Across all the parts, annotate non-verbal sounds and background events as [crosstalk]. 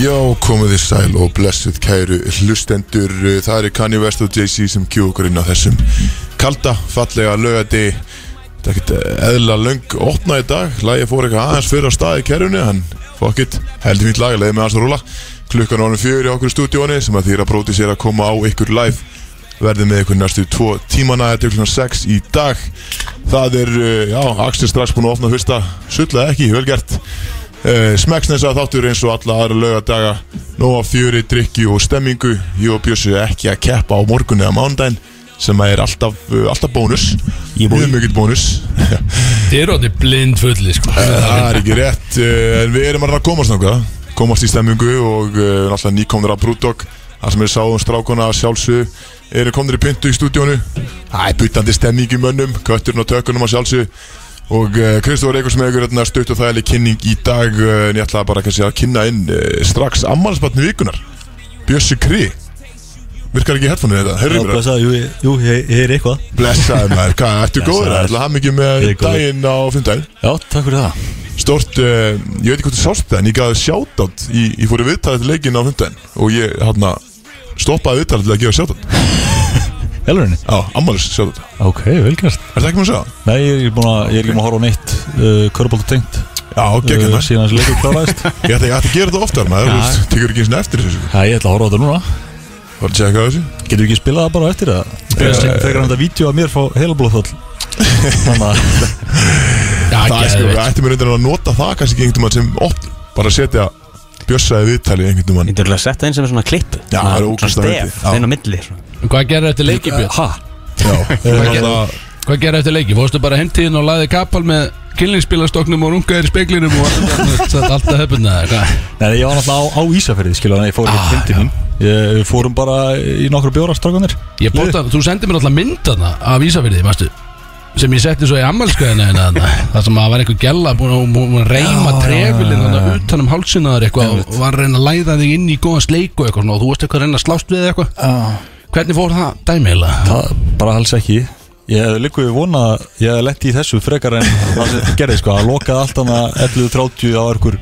Uh-huh. Komið þið sæl og blessuð kæru hlustendur Það eru Kanye West og Jay-Z sem kjú okkur inn á þessum Kalda, fallega lögati Þetta er ekkert eðla löng opna í dag Lægi fór eitthvað aðeins fyrir á stað í kærunni En fuck it, heldur fínt lag Leðið með aðeins að rúla Klukkan ánum fjögur í okkur í stúdíóni Sem að þýra bróti sér að koma á ykkur live verðið með ykkur næstu tvo tímana þetta er klukkan 6 í dag það er, uh, já, Axel strax búin að opna fyrsta, sullaði ekki, vel gert uh, Smekksnesa þáttur eins og alla aðra lögadaga, nóg af fjöri drikki og stemmingu, ég og Bjössu ekki að keppa á morgun eða mándaginn sem er alltaf, uh, alltaf bónus mjög mikill bónus Þið eru orðið blind fulli sko Eh, það er ekki rétt, uh, en við erum að reyna að komast náttúrulega, komast í stemmingu og uh, náttúrulega nýkomnir að Brúdók þar sem við sáum strákona að sjálfsög eru komnir í pyntu í stúdíónu það er byttandi stemming í mönnum, kötturinn og tökunum að sjálfsög og uh, Kristóf Reykjavík með ykkur hérna, stutt og þægileg kynning í dag uh, en ég ætlaði bara kannski að kynna inn uh, strax ammalsbatni vikunar Bjössi Kri virkar ekki herfónu þetta, Já, hörru mér hvað sagði, jú, ég- jú, ég ég er eitthvað blessaði maður, hvað, ertu góður Blessaður. ætlaði hann mikið með Ég er góður. daginn á fimmdæl Já, takk fyrir það Stort, uh, ég veit ekki hvort þú sást það en ég gaði sjátátt í, ég fór í viðtalið til leikinn á hundin og ég hérna stoppaði viðtalið til að gefa sjátátt Elurinn? á, ammális sjátátt Ok, velgjast Er það ekki maður að segja? það? Nei, ég er ekki búin að, ég er ekki búin að horfa á neitt uh, Körbóltu tengt Já, gegn uh, hérna Síðan þessi leikur kláraðist [laughs] Já, Ég ætti ég ætti að gera þetta oftar maður, Já. þú veist, tekur ekki eins og eftir þessu ég ætla að horfa á þetta núna Var að tjekka á þessu? Getur við ekki spilað það bara á eftir það? Þegar Eh. þegar hann þetta vídeo að mér fá [laughs] heilablóðfall Þannig að Það er sko, við geðveikt. ættum við reyndan að nota það kannski ekki einhvern veginn sem oft bara setja bjössaði viðtalið einhvern veginn Þetta er alveg að setja einn sem er svona klipp Já, það er ógeðslega fyndið. Stef, Já. einn á milli svona. Hvað gerði eftir leiki Björn? Ha? Hvað Já, gerði- Hvað gerði eftir leiki? Fórstu bara heimtíðin og laði kapal með kynlingspilastoknum og rungaðir í speiklinum og allt alltaf hefðbundna Hvað? Nei, ég var náttúrulega á, á Ísafyrði, skilja Þannig að ég fór ekki hindi mín Ég- Við fórum bara í nokkru bjóra strákanir Ég bóta, þú sendir mér alltaf myndana af Ísafyrði, mástu sem ég setti svo í ammalskæðina hérna það sem að var einhver gella búin að, búin að reyma Já, trefilinn já, þannig já. utan um hálsinaður eitthvað og var að reyna að læða þig inn í góðan sleik og eitthvað svona og þú varst eitthvað að reyna að slást við eitthvað hvernig fór það dæmiðlega? Það bara alls ekki Ég hef líka við vona að ég hef lett í þessu frekar en það sem þetta gerði sko að lokaði allt hana 11.30 á einhver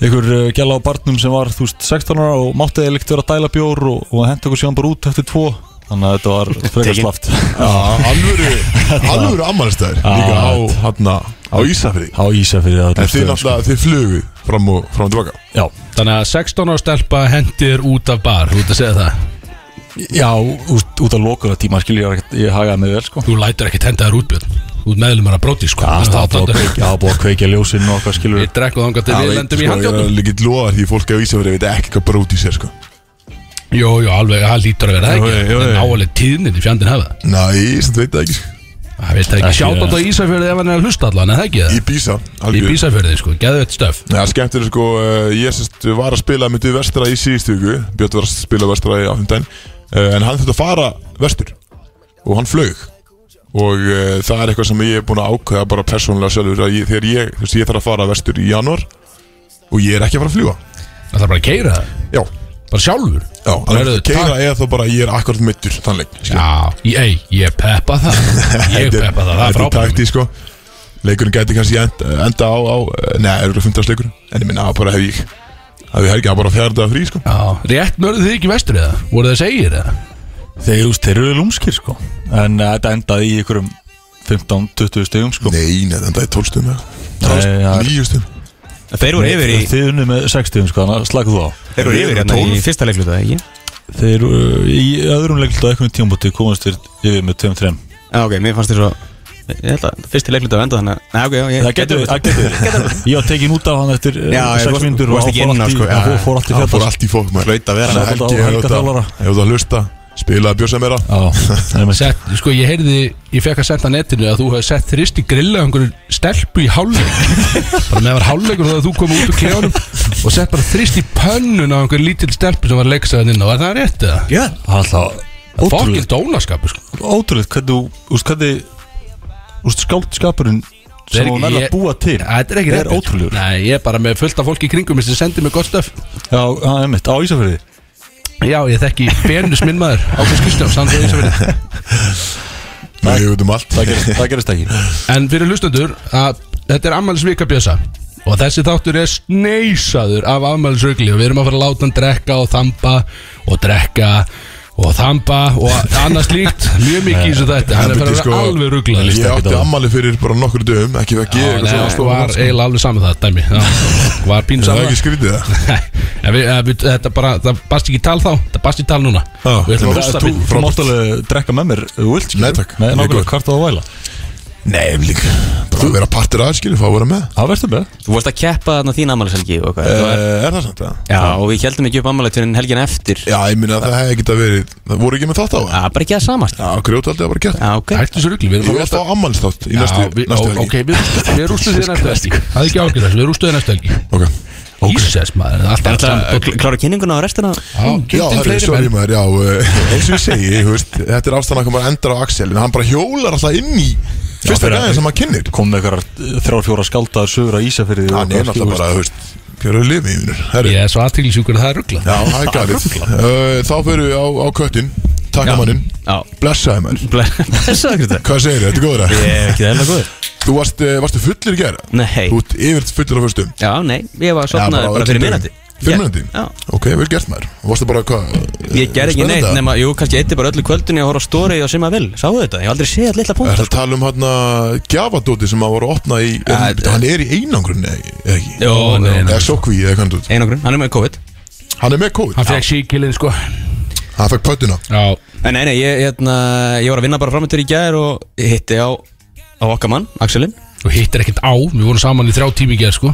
einhver eh, gæla á barnum sem var þú veist 16 ára og mátti eða líkt vera að dæla bjór og, og henda okkur síðan bara út eftir tvo þannig að þetta [laughs] var frekar Tekin. slaft alvöru, alvöru ammalistæður líka á, hérna, á Ísafri á ísa fyrir það En þið náttúrulega, þið flugu fram og fram og tilbaka Já, Þannig að 16 ára stelpa hendir út af bar Þú ert að segja það já út, út að lokura tíma skil ég, var ekkert- ég hagaði mig vel sko Þú lætur ekkert henda þér útbjörn Þú ert meðlumar að bróti sko Já, það var búið að Þannig að kveikja- það var búið að kveikja ljósinn og hvað skilur Við drekkum þangar til Já, við veit, lendum í sko, Ég handjóttum er líkið loðar því fólk á Ísafjörði veit ekki hvað bróti sér sko Jú, jú, alveg, það lítur að vera það Jú, ekki jú, Það er jú. návaleg tíðnin í fjandinn hafa það. Nei, sem þú veit það ekki sko. Það veist það ekki Ekki, Sjátt á ja. þetta Ísafjörði ef hann er að hlusta allan En það ekki Í Bísa það Í Ísafjörði sko, geðveitt stöf Það er skemmtir sko, eh, ég sérst var að spila myndið vestra í síðustu viku Björn var að spila vestra í áfumdæn En hann þurfti að fara vestur Og hann flög Og uh, það er eitthvað sem ég er búin að ákveða bara persónulega sjálfur að ég, Þegar ég, þú veist, ég þarf að fara vestur í janúar Og ég er ekki að fara að fljúa Það er bara að keira það Já, Bara sjálfur já, þannig að Heyrðu, keira takk. eða þá bara ég er akkurat mittur Þannig, Já, ég, ei, ég peppa [laughs] það Ég Þetta peppa það, það er Þetta er frábært takti sko Leikurinn gæti kannski enda, enda á, á Nei, eru fundast leikurinn En ég minna, bara hef ég Það er helgið að bara fjara dagar frí sko Já, rétt mörðu þið ekki vestur eða? Voru það segir eða? Þeir, þú veist, þeir eru lúmskir sko En eh, þetta endaði í ykkurum 15-20 stegum sko Nei, neðan það er tólstum Nei, það er- Nýjustum Þeir voru yfir í Þið unni með 6 stegum sko, þannig að slaka þú á Þeir voru yfir hérna í fyrsta leikluta, ekki? Þeir uh, í öðrum leiklut á einhvern tímabúti komast þeir yfir með 2-3 Já, ok, mér fannst þér svo Ég held að fyrsti leikluta enda þannig að- Nei, ok, já, ég Það Eh, getur við, það [laughs] getur við Ég var tekin út af hann eftir eh, Já, ég 6 varst- minnur varst ekki inn á, sko, já, já. fór allt í Það fór fjöldar allt í fólk maður Reit að Hann er alltaf Helgi, helga ef þú þjálfara. ef þú ert að hlusta Spilaði bjösa meira Já, [laughs] það er með Sett, sko ég heyrði, ég fekk að senda á netinu að þú hefði sett þrist í grilla einhverju stelpu í hálfleik bara meðan var hálfleikur þá að þú kom út úr kljónum og sett bara þrist í pönnun á einhverju lítil stelpu sem var leiksaðan inn og var það rétt eða? Já, það er alltaf Fokkin ótrúlegt dónaskapu sko Ótrúlegt, hvernig þú, þú veist, hvernig Þú veist, skáldskapurinn Það er sem ekki- hún verður ég- að búa til Æ, Þetta er ekki Það rétt er ótrúlegur Nei, ég er bara með fullt af fólki í kringum mér sem sendir mig gott stöf Já, það er mitt, á Ísafjörði Já, ég þekki Benus minn maður Ákveð Kristjáns, hann fyrir Ísafjörði Nei, við veitum allt [laughs] Það gerist- það gerist ekki En fyrir hlustendur, að þetta er ammælisvika bjösa Og þessi þáttur er sneisaður af afmælisraugli og við erum að fara að láta hann drekka og þamba og drekka og þamba og annað [laughs] slíkt mjög mikið í þessu þetta, hann er að fara að vera alveg rugglaður sko, Ég átti ammali fyrir bara nokkur dögum Ekki veggi, Já, eitthvað nei, svona sko. það stóra var eiginlega alveg saman það, [laughs] dæmi Það var pínu Það er saman [laughs] ekki það skrítið það En við, eh, við, þetta bara, það bast ekki í tal þá Það bast í tal núna Já, Við það ætlum að er rústa þú- bíl Þú mátt alveg drekka með mér ef Þú vilt skilur. Nei, takk. Nei, Ég er nákvæmlega góð. hvart á að væla Nei, en líka Bara að vera partir aðeins, skilur, fá að vera með Það verður með Þú vorst að keppa þarna þín ammælishelgi og Eh, eitthvað Er það samt það? Já, og við heldum ekki upp ammælishelgin helgin eftir Já, ég minna að það hefði ekki verið Það voru ekki með þátt á það? Já, bara ekki að samast Já, grjóti aldrei að bara gert Já, ok Hættu svo ruggli, við Ég erum var að alltaf á ammælstátt í Já, næstu, við- næstu ó, helgi Ok, við rústum- við rústum þér næstu helgi Það er ekki ágjörð þessu, við rústum þér næstu helgi Ok. Ísess maður, það er alltaf Ætla, Eh, kl- Klára kynninguna og restina Já, það er sorry maður, já, eh, eins og ég segi, þú veist, þetta er ástæðan að koma að endra á Axel En hann bara hjólar alltaf inn í fyrsta fyrir- gæðin sem hann kynnir Kom með eitthvað þrjár fjóra skáldaðar sögur á Ísafyrði Hann er náttúrulega bara, þú veist, hver er lifið í vinnur Herri, Ég er svo aðtýrlisjúkur að það er rugglað Já, það er galið Uh, Þá fyrir við á, á köttin Takk mannin Já Blessaði mann Blessa það, Kristján Hvað segir þetta? Góður það? Ég er ekki það eða góður Þú varst, uh, varstu fullir í gera? Nei Þú ert yfir fullur á fyrstum Já, nei, ég var sopnaði bara fyrir minnandi Fyrir minnandi? Já. Ok, vel gert maður Og Varstu bara hvað? Ég gerði ekki neitt nema, jú, kannski eitti bara öllu kvöldunni að horfa á stóri og sem að vil Sáu þetta, ég hef aldrei séð litla Er punkt það að tala um hann að gjafadóti sem að voru að opna í er, Ja, Hann er í einangrun, eða ekki- eða ekki? Jó, nei, nei. Eða sókví, eða hvernig dóti Einogrun, hann er með COVID Hann er með kóð Hann fekk síkilinn sko Hann fekk pötuna Já, En nei, nei, ég, hérna, ég var að vinna bara fram til í gær og hitti á, á okkar mann, Axelin og hittir ekkert á Við vorum saman í þrjá tími gerð sko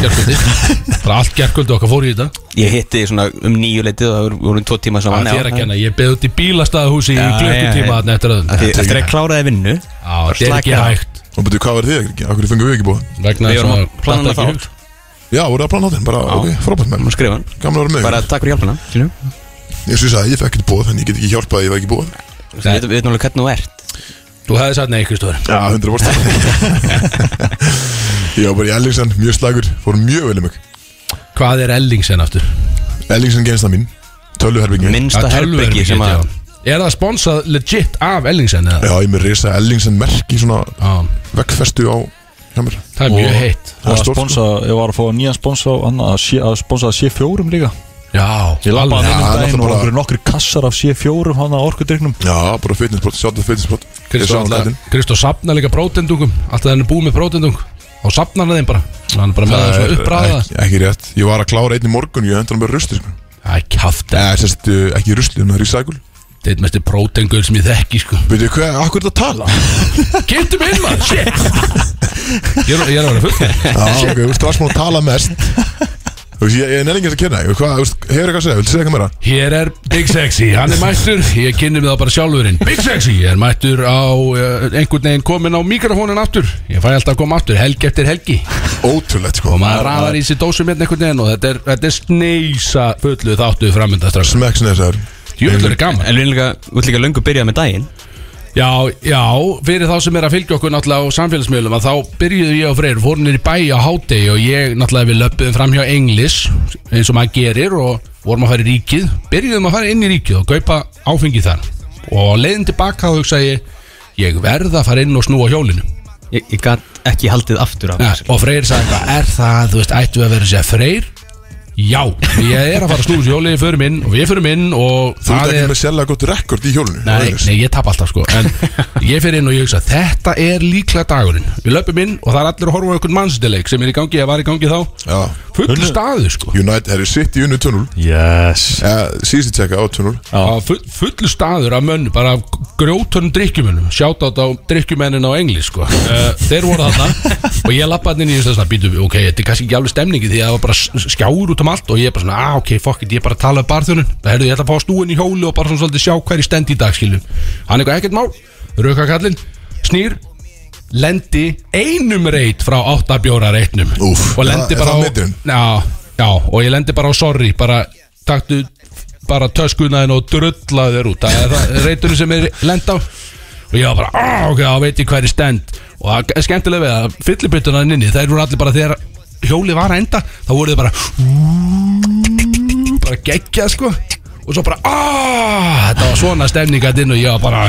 Gerkvöldi Það er allt gerkvöldi okkar fór í þetta Ég hitti svona um nýju leitið og það voru- voru tvo tíma saman Það Já, er ekki hann Ég beði út í bílastæðahúsi í Já, já, klukkutíma já. þarna eftir öðum Af því Eftir að ég kláraði vinnu Já, það er ekki slaka á. hægt Og betur, hvað var þið ekki? Akkur fengum við ekki búið Vegna Við þess vorum að að plana datt ekki það í hug. þá. Já, voru að plana á þeim Bara, ok, frábært Hún maður skrifa hann Gamla voru með Bara takk fyrir hjálpina skilurðu. Eins og ég sagði, ég fekk ekki búið En ég get ekki hjálpað að ég var ekki búið Við veitum við veitum alveg hvernig þú ert Þú hefði sagt nei, Kristóður Já, 100 bórst [laughs] Ég var bara í Ellingsen, mjög slagur Fór mjög vel um mig Hvað er Ellingsen aftur? Ellingsen gensta mín, tölvuherbyggin Minnsta Það er herbyggi tölvuherbergið, sem að já. Er það sponsað legit af Ellingsen eða? Já, ég er með risa Ellingsen merki Svona Já, vekkfestu á hjá mér það er mjög heitt Það Og er stórt, sponsa, ég var að fá nýjan sponsa á annað, að, sé- að sponsa C4 líka Já, Ég lappa hann inn alveg. Já, um daginn náttúrulega og bara- okkur nokkri kassar af C4 hann að orkudryknum Já, bara fitnessport, sjáttu fitnessport Ég sá Kristó hann alltaf- glæðin Kristó sapnar líka prótendungum Alltaf hann er búið með prótendung Og sapnar hann þeim bara Hann er bara með það svona uppræða ekki, ekki rétt Ég var að klára einn í morgun, ég hendur hann bara rusli sko. Það er kjáft Eða, sérst, uh, ekki rusli, hann er recycle Þetta er mestir prótengur sem ég þekki sko Veitu hvað, akkur er þetta að tala? Giftu mig inn maður, shit Ég er, ég er að vera full Já, ok, þú veist, hvað sem hún tala [laughs] mest Þú veist, ég, ég nenni ekki að kenna þig. Hvað, þú veist, hefur eitthvað að segja, viltu segja eitthvað meira? Hér er Big Sexy, hann er mættur Ég kynni mig þá bara sjálfurinn Big Sexy er mættur á uh, einhvern veginn komin á mikrofónin aftur Ég fæ alltaf að koma aftur, helgi eftir helgi Ótrúlegt, sko Og maður ræðar í sér dósum hérna einhvern veginn Og þetta er, þetta er sneisa fullu þáttu framönda strax Smekks neðsaður Júlur er gaman En við erum líka, við erum líka löngu byrjað með daginn Já, já, fyrir þá sem er að fylgja okkur náttúrulega á samfélagsmiðlum að þá byrjuðu ég og Freyr, fórum niður í bæ á hádegi og ég náttúrulega við löpum fram hjá Englis eins og maður gerir og vorum að fara í ríkið byrjuðum að fara inn í ríkið og kaupa áfengi þar og á leiðin tilbaka þá hugsaði ég, ég verð að fara inn og snúa hjólinu Ég, ég gat ekki haldið aftur af ja, Axel. og Freyr sagði eitthvað, er það, þú veist, ættu að vera sér Freyr? Já, ég er að fara að snúa þessu hjóli, ég förum inn og við förum inn og Þú ert ekki með sérlega gott rekord í hjólinu Nei, Jóhannes. nei, ég tap alltaf sko En ég fyrir inn og ég hugsa Þetta er líklega dagurinn Við löpum inn og það er allir að horfa á einhvern mannsdileik Sem er í gangi, eða var í gangi þá Já, Full staðu sko United er sitt í unnu tunnul Yes Síðan tjekka Eh, á tunnul Á full, fullu staður af mönnu bara af grjótunum drikkjumennum sjátátt á drikkjumennin á engli sko. uh, þeir voru þarna og ég lappa hann inn í þess að býtu ok, þetta er kannski ekki alveg stemningi því að það var bara s- skjáur út um allt og ég er bara svona, ah ok, fuck it, ég er bara að tala um barþjónin það herðu, ég ætla að fá stúin í hjóli og bara svona svolítið sjá hver í stend í dag skilju hann eitthvað ekkert mál, rauka kallinn snýr, lendi einum reit frá áttabjóra reitnum Úff, og lendi er bara það á meturinn? Já, já, og ég lendi bara á sorry bara taktu bara töskunaðin og drullaði þér út það er það reyturinn sem er lend á og ég var bara, ah, ok, þá veit ég hvað er stend og það er skemmtilega við að fyllibutuna inni, þeir voru allir bara þegar hjólið var að enda, þá voru þeir bara bara geggjað sko og svo bara, ah, þetta var svona stemning að inn og ég var bara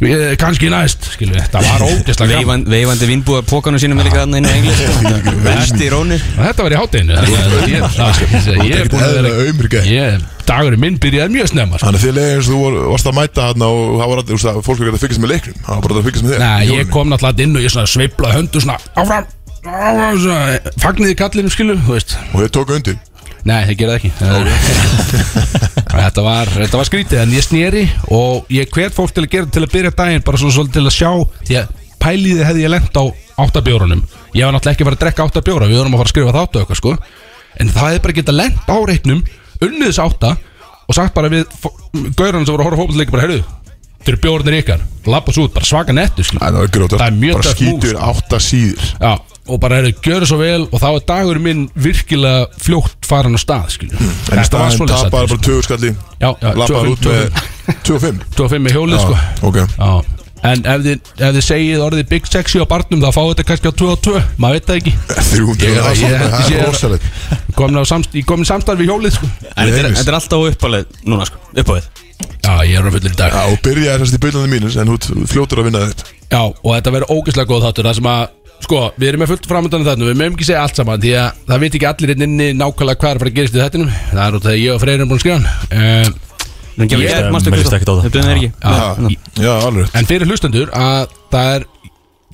eh, kannski næst, skilur við, þetta var ógeðslega gaman Veifan, veifandi vinnbúið pókanum sínum er líka þarna inn í [laughs] engli Vesti rónir Þetta var í hátteginu Ég er búin að vera Eðla ömur gæði Ég, dagurinn minn byrjaði mjög snemma sko. Þannig að þið leiðir eins og þú vor- varst að mæta þarna og það var allir, þú veist að fólk er ekki að fylgjast með leiknum Það var bara að fylgjast með þér Nei, ég hjólinu. kom náttúrulega inn og ég svona sveiflaði höndu svona áfram, áfram svona, fagniði kallinum skilu, þú veist Og þið tók undir Nei, það gerði ekki þetta, var, þetta var skrítið en ég sneri og ég hvet fólk til að gera til að byrja daginn bara svona svolítið til að sjá því að pæliði hefði ég lent á áttabjórunum ég var náttúrulega ekki bara að drekka áttabjóra við vorum að fara að skrifa þáttu eitthvað sko en það hefði bara geta lent á reiknum unnið þess átta og sagt bara við gaurunum sem voru að horfa fókbaltleiki bara heyrðu, þeir eru bjórnir ykkar lappa svo út, bara svaka nettu Æ, Það var gróta Það er mjög Bara töff mús, sko. skítur átta síður Já, og bara eru gjöru svo vel og þá er dagur minn virkilega fljótt farin á stað, skilju En í staðin tapar atriði, bara tvö skalli Já, já, Lappar 25, út með 25 25 með hjólið, sko Ok Já En ef þið, ef þið segið orðið Big Sexy á barnum þá fáið þetta kannski á 2 og 2 maður veit það ekki 300 það er Ég- ég- svona- það ég- er rosalegt komin á samst, Ég komin samstarf við hjólið sko En þetta er- þetta er alltaf á uppálið núna sko Uppálið Já, ég er að fullur í dag Já, og byrjaði þessast í byrjandi mínus en hún fljótur að vinna þetta Já, og þetta verður ógeðslega góð þáttur Það sem að, sko, við erum með fullt framöndan þarna Við mögum ekki segja allt saman Því að það veit ekki allir inn inni nákvæmlega hvað er að fara að gerist í þettinum Það er út af því að ég og Freyr erum búin að skrifa hann uh, Ég Ég- er master mér líst Kristó ekkert á það. Þetta er ekki Já. Já. Já, já, alveg En fyrir hlustendur að það er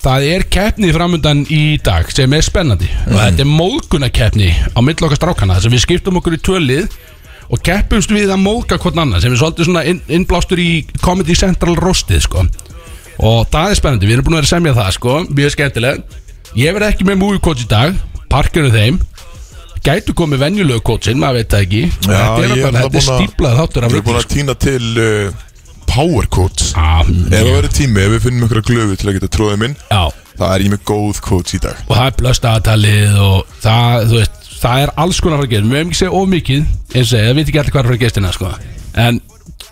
Það er keppni framöndan í dag sem er spennandi Mhm. og þetta er móðguna keppni á millokkar strákana þess að við skiptum okkur í tölið og keppumst við að móðga hvort annan sem er svolítið svona inn, innblástur í Comedy Central rostið sko og það er spennandi, við erum búin að vera að semja það sko mjög skemmtileg, ég verð ekki með movie coach í dag, parkinu þeim gætu komið venjulegu coachin maður veit það ekki, Já, þetta er, ég er bara, þetta er búin að- stíplað þáttur af sko. Við erum búin að týna til uh, Power Coats Ef það rögn verður tími, ef við finnum einhverja glöfu til að geta tróðið minn sko. Já, Það er ég með góð coats í dag og það er blöstaðatalið og það, þú veist, það er alls konar að fara að gera, við hefum ekki segja of mikið eins og segja, það veit ekki allir hvað er að fara að gestina sko. en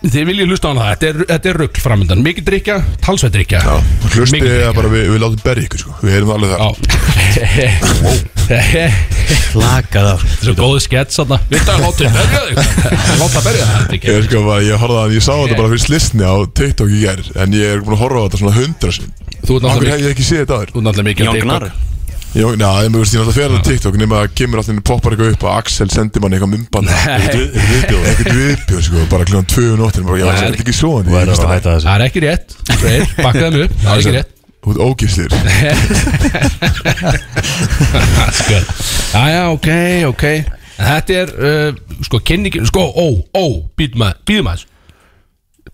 þið viljið hlusta á hana það þetta er, þetta er rugg framöndan, mikið drikja talsveit drikja Hlustið er bara við, við látum berja ykkur sko. Við erum alveg það þetta Laka það er svo góðu skets þarna. við það látum við berja þig [laughs] láta berja það Ég, sko, bara, ég, horfði að, ég sá þetta bara fyrir slisni á TikTok í gær En ég er búin að horfa á þetta svona hundra sinn þú ert Akkur hef náttúrulega mikið ég ekki séð þetta aður þú ert náttúrulega mikið á Jón TikTok. Gnar Jó, na, ég mjög veist, ég náttúrulega fer að TikTok Nefn að kemur alltaf poppar eitthvað upp að Axel sendi manni eitthvað mumban Eitthvað viðbjörn, sko, bara kljóðan tvöðu nóttin Bara, já, Nei. það er ekki svo Það er að hann hætta þessu það er ekki rétt Freyr, bakkaðu mig upp, það er ekki rétt Þú ert ógistir Jæja, ok, ok En Þetta er, uh, sko, kynningin Sko, ó, ó, býtum að, býtum að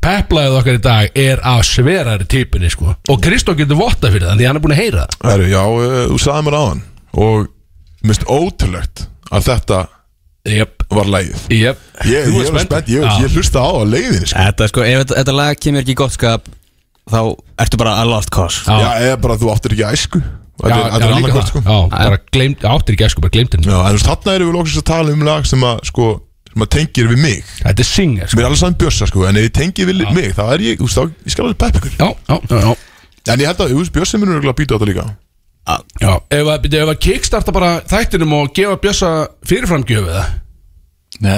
Peplæðið okkar í dag er af sverari típunni, sko Og Kristó getur votta fyrir það, því hann er búin að heyra það Herru, já, eh, þú sagði mér aðan og minnst ótrúlegt að þetta Jöp, var lægið jöp Ég, Þú ég ert er spennt, ég, Já. ég hlusta á að leiðinni sko. Þetta sko, ef þetta- þetta lag kemur ekki í gott skap Þá ertu bara a lost cause Já. Já, eða bara þú áttir ekki æsku Þetta Já, er- já, þetta er líka annarkvæmt það sko Já, bara gleymd, áttir ekki, sko, bara gleymd henni Já, en þú veist, þarna erum við lóksins að tala um lag sem að, sko, sem að tengir við mig Þetta er singer, sko Mér er alveg saman bjössa, sko, en ef þið tengir við mig þá er ég, þú veist, þá, ég skal alveg pepp ykkur Já, já, já, já En ég held að, þú veist, bjössi minn er örugglega að býta á þetta líka Já, ef að, byrju, ef að kickstarta bara þættinum og gefa Bjössa fyrirframgjöfið það Já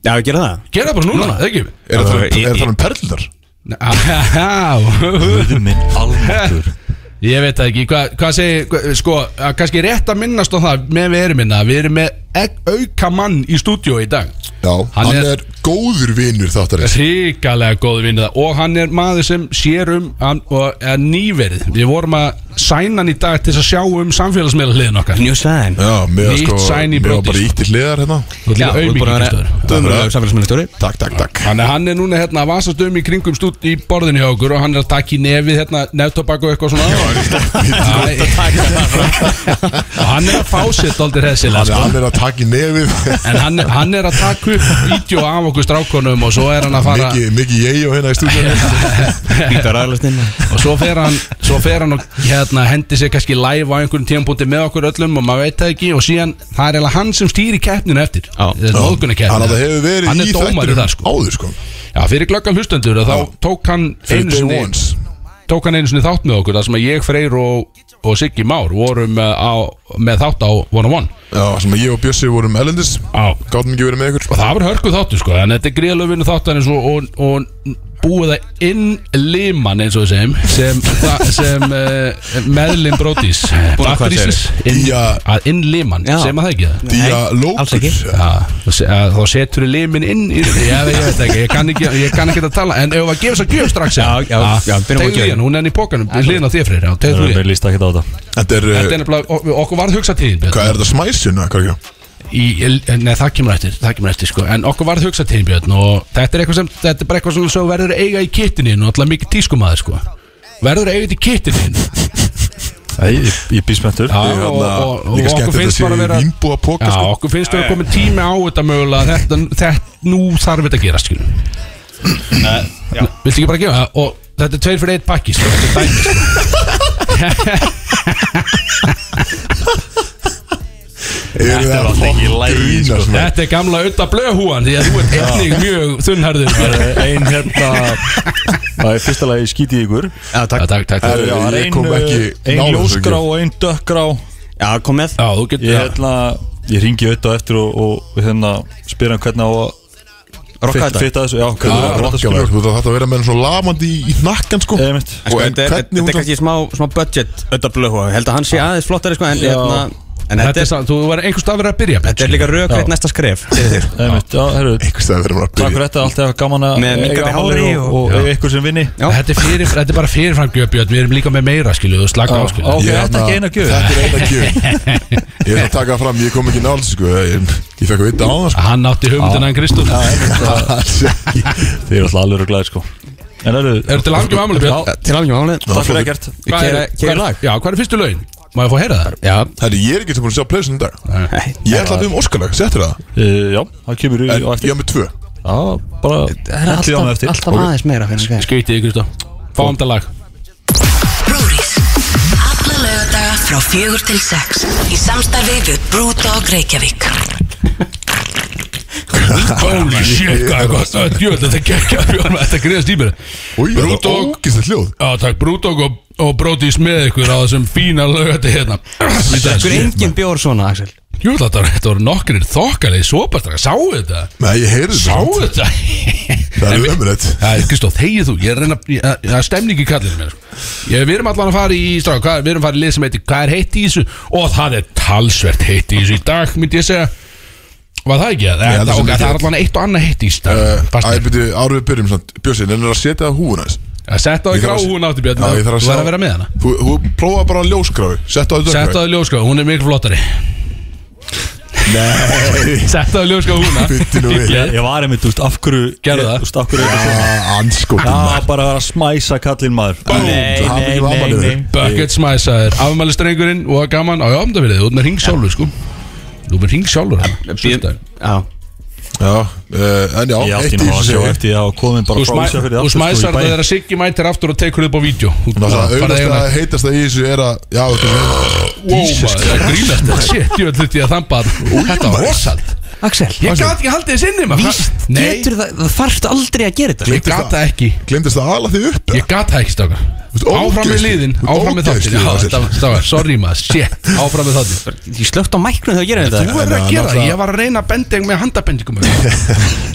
Já, við gerum það Gera það bara núna, eða ekki? Er það ég- er það um perlindar? [laughs] Já, Guð minn almáttur [laughs] Ég veit það ekki, hvað hva segir, hva, sko, að kannski rétt að minnast á það með við erum minna Við erum með ek, auka mann í stúdíó í dag Já, Hann hann er- er góður vinur þáttarins Ríkalega góð vinnið það og hann er maður sem sér um hann, og, er nýverið Við vorum að sæna hann í dag til þess að sjá um samfélagsmiðla hliðin okkar New Sign Já, með Nýtt sko, sæn í með brodís. bara ítti hliðar hérna Þú Já, ætlir þú ert auðmikið búin að stöður vera Dömurlega samfélagsmiðlustjóri Takk, takk, takk Þannig að hann er núna hérna að vasast um í kringum stúd í borðinu hjá okkur og hann er að taka í nefið hérna neftobak og eitthvað svona Æ, [laughs] og hann er að fá sér sko. dóldir hessilega Hann er- hann er að taka í nefið En hann, hann er að taka upp vídeo af okkur strákonum og svo er hann að fara Mikið, mikið ég og hérna í stúdíunum Býtar aðlastinn og svo fer hann, svo fer hann og hérna, hendi sér kannski live á einhverjum tímpúndi með okkur öllum og maður veit það ekki og síðan það er eiginlega hann sem stýri keppninu eftir Já. þetta er móðgunni Þannig að það hefur verið hann í er dómar í þættinum það sko Áður sko Já, fyrir glöggan hlustendur að þá tók hann Fyrir einu day sinni ones. tók hann einu sinni þátt með okkur þar sem að ég, Freyr og, og Siggi Már vorum eh, á, með þátt á One on One Já, sem að ég og Bjössi vorum ellendis Já. Gáttum ekki verið með ykkur og það var hörku þáttu sko en þetta er gríðalöfinu þáttan eins og, og, og búið að innliman eins og við segjum sem, þa- sem uh, meðlim brótis Búin að hvað Bakterísins inn, Já. að innliman, Já. sem að það ekki það alls ekki. Dialókur Já, þú se- að þá setur við limin inn í, já, ég veit ekki, ég kann ekki, ég kann ekki að tala En ef við að gefa þess að gjöf strax hérna. Já, já, já, byrjum á Tegðu gjöfinni. í hann, hún er enn í pokanum, hliðin á þér fyrir Já, tegðu í Mér hann líst ekki á þetta Þetta er, Þetta uh, er nefnilega, ok- okkur varð hugsa til þín hvað Björn er þetta smæsun? eða Hvað er ekki? í, Nei, það kemur eftir, það kemur eftir sko En okkur varð hugsa til þín Björn Og þetta er eitthvað sem, þetta er bara eitthvað svona sem þú verður að eiga í kittinni Og alltaf mikið tískumæður sko Verður að eiga þetta í kittinni Ég, ég býst með Já, þetta og, og, hérna- og Líka skemmt þetta okkur finnst bara sé að vera vinnbúa póka Já, sko. okkur finnst við að koma tími á þetta mögulega þetta, þetta, nú þarf þetta að gera, skilum Nei, Viltu ekki bara gefa það? Og þetta er tveir fyrir eitt pakki, sko Þetta er dæmi, sko Eru það alltaf ekki í fokk lagi, sko. grínast, maður? Þetta er gamla auðvitað blöðhúan Því að þú ert einnig mjög þunnherður sko. Einn hérna Það er fyrsta lagi skítið ykkur Já, Já, takk takk, takk, Herru, takk já. Já, ég kom ekki Einn nálægt þessu, eh, ljósgrá ekki. og einn dökkgrá Já, kom með þú Ég getur hérna Ég ringi auðvitað eftir og, og hérna spyr hann hvernig á að Rokka fit- þetta fitta þessu Já, hvernig á að Rokkja maður, sko. þú þarf að vera með hann svo lamandi í, í nakkan sko Eða mitt En sko, Og en Þetta er- hvernig þetta er hún kannski smá, smá budget Ötta blöðhúa, ég held að hann sé aðeins flottari sko, en, Já. hérna, en Þetta þetta, er sann, þú var einhvers stað að vera að byrja þetta er líka Já. rökrætt næsta skref Eða mitt, já, herru Einhvers það verður maður að Takk byrja fyrir þetta, allt eða gaman að Með minnkandi eiga hári afmæli og- Og eiga ykkur sem vinni Já. Þetta er, fyrir, þetta er bara fyrirframgjöf Björn, við erum líka með meira skilu, þú slaka á skilu Ok, Ég þetta hérna- er ekki eina gjöf Þetta er eina gjöf Ég ætla að taka það fram, ég kom ekki náls sko Ég, ég fekk að vita á það sko Hann átti hugmyndina en Kristúf Er Alls ekki. [laughs] Þið eru alltaf alveg glæðir sko En eru þetta langjum ámæli Björn? Til alveg mánuð Það var Takk fyrir flott. ekkert Hvað er- Keira keira lag Já, hvað er fyrstu laun? Má ég fá að heyra það? Já, Herru, ég er ekki sem búin að sjá pleysun í dag Nei. Ég ætla að við um Óskalag, settur það Uh, Já, það kemur í En og ég eftir er með tvö Já, bara það hellið á er mig alltaf, eftir alltaf aðeins meira fyrir hann Skrítið, Kristó Fáum þetta lag Brúris. Alla lögadaga frá fjögur til sex. Í samstarfi við Brewdog Reykjavík. [laughs] Holy Oh shit, hvað er gott Það er djöfn, þetta er gekkja Björn, Þetta greiðast í mér Új, það var Brúdog. ógist hljóð Já, takk Brúdók og, og Brótis með ykkur á þessum fína lögati hérna Þú er engin bjór svona, Axel Jú, þetta var- þetta voru nokkrir þokkalegi sopastrakka Sáu þetta? Nei, ég heyrði Sáu þetta þetta? Það er ömurlegt Já, Kristóf, þegið þú, ég er að reyna ég- að- Það er stemning í kallinu mér sko. ég, Við erum allan að fara í stráka, hvað, Við erum að fara í lið sem heitir Hvað er heitt í þessu? Og það er talsvert heitt í þessu í dag Myndi ég segja Var það ekki? Það, Ég held að það, sem það, ekki. er allan eitt og annað heitt í þessu Uh, Æ, Fastir. byrju, áður við byrjum samt Björnstein, en er að setja það húfuna þess Að Sett á því Ég þarf að- gráhún átti Björn Já, ég þarf að Þú sjá- verður að hérna. vera með hana Þú, þú prófa bara ljósgráfi Sett á því Sett á því ljóskáð, hún er miklu flottari Nei Sett á því ljóskáð [laughs] húna Bíddu nú við. Ég, ég var einmitt, þú veist, af hverju Gerðu Þú það? veist, af hverju Já, Ah, Anskotum já bara að smæsa kallinn maður Nei, nei, nei, nei Bucket smæsaður, afmælistrengurinn og gaman á um öfndafyrðið, út með ring sjálfur sko Þú með ring sjálfur hana sunnudag. Já, Já, uh, en já, Ég átti eitt í nú að þessu sjá segir. eftir að komin bara Þú smæ- þú sko, smæsar það þegar Siggi mætir aftur og tekur upp á vídeo sko hérna- Ná, Það auðvitað að heitast það í þessu er að Já, þú veist Wow, maður, það er grínast þetta Shit, ég ætla því að þamba þarna. Þetta var rosald Axel Ég gat ekki haldið þess inni maður. Víst, Nei, getur það, það þarfst aldrei að gera þetta ég gat það ekki Glemdist það að ala þig upp Ég gat það ekki stakar ert Áfram með ógeðslegur. liðin, Þú ert áfram með þáttin ógeðslegur, Axel. Stakar, sorry maður, shit, áfram með þáttin Ég slögt á mæknum þegar að gera Þú þetta verður að En, gera það, náttúrulega- ég var að reyna að benda þig með handabendingum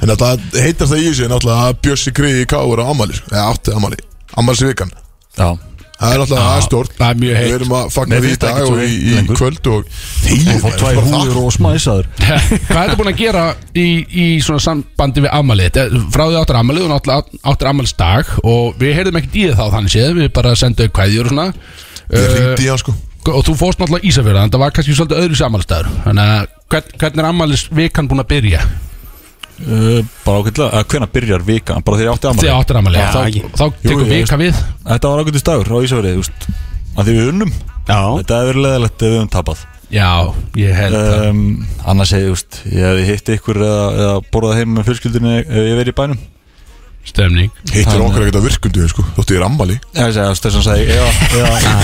En það heitast það í þessu er náttúrulega að Bjössi Kriði í Káur á Amali Eða átti Amali Amali Svikan Já, Það er náttúrulega aðstort það er mjög heitt. Við erum að fagna Nei, því í finnst það dag ekki og svo í, heitt í lengur. kvöld og Þýð og fá tvær húður og smæsaður Hvað ertu búin að gera í, í svona sambandi við ammalið? Þetta- Frá því áttur ammalið og náttúrulega áttur ammaliðsdag og við heyrðum ekkert í það þá þannig séð Við bara sendum kvæðjur og svona Ég Eh, ringdi í hann sko Og þú fórst náttúrulega Ísafjörða en það var kannski svolítið öðru sammálstæður Þannig að hvern, hvernig er ammælisvikan búin að byrja? Uh, Bara ákveðlega, hvenær byrjar vika Bara þegar ég átti Þegar ammali áttir ammæli Já, þá, ekki. þá tekur ég vika við Þetta var ákveðist dagur á Ísafrið, þú veist Að því við unnum Já, Þetta hefur verið leðalegt ef við höfum tapað Já, ég held það um, Annars hefði, þú veist Ég hefði hitt ykkur eða, eða borðað heim með fjölskyldinni Ef ég verið í bænum Stemning Hittir okkar ekkert að virkundu sko Þóttu ég er Amali Já, ég segi, þess að hann segi, eða,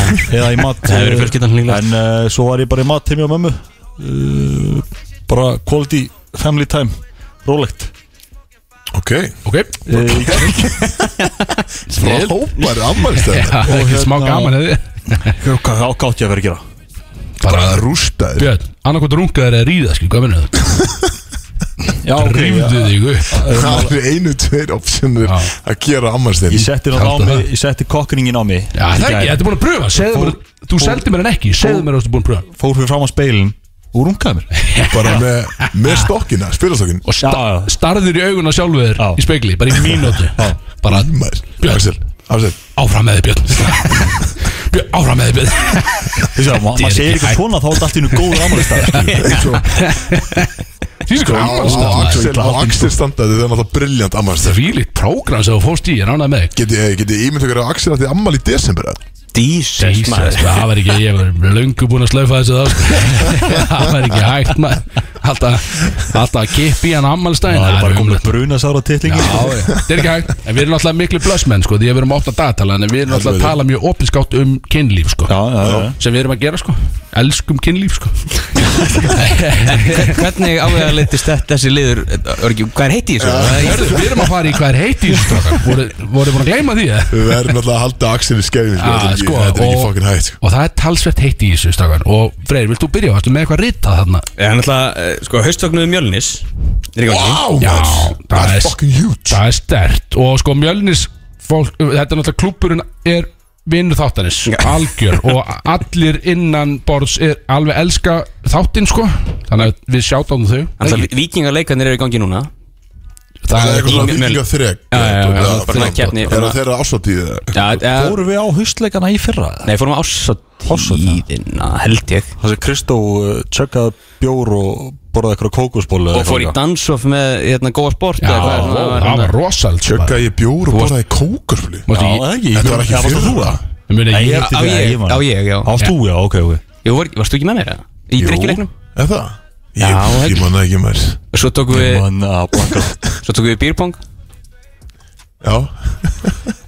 [laughs] eða, eða í mat eh, Það hefur verið fjölskyldan líklega. En uh, svo var ég bara í mat heim hjá mömmu uh, Bara quality family time Rólegt Ok Ok, uh, Frá [laughs] snill hópar Amali Já, ekki smá hérna- gaman hefði Hvað ákátt ég að vera að gera? Bara að rústa þér Björn, annarkvæmt rungaður eða ríða, skil, hvað minnur það? Já, ok, Rífðu já. þig upp [laughs] Það er einu, tveir optionir Já. að gera ammarstinn Ég setti Kaldu náttúrulega á það. mig, ég setti kokringin á mig Já, það er ekki, þetta er búin að pröfa Segðu mér, þú seldi mér hann ekki Segðu mér að þú ert búin að pröfa Fór fyrir fram á speilin og rungaði mér bara með, með stokkina, spilastokkin Og sta Já, já. starður í auguna sjálfu þér Já. Í spegli, bara í mínúti Bara Björn. Axel, Axel áfram með þig Björn Björn, áfram með þig Björn Þú veist, ma- Þetta er maður segir ekki eitthvað hægt. svona þá er þetta allt í nú góður sko. [laughs] ámælistað eins og Sýnir á, á, á, Axel, á Axel standaði það er náttúrulega briljant ammarstinn Þvílitt prógram sem þú fórst í, ég ránaði með þig Geti, eh, geti ímynd ykkur að Axel átti ammal í desember eða? Jesus, Jesus, maður sko, það var ekki, ég var löngu búinn að slaufa þessu þá sko. Það var ekki hægt maður Alltaf, alltaf að kippa í hann ammalstæðin Það er bara komin að bruna sára Já, titlingi sko. já, þetta er ekki hægt En við erum alltaf miklu blössmenn, sko Því að við erum að opna dagatala En við erum alltaf að Helviti. tala mjög opinskátt um kynlíf, sko Já, já, já Sem við erum að gera, sko Elskum kynlíf, sko eh, Hvernig ávegarleitist þetta þessi liður örgjum, Hvað er heiti í þessu? Hörðu, Við erum að fara í hvað er heiti í þessu strákar Voru- Voru búin að gleyma því, eða? Við verðum náttúrulega að halda Axel í skefin sko. Já, Þetta er ekki- sko, Þetta er ekki og- fokkin hægt sko. Og það er talsvert heiti í þessu, strákar Og Freyr, vilt þú byrja? Varstu með eitthvað ritað þarna? Það er náttúrulega, eh, sko, haustvagnuðu mjölnis Er í gangi Wow, Já, maður. það það er- er fucking huge Það er stert og sko Mjölnis fólk, þetta er náttúrulega klúpurinn er vinnu þáttanis, algjör og allir innan borðs er alveg elska þáttinn sko þannig að við sjátáðum þau Alltaf vikingarleikarnir eru í gangi núna Það er það er, eitthvað svona mjöl- vikinga þreg Já, já, já, það er bara svona keppni. Er það þeirra ásatíð Já, eh, Fóru við á haustleikana í fyrra eða? Nei, fórum á ássatíðina, held ég Það sem Kristó uh, tjökkaði bjór og borðaði eitthvað kókusból Og fór í dansoff með, hérna, góða sport já, eða hvað er svona- hérna- það var rosald Tjökka ég bjór og borðaði kókurfli Já, það er ekki Þetta var ekki Það varst fyrra. ég muni Nei, ég, ég- ég, Á Fyrir það, ég, ég man. á ég, já Ást þú, já, ok, ok Jú, var- varstu ekki með mér, eða? Í drikkjuleiknum? Er það? Ég, Já, ég held- manna ekki mér Svo tókum við, Mann að baka svo tókum við býrpong Já,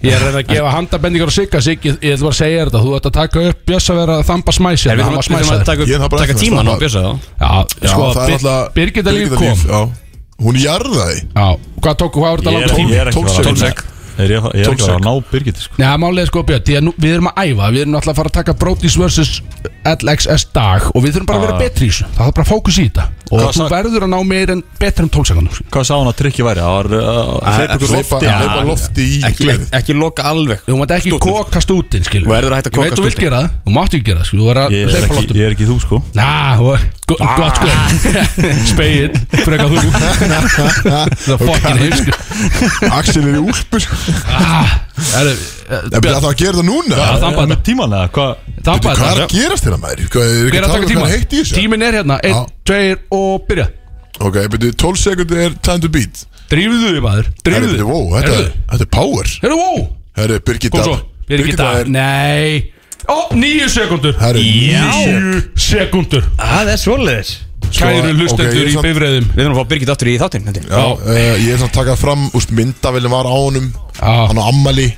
ég er að reyna að gefa handabendingar og sigga sig ég, ég ætla bara að segja þér þetta, þú ætti að taka upp Björs að vera að þamba smæsi hérna. Er við hann þurfum var að- við þurfum að smæsaður taka, Ég er það bara taka eftir að tíman á stoppa. bjösa þá já, já sko, það er alltaf Birgitta Líf kom já. Hún jarðaði já, hvað tók, hvað voru þetta Ég er langt ekki, ég er ekki að fara að- Tólfsek. Er ég ég er ekki að fara að ná Birgit sko. Nei, það er málið er sko Björn, því að nú, við erum að æfa Við erum alltaf að fara að taka Brodís vs. LXS dag Og við þurfum bara að Ah. vera betri í þessu Það er bara fókus í þetta Og Hvað þú sag- verður að ná meir en betur en 12 sekundum Þú Hvað sá hann að trikki væri? Það var uh, hleypa ykkur Leipa, lofti leipa lofti í ekki, glerið ekki loka alveg mátt ekki kokast út inn, skilur Þú verður að hætta að Ég veit kokast sko. þú vilt útinn. gera það, þú mátt ekki gera það, skilur Þú verður að Ég er hleypa ekki, loftum ég er ekki þú sko Ná, og- go- Ah. gott [laughs] sko Speil, freka þú Það er fokkin heimsku Axel er í úlpu sko. Ah. Það er, Það er alltaf að gera það núna það Veitu, eh, þamba Með þetta tíman eða? eh, Hvað? Þamba Hvað er þetta að gerast þér að maður? Hvað er Hver ekki er að að tala um taka hvað er tíman? heitt í þessu? Tímin er hérna, Já. 1, 2 og byrja Ok, betur 12 sekundi er time to beat Drífðu þig maður, Herri, drífðu betur, þig wow, þetta, Heyrðu. þetta er power Herru, wow Herri, Birgitta Kom svo Birgitta er Nei Ó, níu sekundur Herri, níu Sko, Níu sekundur Það er svoleiðis Kæru ok, ég hlustendur er í samt- bifræðum Við þurfum að fá Birgit aftur í þáttinn held ég. Já, uh, ég er svona að taka fram Úst, myndavillin var á honum Já. Hann á ammali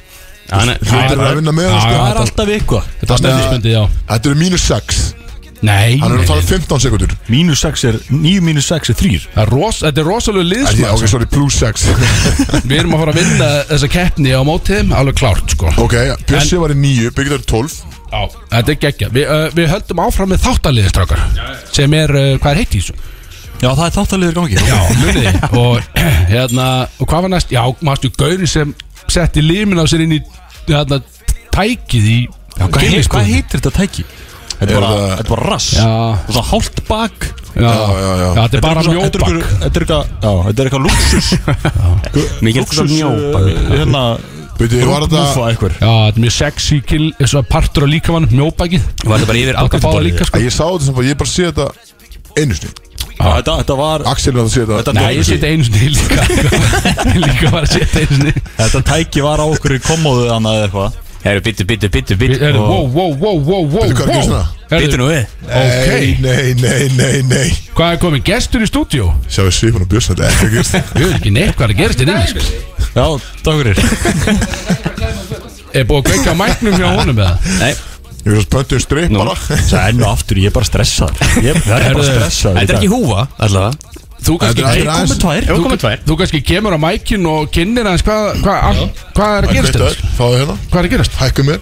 Hann er- Hlutir er að vinna með hann Já, sko. það er alltaf ykkur Þetta er Þannig að- stendismyndi, já Þetta eru mínus 6 Nei Hann er að nei, tala um nei. 15 sekundur Mínus 6 er 9 mínus 6 er 3 Það er ros- Þetta er rosalega Ætli, Ok, liðsmæð sorry, plus [laughs] 6 Við erum að fara að vinna þessa keppni á mótiðum Alveg klárt, sko Ok, Bjössi var í 9, Birgitta er 12 Já, þetta er geggja Við, uh, við höldum áfram með þáttaliðið, strákar Sem er, uh, hvað er heitt í þessu? Já það er þáttalegur gangi Já Muniði Og [clears throat] hérna, og hvað var næst? Já, mástu gaurin sem setti limin á sér inn í Hérna, tækið í Hvað, hei, geimskúfnum. hvað heitir þetta tæki? Þetta Er er bara, það- þetta er bara rass Já. Og Svona hálft bak Já, já, já. þetta er bara eitthvað- þetta er mjóbak eitthvað- Þetta er eitthvað Já þetta er eitthvað lúksus Mikið er þetta mjóbak Hérna Beidu, var Rúfa þetta eitthvað Já, þetta er mjög sexy kill eins og partur á líkamann, mjóbakið Var þetta bara yfir Alltaf báða afkvæmstuborðið? líka, sko Að Ég sá þetta sem bara, ég bara sé þetta Einu sinni Þetta þetta var Axel er að sé þetta Þetta Nei, ég seti einu sinni í líka [laughs] Ég Líka var að setja einu sinni Þetta tæki var á okkur í komóðu annað eða eitthvað Herru, bittu, bittu, bittu, Við bittu erum, wow, wow, wow, wow, wow Veitu hvað er að gerast hérna? Bittu Herðu, nú við ok Nei, nei, nei, nei Hvað er komið, gestur í stúdíu? Sjá við svipan og Bjössi, þetta er ekki að gerast [laughs] Við erum ekki neitt hvað er að gerast þér inni, sko Já, takk fyrir Er búið að kveika á mæknum hjá honum eða? Nei, Ég veist pöntu um strip bara Það er enn og aftur, ég er bara stressað Ég það er bara Herðu, stressað þetta er ekki húfa allavega Þú Þetta er kannski, allir aðeins tvær Ef við komum tvær þú kannski kemur á mækin og kynnir hans hvað hva, hva er að gerast Þetta þér? er, fáðu hérna Hvað er að gerast? Hækkum mér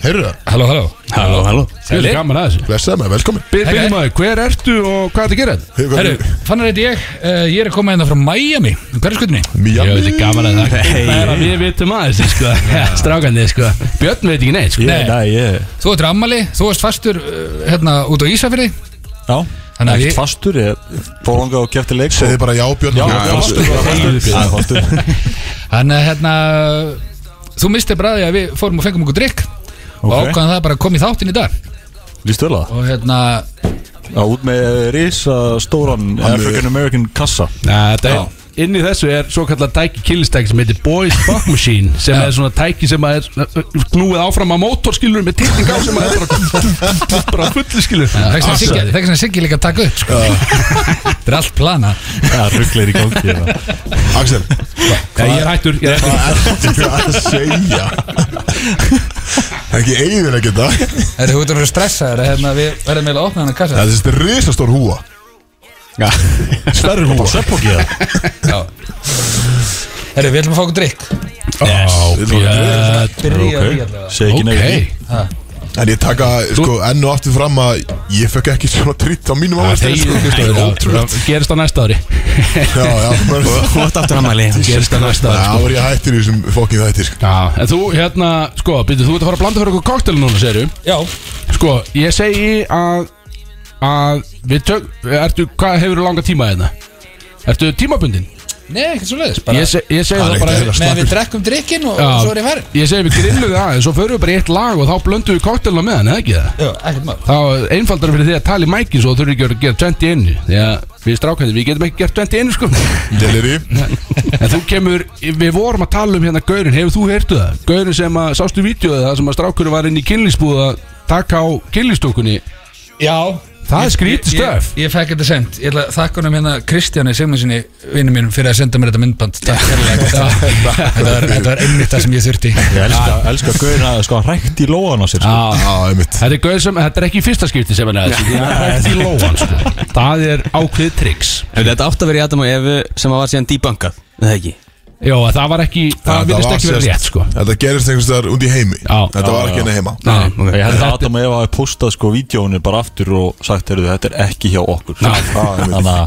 heyrðu það Halló, halló Halló, halló Það er gaman að þessu Blessaði maður, velkomin Byr- Byrjum að því, hver ertu og hvað ertu að gera? hérna? Herru, fannar þetta ég, uh, ég er að koma hérna frá Miami Hverju skutinni? Ég Miami veit ekki gaman að það Það er að við vitum aðeins, sko Strákandi, sko Björn veit ekki neitt, sko Nei. Nei, ég Þú ert rammali, þú ert fastur uh, hérna út á Ísafirði Já, Þannig að ekkert ég- fastur Ég fór langa og kefti leik Segði bara já Björn Já, Já, já, já. fastur Já, fastur Þannig að hérna Þú misti bræði að við fórum og fengum okkur drikk Og Ok. ákvæðan það bara að koma í þáttinn í dag Lýst vel að það? Og hérna, Já, út með risa stóran African American kassa Nei, þetta er Inn í þessu er svo kallar tæki killistæki sem heitir Boys Fuck Machine sem er svona tæki sem að er eh, knúið áfram að mótorskilur með tilting á sem að er bara bara fullu skilur þegar sem að Siggi líka að taka upp sko. [laughs] Þetta er allt plana Já, ruggleir í gangi hérna. Axel Ég er hættur, ég er hættur Hvað ertu að segja? Ekki eigður ekki þetta Þetta er út að vera stressaður að hérna, Við verðum eiginlega að opna hennar kassa Það er þessi risastór húa Sverri húa Sveppoki það Herru, við ætlum að fá okkur drikk Yes Byrja okay. Ok, segi ekki Ok, nefnir því En ég taka sko, enn og aftur fram að ég fekk ekki svona tritt á mínum áherslu þegið sko. Kristofur, ótrúlegt. gerist á næsta ári Já, já [laughs] Þú ert aftur ammali gerist á næsta ári Já, sko. var ég hættir í þessum fokkin þættir sko. Já, en þú hérna, sko, byrju, þú ert að fara að blanda fyrir okkur koktel núna, segir Já, Sko, ég segi að að við tök, ertu, hvað hefur langa tíma hérna? Ertu tímabundin? nei, ekkert svo leiðis Ég, se, ég segi Hann það er bara ekki að Meðan við drekkum drikkin og, Já. og svo er ég farin Ég segi við grillum það aðeins, svo förum við bara í eitt lag og þá blöndum við koktelna með hann, eða ekki það? Já, ekkert mál Þá er einfaldara fyrir því að tala í mækin svo þurfum við ekki að gera 21 Því að við strákandi, við getum ekki gert 21 [laughs] sko Delir [laughs] í En þú kemur, við vorum að tala um hérna Gaurin, hefur þú heyrtu það? Gaurin sem að, sástu vídeoðu það sem að strákurinn var inn í kynlísbúð að taka á kynlístókunni Já Það er skrítið stöf. Ég, ég fekk þetta sent Ég ætla að þakka honum hérna Kristjáni Sigmundssoni vinnu mínum fyrir að senda mér þetta myndband Takk [laughs] kærlega Þetta var- þetta var- þetta var einmitt það sem ég þurfti Ég elska, elska gauðin að sko hrækt í lóan á sér sko. Já, Já, einmitt Þetta er gauð sem, þetta er ekki í fyrsta skipti sem hann er þessi, því hann hrækti í lóan sko. Það er ákveðið triks Þetta átt að vera í Adam og Evu sem að var síðan debunkað Nei, það ekki Jó, að það var ekki, það Þetta virðist var ekki verið sérst- rétt sko Þetta gerist einhvers vegar undi í heimi Já, Þetta já, var ekki já. henni heima Nei, Ég okay. held að Adam og Eva hafi postað sko vídjónu bara aftur og sagt heyrðu þetta er ekki hjá okkur Ná. Þannig að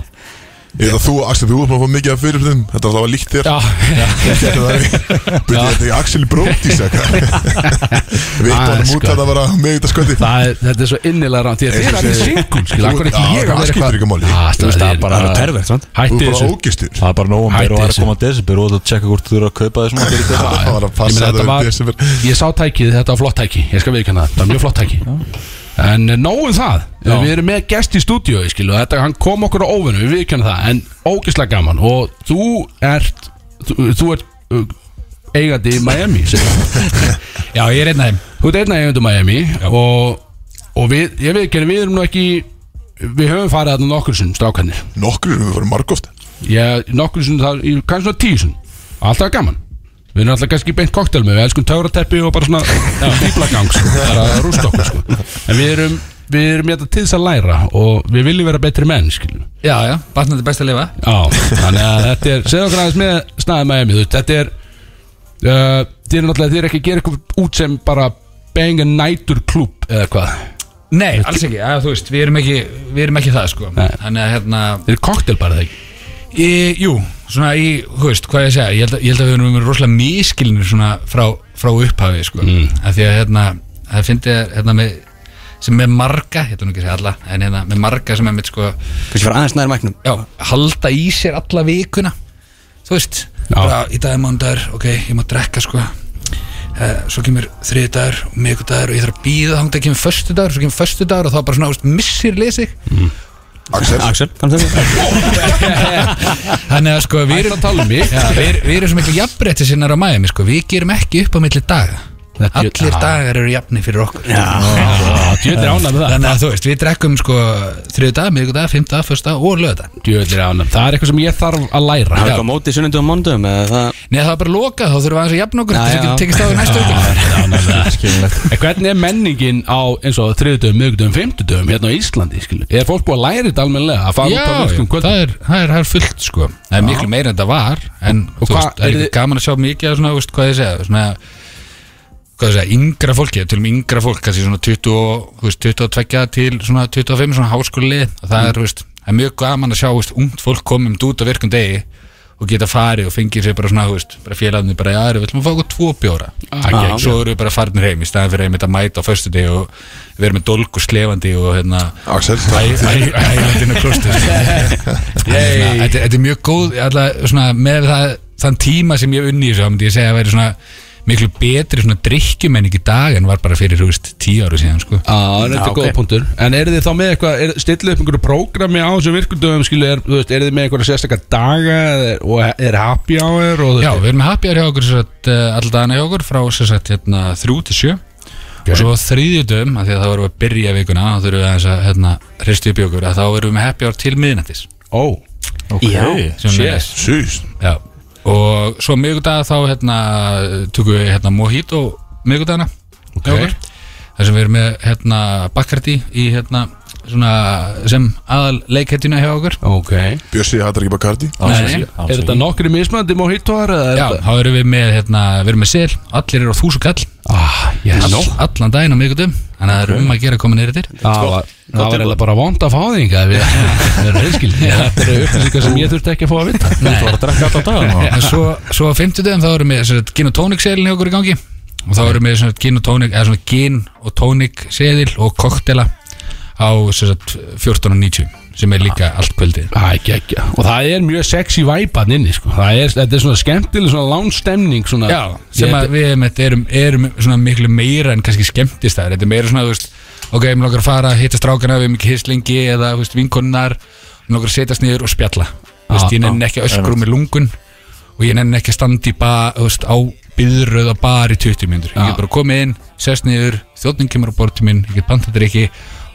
Ég veit að þú, Axel, þú ert maður að fá mikið af fyrirfinn Þetta var alltaf líkt þér Já, [laughs] Byrði þetta í Axel Brótis eitthvað Við Ah, tónum sko. út þetta bara með þetta sköndi það er, þetta er svo innilega ránt Þið er allir singul, skil, akkur ekki Já, ég að það vera skiptir eitthvað ekki máli. Ah, Þú veist, það er bara bara- Pervert, svont Þú Hætti er bara þessu ógistur það er bara november Hætti og það er að þessu. koma desember og þú ert að tjekka hvort þú eru að kaupa þessum að byrja þetta Það var að Ég meina, passa þetta þetta var- við desember Ég sá tækið, þetta var flott tæki Ég skal viðkjanna það, það var mjög flott tæki En eh, nóg um það, Já. við erum með gest í stúdíu ég skil, og þetta, hann kom okkur á óvinnu við viðkjanna það, en ógislega gaman og þú ert þú, þú ert uh, eigandi í Miami segir hann. [laughs] Já, ég er einn af þeim þú ert einna eigandi í Miami og, og við, ég viðkjanna, við erum nú ekki við höfum farið þarna nokkur sinn strákanir, Nokkur erum við vorum margóft ég, nokkur sinn það, í- kannski svona tíu sinn, alltaf gaman Við erum alltaf kannski beint koktel með, við elskum töfrateppi og bara svona bíblagang sko, bara að rústa okkur sko. En við erum, við erum hérna til þess að læra og við viljum vera betri menn, skiljum. Já, já, batnandi best að lifa Já, þannig að þetta er, segðu okkur aðeins með snæði Miami, þú veist, þetta er, uh, þið er náttúrulega, þið er ekki að gera eitthvað út sem bara bang and nightur klúb eða hvað. Nei, alls ekki, já, þú veist, við erum ekki, við erum ekki það sko Nei. Þannig að hérna Þið er koktel bara þegar. Í, jú, svona í, þú veist, hvað ég segja ég held, að- ég held að við erum verið rosalega miskilinir svona frá, frá upphafi, sko af því að hérna, það fyndi að hérna með, sem með marga, hérna nú ekki að segja alla en hérna með marga sem er mitt sko Kannski fara aðeins nær mæknum já, halda í sér alla vikuna þú veist, Já. bara í dag er mándagur ok, ég má drekka sko uh, svo kemur þriðdagur og mikudagur og ég þarf að býða þangt að kemur föstudagur svo kemur föstudagur og þá bara svona, þú veist, missir lesig Axel Axel, kannski Þannig að sko við erum að tala um mig Við við erum svo miklu jafnbretti sinnar á Miami sko Við gerum ekki upp á milli daga Þetta- Allir Já. dagar eru jafni fyrir okkur Djöðlir ánæg með það. Þannig að þú veist, við drekkum sko þriðu dag, miðvikudag, fimmta, fyrsta og lögða Djöðlir ánæg. Það er eitthvað sem ég þarf að læra. Það er eitthvað á móti sunnundu á mondum eða það Nei það er bara lokað, þá þurfum við aðeins að jafna okkur Já, Þess já. að getum tekist á því næstu [laughs] okkur Skiljanlegt. En hvernig er menningin á eins og þriðdöfum, miðugdöfum, fimmtudöfum hérna á Íslandi, skilu? Er fólk búið að læra þetta almennilega að fara Já, út á um virkum kvöldum? það er, það er, það er fullt sko Það er miklu meira en þetta var En Og þú hvað veist, það er er ekki þið- gaman að sjá mikið af svona, þú veist, hvað ég segja Svona hvað það segja, yngra fólki, til og með yngra fólk kannski svona 20, og, þú veist, 22 til svona 25, svona háskóli og það er, þú veist, það er mjög gaman að sjá þú veist, ungt fólk komum út á virkum degi og geta farið og fengið sér bara svona þú veist, bara félagni bara, já, erum við ætlum að fá okkur tvo bjóra ah, svo eru við bara farnir heim í staðan fyrir einmitt að mæta á föstu degi og vera með dolg og slefandi og hérna Axel, [laughs] ælandinu klostur þetta þetta er mjög góð alltaf, svona, með það, þann tíma sem ég hef unni í þessu, þá myndi ég segja að vera svona miklu betri svona drikkjumenning í dag en var bara fyrir, þú veist, tíu áru síðan sko. Já, þetta er góða punktur En eru þið þá með eitthvað, er, stillu upp einhverju prógrami á þessum virkundum, skilu, er, þú veist, eru þið með einhverja sérstakar daga eða- og er happy hour og þú Já, veist, við erum með happy hour hjá okkur sagt, alltaf dana hjá okkur frá sem sagt, hérna, þrjú til sjö og svo á þriðjudum, af því að það vorum við að byrja vikuna þá þurfum við aðeins að hérna, hristu upp í okkur að þá erum við með happy hour til miðnættis ó, okay. sem er næs. Sýst Já. og svo miðgudag þá hérna, tökum við hérna, mojito miðgudagana hjá okkur. þar sem við erum með hérna, bakkarti í hérna, svona, sem aðal leikhettuna hjá okkur ok Er Bjössi hattar ekki bara kardi Nei, þetta nokkri mismandi móhítóar eða er Já, þetta þá erum við með, hérna, við erum með sel, allir eru á þúsu kall Ah, yes all, allan daginn á miðgutum þannig að það er um að gera að koma neyrir til Það var, það var eiginlega bara vond að fá þig hingað, [laughs] við- við erum reyðskil Þetta eru upplýsingar sem ég þurfti ekki að fá að vita Þú var að drekka alltaf dagann en svo, svo á 50 dagum þá erum við sem sagt, gin og tónik seðilin hjá okkur í gangi og þá erum við sem sagt, gin og tónik eða svona gin og tónik seðil og koktela á sem sagt, 14.90 sem er líka allt kvöldið Æ, ekki, ekki. Og það er mjög sexy væpan inni sko. Það er, Þetta er svona skemmtileg svona lánstemning svona. Já, sem Ég- að við einmitt erum, erum svona miklu meira en kannski skemmtistæður Þetta er meira svona, þú veist, ok, mér langar að fara að hitta strákana við mikið hislingi eða þú veist, vinkonnar Mér langar að setjast niður og spjalla Þú veist, Ah, ég nenni ekki að öskru með lungun og ég nenni ekki að standa í ba, þú veist, á byðröð á bar í 20 mínútur Ég Já. get bara komið inn, sest niður, þjóttning kemur á bortu minn, ég get pantað drikki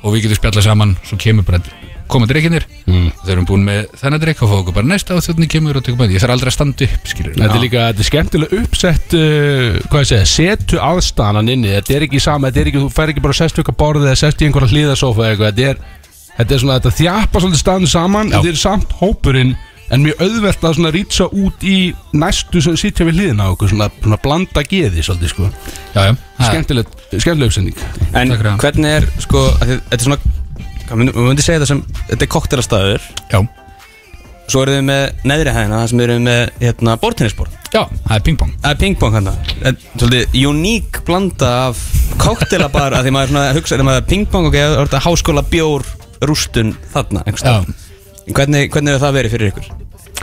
og við getum spjallað saman, svo kemur bara koma drikkinir, mm. þau erum búin með þennan drikk og fá okkur bara næsta og þjóttning kemur og tekur bæði, ég þarf aldrei að standa upp, skilur Þetta er líka, þetta er skemmtilega uppsett uh, hvað ég segja, setu aðstæðanan inni þetta er ekki sama, þetta er ekki, þú fær ekki bara sest ykkur borðið eða sest í einhverja hlýðasófa eitthvað, þetta er, þetta er svona, þetta þjapa svolítið staðin saman, þetta er samt hópurinn en mjög auðvelt að svona rýtsa út í næstu sem sitja við hliðina á okkur, svona, svona blanda geði svolítið sko, já, já. Það- skemmtileg skemmtileg uppsending, En Takk fyrir það. hvernig er, sko, að þið- þetta er svona hvað myndi, myndi segja þetta sem, þetta er koktelastæður Já. Svo eru þið með neðri hæðina, það sem eru þið með, hérna, bortinnisborð Já, það er pingpong Það er pingpong hann það Svolítið uník blanda af koktelabar að því maður svona hugsa þegar maður er pingpong og það er þetta háskóla bjór rústun þarna einhvers staðar. hvernig, hvernig hefur það verið fyrir ykkur?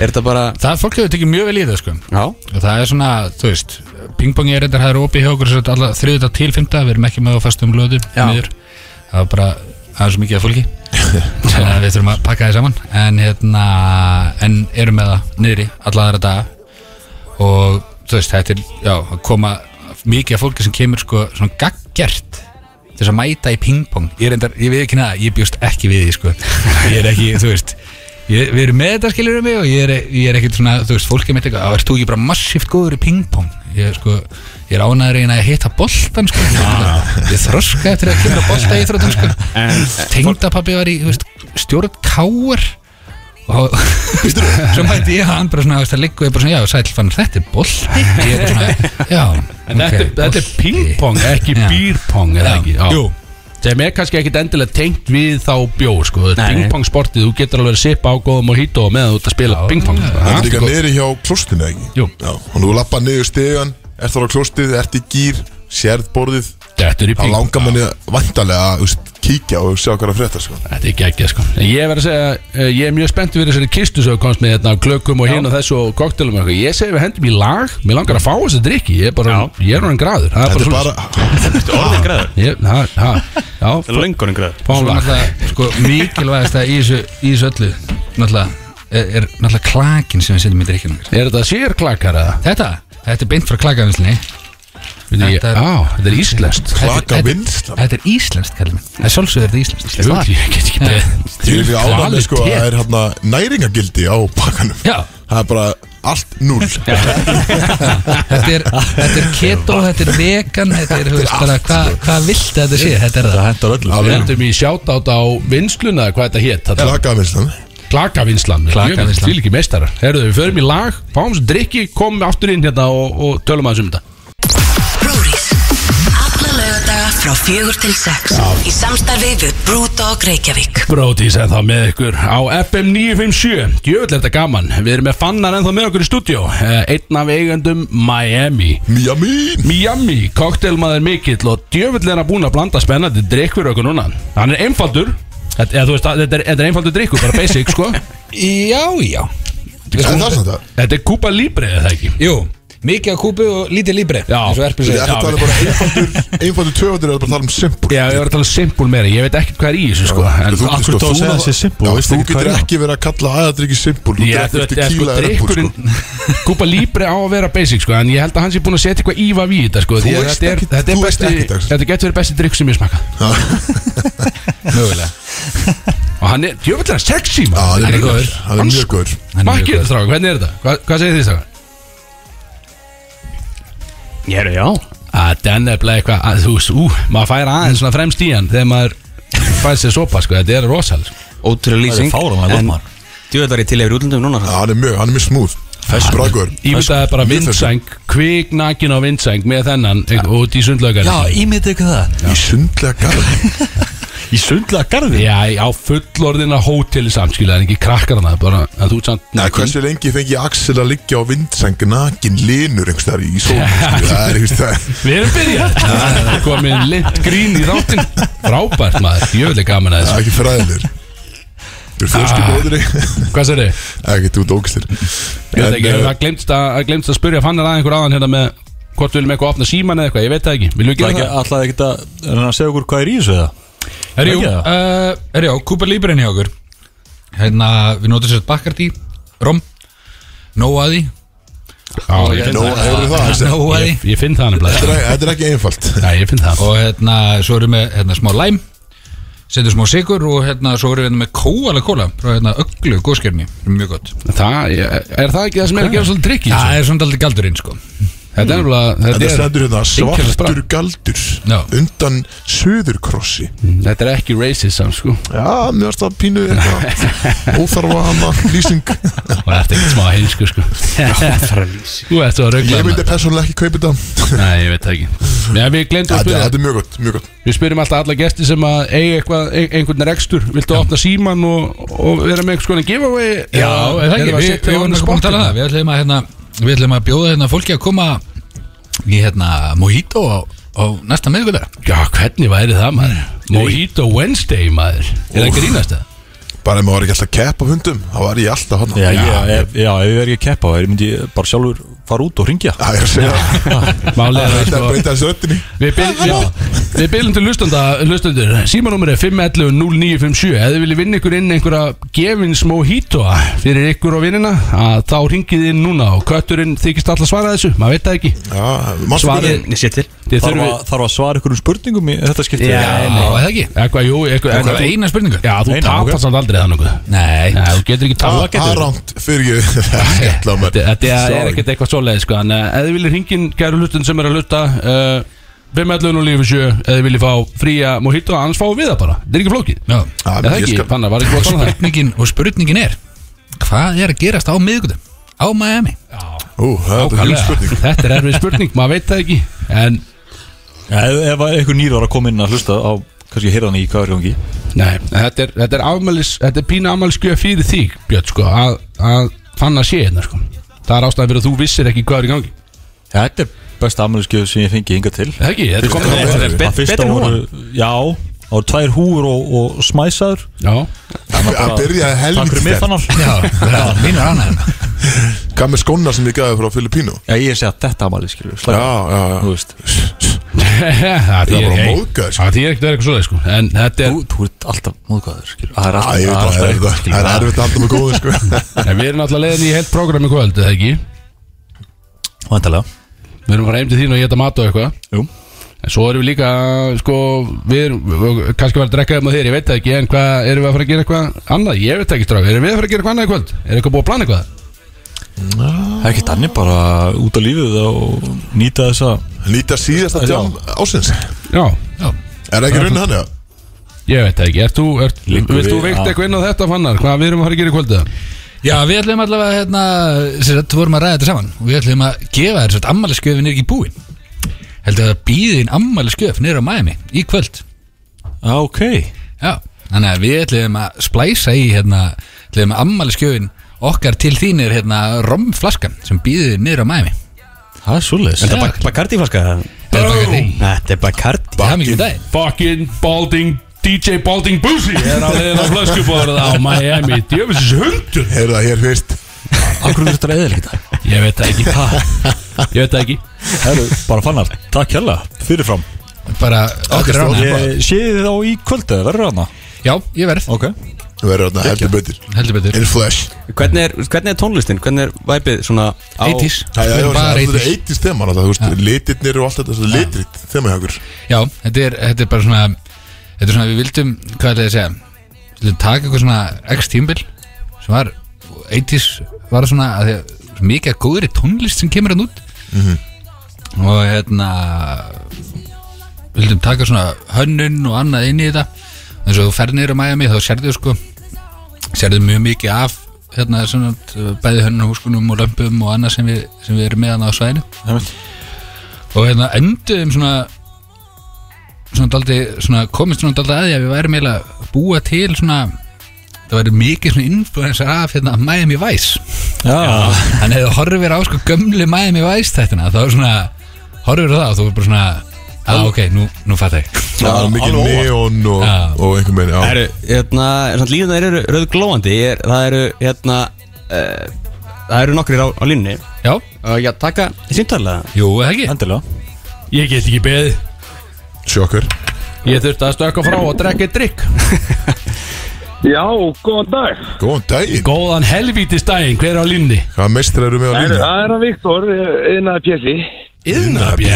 Er þetta bara Það fólk hefur tekið mjög vel í það sko Já Og það er svona, þú veist Pingpongi er þetta, það er opið hjá okkur Þriðuta til fymta, við erum ekki með á fastum löðum Já. Það var bara, það er svo mikið af fólki Þannig að við þurfum að pakka það saman En hérna, en erum með það Niðri, alla aðra daga Og þú veist, þetta er, já að Koma mikið af fólki sem kemur sko Svona gaggjert til þess að mæta í pingpong ég, reyndar, ég veit ekki neða, ég bjóst ekki við því sko. ég er ekki, þú veist ég, við erum með þetta skilur um mig og ég er, ég er ekki svona, þú veist, fólk er mitt eitthvað "Á, ert þú ekki bara massíft góður í pingpong ég, er, sko, ég er ánæður einn að hitta boltan sko. Ah. ég þroska eftir að kemur bolta í þróttum sko. tengdapabbi var í þú veist, stjórn káar og svo mæti ég að hann bara svona þú veist, það liggur ég bara svona, já, sæl fann þetta er bolti ég er bara svona, já en ok, þetta, þetta er bolti." pingpong ekki Já. býrpong, er Já. það ekki? Já. Jú, sem er kannski ekkit endilega tengt við þá bjór sko, þetta er Nei. pingpong sportið þú getur alveg að sipa á góðum og hýta og meðan þú ert að spila pingpong sko. Það er líka Allt gott. niðri hjá klostinu ekki Jú. Já, og nú lappa niður stegan Ert þar á klostið, ert í gýr Sérð borðið þetta er í Þá pingpong langar manni vantarlega að þú veist, kíkja og sjá hvað er að frétta sko. Þetta er geggja sko En Ég verð að segja, eh, ég er mjög spennt fyrir þessari kistu sem þú komst með hérna af klökum og hinn og þessu og koktelum og eitthvað Ég segi við hendum í lag, mér langar að fá þessi drikki Ég er bara, ég er hann græður Það Þetta er er bara, bara Orðin svona græður ég, ha, ha, Já, Löngunin græður fá Svo lag náttúrulega, sko, mikilvægast að í þessu, í þessu öllu Náttúrulega, er, er náttúrulega klakin sem við setjum í drikkinu okkar. Er þetta sérklakar eða? Þetta, þetta er beint frá klakavinslinni Veit ég- Þetta er- Á, þetta er íslenskt klakavinnslan. Þetta er íslenskt, kallum minn Það er sjálfsögur þetta er íslenskt Jú, Ég get ekki beðið. Því er við ánæmi sko að Kvalitet. það er hérna næringagildi á bakkanum Já. Það er bara allt null Þetta er, þetta er keto, þetta er vegan Þetta er, þú veist, bara hvað hva viltu að þetta sé Þetta er Það það hendur öllu Það Við er endum í sjátátt á vinsluna eða hvað þetta hétt þetta klakavinslan Klakavinslan Klakavinnslan. Því ekki meistarar Herðu, við förum í lag Fáum sér drikki Komum aftur inn hérna og, og tölum aðeins um þetta Brúris frá fjögur til sex í samstarfi við Brewdog Reykjavík Brótis er það með ykkur á FM 957 Jöfnlega þetta gaman Við erum með fannar ennþá með okkur í stúdjó Einn af eigendum Miami Miami Miami, koktelmaður mikill og djöfull er hann búin að blanda spennandi drikk fyrir okkur núna Hann er einfaldur Þetta, eða, þú veist, þetta, er, þetta er einfaldur drikkur, bara basic sko [laughs] Já, já Er það er samt að Þetta er Kupa Libre eða það ekki Jú, mikið að kúpu og lítið líbre Já. eins og erpil Ég segir ætla að tala bara einfaldur Einfaldur tvöfaldur eða bara tala um simpur Já, ég var að tala simpul meira, ég veit ekkert hvað er í þessu sko en, Þú, akkur sko, þú þú, segir það sé simple, já, veistu þú ekki hvað getur er það? ekki verið að kalla aðadryggi simpul Þú Já, getur þetta eftir er sko kíla eða reppur sko. drikkurinn [laughs] Kupa Libre á að vera basic sko En ég held að hans er búin að setja eitthvað íva við þetta sko Því að veist þetta er- ekkert- Þetta er þú veist besti ekkert, Axel. Þetta getur verið besti drikk sem ég smakað mögulega [laughs] Og hann er, djöfull er hann sexy Já, maður. hann er góður. góður Hann er mjög góður Hann er mjög Makkið þetta stráka, hvernig er þetta? Hva, hvað segir þið stráka? Ég er já að den Ah, er bleið eitthvað að, þú veist, ú, maður fær aðeins svona fremst í hann þegar maður fær sér sopa, sko, þetta er rosal sko. Ótrúlega Það lýsing er fáránlega gott, maður. Djúvel var ég til yfir útlundum núna Já, Hann er mjög, hann er mjög smúð Brækur Ímyndaði bara mjög vindsæng, kviknakin á vindsæng með þennan ja. út í sundlaugar Já, ímyndið ekki það Í sundlega garð Í sundlega garði Já, á fullorðina hóteli samskilja en ekki krakkarna, bara að þú ert samt Nei, nakinn. hversu lengi fengi Axel að liggja á vindseng Nakin linur einhvers þar í sól Það er einhvers það Við erum [laughs] byrjað Komin lind grín í þáttinn Frábært maður, jöfnilega gaman að Það er þessu ekki fræðilegur Þú er fyrstu góðri [laughs] Hvað sér þið? Ekki, þú er dókistir Ég veit ekki, eh, það glemst að, að glemst að spyrja fannar að einhver aðan hérna með hvort við viljum eitthvað opna síman eða eitthvað, ég veit það ekki Viljum við Það er gera ekki það? alltaf ekkert að Er hann að segja okkur hvað er í þessu eða? Herjú, Ekki það? uh, herjú, Kúpa Líbren hjá okkur Hérna, við notum sér bakkart í Róm, nóaði Já, ég finn Nó, það hefur það [laughs] Axel? Nóaði Ég, ég finn það nefnilega [laughs] Þetta er- þetta er ekki einfalt Já, ég finn það Og hérna, svo erum við hérna, smá læm Setjum smá sigur og hérna, svo erum við hérna, með kóala kóla Frá hérna, öglu, góðskjörni, mjög gott Það, ég- er það ekki það sem er að gefa svolítið drikk í Það þessu? er svona aldrei galdurinn, sko Þetta er nefnilega, Þetta þetta er, stendur hérna svartur Einkennisbragð. galdur Já. Undan söðurkrossi þetta er ekki racism, sko Já, mér varst það pínu [laughs] eitthvað Óþarfa hana lýsing Og þetta er ekkert smá heimsku, sko Þú ert svo að Ég raugla myndi persónulega ekki kaupa þetta Nei, ég veit það ekki Já, við glemdum að Þetta spyrja þetta er mjög gott, mjög gott Við spyrjum alltaf alla gesti sem að eiga eitthvað, ein- einhvern rekstur Viltu opna síman og, og vera með einhvers konar giveaway Já, er það ekki, eða við, setja við á vorum annað ekki búin að spottið? tala um það Við ætlum að, hérna, við ætlum að bjóða hérna, fólki að koma í hérna, Mojito á, á næsta miðvikudag Já, hvernig væri það, maður? Mojito Wednesday, maður Er það grínast það? Bara ef maður var ekki alltaf að keppa af hundum Þá var ég alltaf hann Já, já, ef, já, ef ég verð ekki að keppa þá myndi ég bara sjálfur fara út og ringja Það er að segja Málið er að, Þetta er sko, breyta þessu öttinni Við byrjum, við byrjum til hlustanda, hlustandur Símanúmer er 511-0957 Ef þið viljið vinna ykkur inn einhverja gefins mojitoa fyrir ykkur og vinnina að þá ringið inn núna og kötturinn þykist alltaf svara þessu, maður veit það ekki Já, manstu Svarið- hvernig- Ég sé til Þið Þarf þurfum að, þarf að svara ykkur um spurningum í þetta skipti Já, Já, er það ekki? Eitthvað, jú, eitthvað, Það er eitthvað eina spurningu Já, þú Eina, tapar ok. samt aldrei það nokkuð Nei, Nei, þú getur ekki Það tapað er rámt fyrir ég [laughs] Það er skemmtilega maður. Þetta þetta er Sorry. ekkert eitthvað svoleiði sko Þannig að ef þið viljið ringin gæru hlustun sem er að hlusta uh, 511 og lífið sjö Ef þið viljið fá fría mojito annars fáum við það bara Það er ekki flókið Já, Já, Er ég það ekki, skal- Fannar, var ekki búið að [laughs] tala um það? spurningin, og spurningin er Hvað er að gerast á miðgutum? Á Miami Ú, Það er Nákvæmlega. hljúspurning Þetta er erfið spurning, maður veit það ekki En, Já, Ef, ef einhver nýr var að koma inn að hlusta á kannski heyrðan í hvað er í gangi nei, þetta er, þetta er, afmælis, þetta er pína afmælisgjöf fyrir þig Björn, sko, að, að fanna sé hérna, sko Það er ástæðan fyrir að þú vissir ekki hvað er í gangi Þetta er besta afmælisgjöf sem ég fengi hinga til Er Það ekki, þetta er komið Já, þetta er já. be- Það fyrsta betur en voru, já, það voru tvær húur og, og smæsaður Já, Að byrja Takk helvítið fyrir mig sterkt. fannar Já, mín er annað Hvað með skóna sem ég gæði frá Filipínu Já, ég sé að þetta afmæli skilur Já, slæmt. já, já Þú veist, [laughs] það Það er er bara hey, móðgæður sko. Það er ekkert verið eitthvað svoleið, sko En þetta er, þú, þú ert alltaf móðgæður skilur Það er Æ, ég alltaf, veit að Það alltaf er eitthvað erfitt- það er erfitt skilur að halda með góðu sko. [laughs] en við erum alltaf leiðin í heilt prógram í kvöld, er það ekki Væntalega Við erum að fara heim til þín og geta mat og eitthvað Jú. En svo erum við líka, sko, við erum, við- kannski var að drekka um á þér, ég veit það ekki, en hvað, erum við að fara að gera eitthvað annað? Ég veit það ekki, stráka, erum við að fara að gera eitthvað annað í kvöld? Er eitthvað búið að plana eitthvað? Það er ekki danni bara út á lífið og nýta þessa Nýta síðasta Já. tjám ásins Já, Er það ekki raunin hann eða? Ég veit það ekki, ert þú, ert, Liggur vilt þú við- veikt já. eitthvað inn á þetta fannar? Hvað við erum að fara að gera í kvöldið? Já, við ætlum allavega hérna, sér, Við vorum að ræða þetta saman og Við ætlum að gefa þér sér, ammælisgjöfin er ekki búin held að það býðin ammæli skjöf niður á Miami í kvöld Já, ok Já, þannig að við ætlum að splæsa í hérna, ætlum að ammæli skjöfin okkar til þínir hérna romflaskan sem býðin niður á Miami Það er svoleiðis Þetta er Bacardi flaska það? Það er bara ekki Þetta er Bacardi Það er mikið um dag Fucking Balding DJ Balding Boosie er á leiðin á flöskubóðurð á Miami Djöfisins hundur Heyrðu það hér fyrst Akkur þú þetta reyðir líka Ég veit það ekki hvað Ég veit það ekki Herru, bara fannar Takk hella, fyrirfram Bara okkur rána Ég sé þið þá í kvöldu, verður hana Já, ég verð, Ok Við verðum þarna heldur betur heldur betur In flash Hvernig er, hvernig er tónlistin? Hvernig er væpið svona á 80s Það er Bara bara 80s. 80s þema náttúrulega, þú veist, litirnir og allt þetta svo litrit þema hjá okkur Já, þetta er, þetta er bara svona Þetta er svona við vildum, hvað ætlaði að segja Við vildum taka eitthvað svona X tímbil sem var 80s var svona að því að svo mikið af góðri tónlist sem kemur hann út og hérna við vildum taka svona hönnun og annað inn í þetta eins og þú ferð niður á Miami þá sérðu sko sérðu mjög mikið af hérna svona bæði hönnun húskunum og lömpum og annað sem við, sem við erum með hann á svæðinu og hérna enduðum svona svona daldi, svona, komist svona daldi að því að við værum eiginlega að búa til svona það væri mikið svona influencer af hérna Miami Vice Já, Ah. hann hefði horfir á sko gömli Miami Vice þættina þá er svona, horfir á það og þú er bara svona að ok, nú, nú fatt ég Það er mikið alveg óvart. neon og, Já. og einhver meðin Það Já, eru, hérna, svona línunar eru rauðglóandi Ég er, Það eru, hérna uh, Það eru nokkrir á, á línunni já, uh, Já, taka síntalega jú, eða ekki endilega Ég get ekki beðið sjokkur Ég þurfti að stökka frá og drekka eitt drikk Já, góðan dag. Góðan daginn, Góðan helvítist daginn, hver er á línni? hvað meistra eru með á Það er- línu? það er að Viktor, einað pjessi.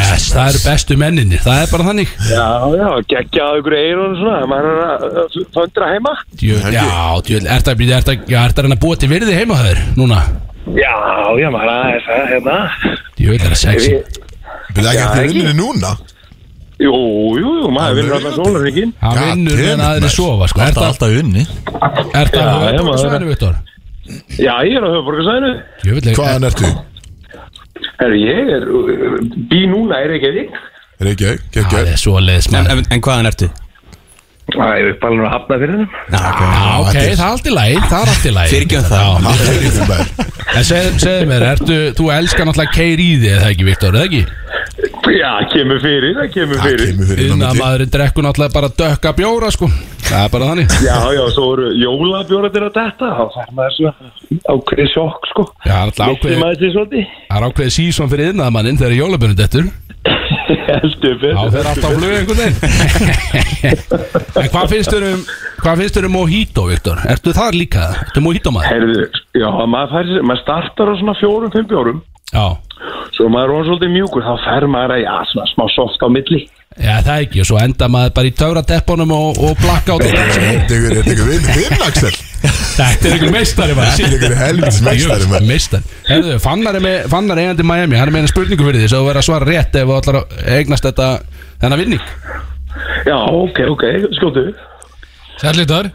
Yes, það eru bestu menninni, það er bara þannig Já, já, geggjað ykkur eirun og svona, maður er að- að föndra heima. Djöl, Já, djöl, ert að, ert að, já, ert að reyna að búa til virði heima þaður núna? Já, já, maður er aðeins að hérna. Djöl, það er sexy Byrðu ekki eftir ekki. vinnunni núna? Jú, jú, jú, maður vinnur Alveg. alltaf sólarrikinn. Hann God vinnur damn it, meðan aðri maður. sofa, sko Ert Þetta er að, alltaf í unni ert að Já, hafa já, þetta maður. sværi, Vittor? Já, ég er á höfuborgarsæðinu. Djöl, er Hvaðan ertu? Herru, ég er, uh, bý núna í Reykjavík. Reykjavík, Það geggjað er svo leiðis, En, maður en, en hvaðan ertu? Það er uppalinn að hafna fyrir þeim. Já, ok, það er allt í læg, það er allt í læg Fyrirgefum það. Já, Það er ykkur maður En segðu segðu mér, ertu, þú elskar náttúrulega keir í þig, eða ekki, Viktor, eða ekki? Já, kemur fyrir, það kemur Það fyrir. kemur fyrir Innan námi að til maðurinn drekkur náttúrulega bara dökka bjóra, sko Það er bara þannig Já, já, svo eru jólabjóratir að detta, þá fær maður svona ákveðið sjokk, sko. Já, það er náttúrulega Vissi ákveðið- maður sér svolítið. það er ákveðið sísvan fyrir innadamanninn þegar jólabunni dettur Heldur betur. Já, þeir eru alltaf á flug einhvern veginn En hvað finnst þér um Hvað finnst þér um Mojito, Viktor? Ertu þar líka? Ertu Mojito maður? Herðu, já, maður, fær, sér- maður startar á svona fjórum, fimm bjórum Já Svo maður er orðinn svolítið mjúkur, þá fer maður að, já, svona smá soft á milli Já, það ekki, og svo enda maður bara í töfrateppunum og, og blakka á þetta Þetta ykkur- þetta ykkur vinn þinn, Axel Þetta er ykkur meistari maður Þetta ykkur helvits meistari maður Meistari Herðu, fannar, er með, fannar eigandi Miami, hann er með eina spurningu fyrir því Svo þú verður að svara rétt ef þú ætlar að eignast þetta Þennan vinning Já, ok, ok, skjóttu Sælítur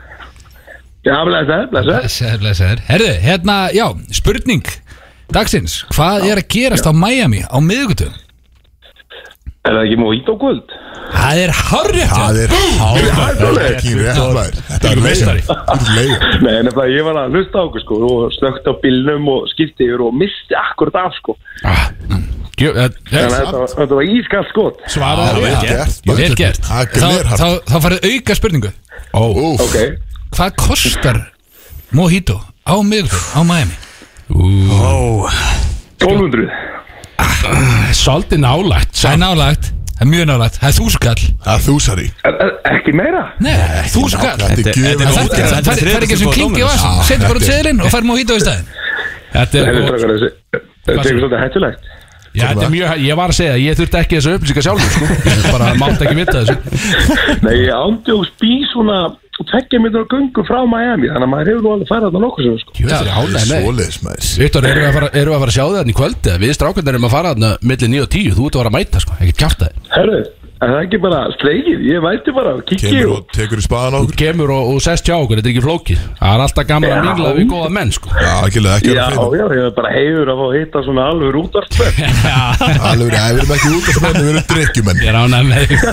Já, blessa, blessa Blessaður, blessaður Herðu, hérna, já, spurning dagsins Hvað er að gerast á Miami á miðugutum? Er það ekki móið á kvöld? Það er hárrétt Það hjá- er hávækking rétt maður Þetta er meistari Nei, nefnilega, ég var að hlusta á okkur, sko og slögt á bílnum og skipti yfir og misti akkurat af, sko ah, Jú, eh, Þannig að eh, þetta var- þetta var ískalt skot Vel Svaraði rétt gert maður. Vel gert Það er Þá, glerhart þá, þá farið auka spurningu Úff. Ok, Hvað kostar Mojito á miðugutum á Miami? 1200 Svolítið nálægt Það er nálægt Það er mjög nálægt Það er þúskall Það er þúsari Er- er- Ekki meira? Nei, þúskall Þetta er gjöf Það Þetta er- er þetta er það er ekki sem þriðja klingi á tilboð þessu dómarans. Já, Setur bara þetta út er- seðilinn og farið Mojito í staðin Þetta er Þetta gott. er svolítið hættulegt Já, þetta er mjög, ég var að segja, ég þurfti ekki þessu upplýsingar sjálfur, sko, ég bara mátt ekki vita þessu. Nei, ég ándjóks bý svona tveggja minnur göngu frá Miami þannig að maður hefur nú alveg farið þarna nokkuð sem sko. Jú, þetta er Það er hálflega, nei. svoleiðis maður Viktor, eru við að fara, erum við að fara að sjá þig þarna í kvöld eða við strákarnir erum að fara þarna millir 9 og 10, þú ert að fara að mæta, sko, ekki kjáta þig. Herru, En það er ekki bara sleikið, ég mæti bara og kikki Kemur og og tekur í spaðan á Þú okkur kemur og, og sest hjá okkur, þetta er ekki flókið Það er alltaf gaman að Já. mingla við góða menn sko. Já, ekki leið, ekki Já, vera fyrir já, ég er bara heiður að fá að hitta svona alveg rútvartmenn Alveg, ja, við erum ekki út af spennu, við erum drikkjumenn Ég er ánægð með þig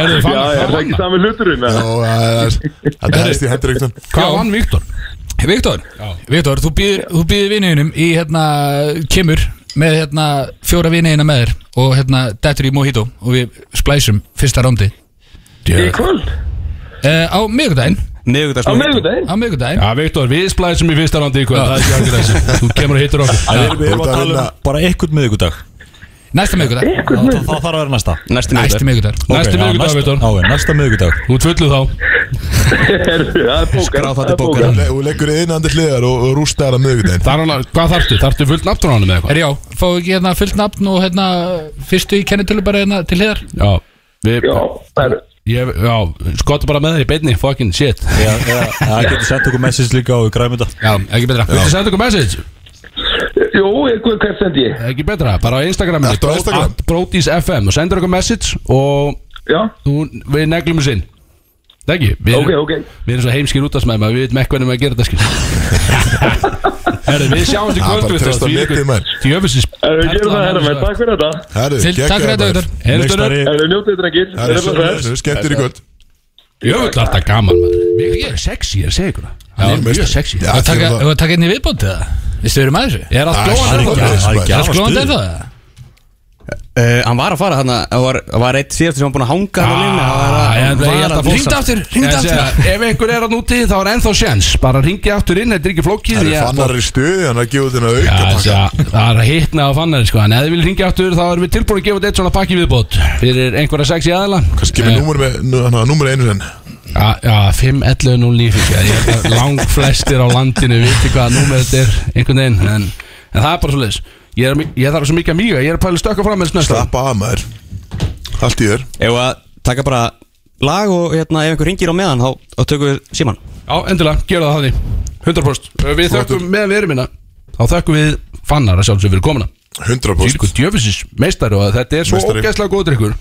Herðu, Já, ég er fann það ekki sami hluturinn eða? Og uh, þetta hefðist í hendur eitthvað Hvað vann Viktor? Viktor, Viktor, þú býður, þú býður vinniðinum í hérna, kemur með hérna fjóra vinniðina með þér og hérna dettur í Mojito og við splæsum fyrsta rándi Í kvöld, uh, á miðgudaginn á Miðvikudagsmóti. meðgudaginn á miðgudaginn Já, Viktor, við splæsum í fyrsta randi ykkur Það er ekki alveg þessi Þú kemur og hittir okkur Erum við erum að tala um bara einhvern miðvikudag næsta miðgudag, Það það þarf að vera næsta Næsti næsta miðvikudag Ok, miðgudag Næsti já, miðvikudag, næsta- Viktor. Já, ok, næsta miðvikudag Þú ert fullu þá Það er bókar, það er bókar Og le- og leggur þið innandi hliðar og, og rústar að miðvikudaginn Það er alveg, hvað þarftu? Þarftu fullt nafnum eða eitthvað? er já, fáðu ekki hérna fullt nafn og hérna fyrstu í kennitölu bara hérna til hér Já, við, Já, það er ég, já, skotta bara með þér í beinni, fucking shit Já, já, Það getur sendt okkur message líka og við græmum þetta já, ekki betra Viltu senda okkur message? Jú, ég- hvað hvað sendi ég? Ekki betra, bara á Instagraminu Ertu á Instagram? Brotis FM og sendur okkur message og Já, þú, við neglum þess inn Það ekki, við, ok, erum- ok við erum svo heimskir út af smæðum að við veitum ekki hvernig maður gerir þetta skil [laughs] Herri, við sjáumst í Það er kvöld bara að treysta á netið, maður. Tjöfisins Erum við gerum það herra með, takk fyrir þetta Herru, Til, takk fyrir þetta Viktor Herri, Erum við njótið drengir, Herru, erum við svo- herru, skemmtir í kvöld jöfnvöld er þetta gaman maður. Viktor er sexy, ég er að segja ykkur það. Hann er mjög sexy Já, og taka, það- og taka einni viðbót til það við stöðum að þessu Er allt Það er ekki- glóðan ennþá? það er ekki er alveg það glóðan stuð. þetta það? Uh, hann var að fara þarna, það var, það var eitt síðast sem hann búin að hanga hann á línu það var að- hann var að- Ringd Hringdu aftur, ringd aftur Ef einhver er að núti þá er ennþá sjens Bara ringi aftur inn, þetta er ekki flókið Herru, ég- fannar er í stuði, hann er að gefa út hérna Já, auka þessi að- Það er að hitna á fannari sko En ef þið vil ringja aftur þá erum við tilbúin að gefa út eitt svona pakki viðbót Fyrir einhverja sexi aðila Kannski með númur með, nú- hann hafa númur einu sen Já, já 5.11.09 Lang flestir á landinu viti hvaða númer þetta er einhvern veginn En, en það er bara svo leis Ég, er, ég þarf svo mikið að míga, ég er að pæla stökka fram með þessu næsta Slappa af maður Allt í þér Ef að taka bara lag og hérna, ef einhver ringir á meðan þá, þá tökum við síman Já, endilega, gera það þannig 100% Við þökkum með verið minna Þá þökkum við fannar að sjálfsög fyrir komuna 100% Sýrkur djöfisins meistari og að þetta er svo Meistari. ógeðslega góð drikkur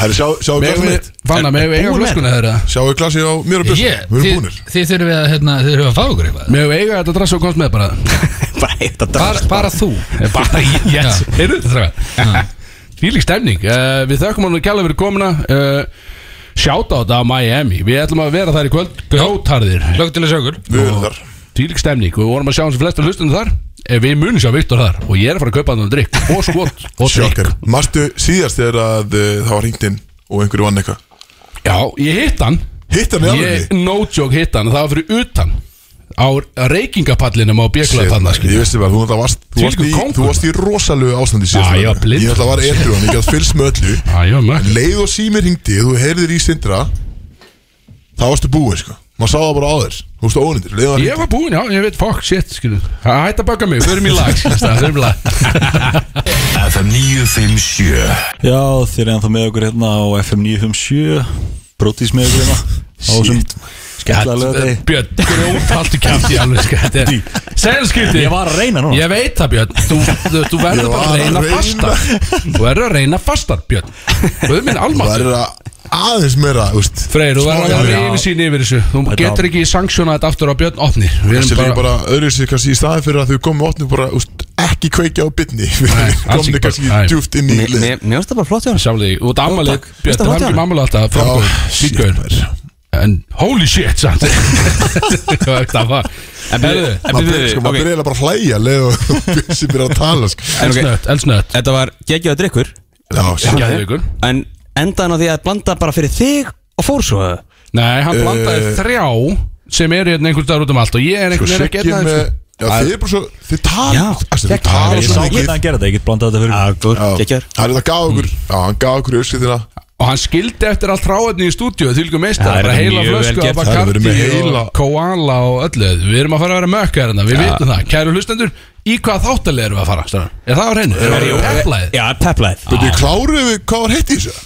Herru, sjá- sjáu glasið Megum við, mitt Fanna, megum við eiga flöskuna þeirra Sjáu glasið á mér og Ég, Bjössu Við erum þið, búnir þið þurfum að, hérna, þið þurfum að fá okkur eitthvað Megum við eiga þetta drass og komst með bara bara eitt að bara, bara þú [laughs] Bara, [laughs] yes, heyrðu þetta [laughs] strákar. Fílík stemning uh, Við þökkum hann að kjalla fyrir komuna uh, Shoutout á Miami Við ætlum að vera þar í kvöld Gjótarðir Lögg til að sjá okkur Við erum þar Fílík stemning Við vorum að sjá hans flesta hlustundu þar Eh, Við munum sjá Viktor þar Og ég er að fara að kaupa hann um drikk Og [laughs] skot og drikk Sjokkar Marstu síðast þegar að uh, það var hringt inn og einhverju vann eitthvað Já, ég hitt hann Hitt hann í Ég alveg no joke hitt hann Það var fyrir utan Á reykingapallinum á Björgulega þannig Ég vissi bara, þú, náttúrulega varst, þú, varst í, Þvílíkur kóngur. þú varst í rosalegu ástandi Já, síðast ég var blindur. Ég ætla að var etru hann, ég gætt fylgst með öllu Já, já, mörg En leið og sími hringdi, þú heyrðir í sindra Þá varstu búin, sko Maður sá það bara á þér, þú varstu ónýndir Leið og hann Ég var búinn, já, ég veit, fuck, shit, skilu Hætt að baka mig, förum í lag skilur, það, Förum í lag FM 957 Já, þið er ennþá með okkur hérna á FM 957 Brótis með okkur hérna Á þessum skemmtilega lögði Björn, grjót allt í kæfti alveg, sko, þetta er- Segðu skipti Ég var að reyna núna Ég veit það Björn, þú, þú, þú verður Ég bara var að að reyna reyna. fastar Þú verður að reyna fastar Björn Guð minn Það almátt er að aðeins meira, þú veist Freyr, þú verður að Smá- vera Já. yfir sín yfir þessu Þú getur ekki sanktionað þetta aftur á Björn opni Við Þessi erum líka bara bara öðru sér kannski í staðin fyrir að þau komið opnum bara úst, ekki kveikja á [laughs] bytni Við Nei, komið alls ekki bara- kannski nei. djúft inn í liðið. Mér finnst það bara flott hjá hann Sjáli, þú ert ammalið takk. Björn, Veistu þú að hefði hátíðar? ekki ammalið alltaf Já, Framgóð, shit, fýtgöður maður. En holy shit, [laughs] samt Það var En byrju, en maður byrju, byrja, sko, ok. maður byrja eiginlega bara að hlæja leið [laughs] og Bjössi byrja að tala sko. En ok, Elsnött, elsnött Þetta var geggjöða drikkur Já, shit. Gæðveikur En endaðan á því að blanda bara fyrir þig og fór svo það Nei, hann blandaði Eh, þrjá sem eru hérna einhvern dagur út um allt og ég er Sko, einhvern veginn ekki Siggi einn með aðeins Já, þið er bara svo, þið tala Já, Æstu, þið gegn- tala Ég sá svo ekki mikið að hann gera þetta, ég get blandað þetta fyrir Góður, Já, geggjöður Það er það gaf Mm. okkur Já, hann gaf okkur öskutina og hann skildi eftir allt ráðni í stúdíu því líka meist Það að er bara þetta heila mjög vel flösku gert. af Það er verið Bacardi með og heila- Koala og öllu við erum að fara að vera mökka hérna, við vitum það kæru hlustendur, í hvað þáttalega erum við að fara strákar? er það á Eh, hreinu? Erum við peplæðið? Já, peplaðið Böndi, kláruðu við hvað var heitt í þessu?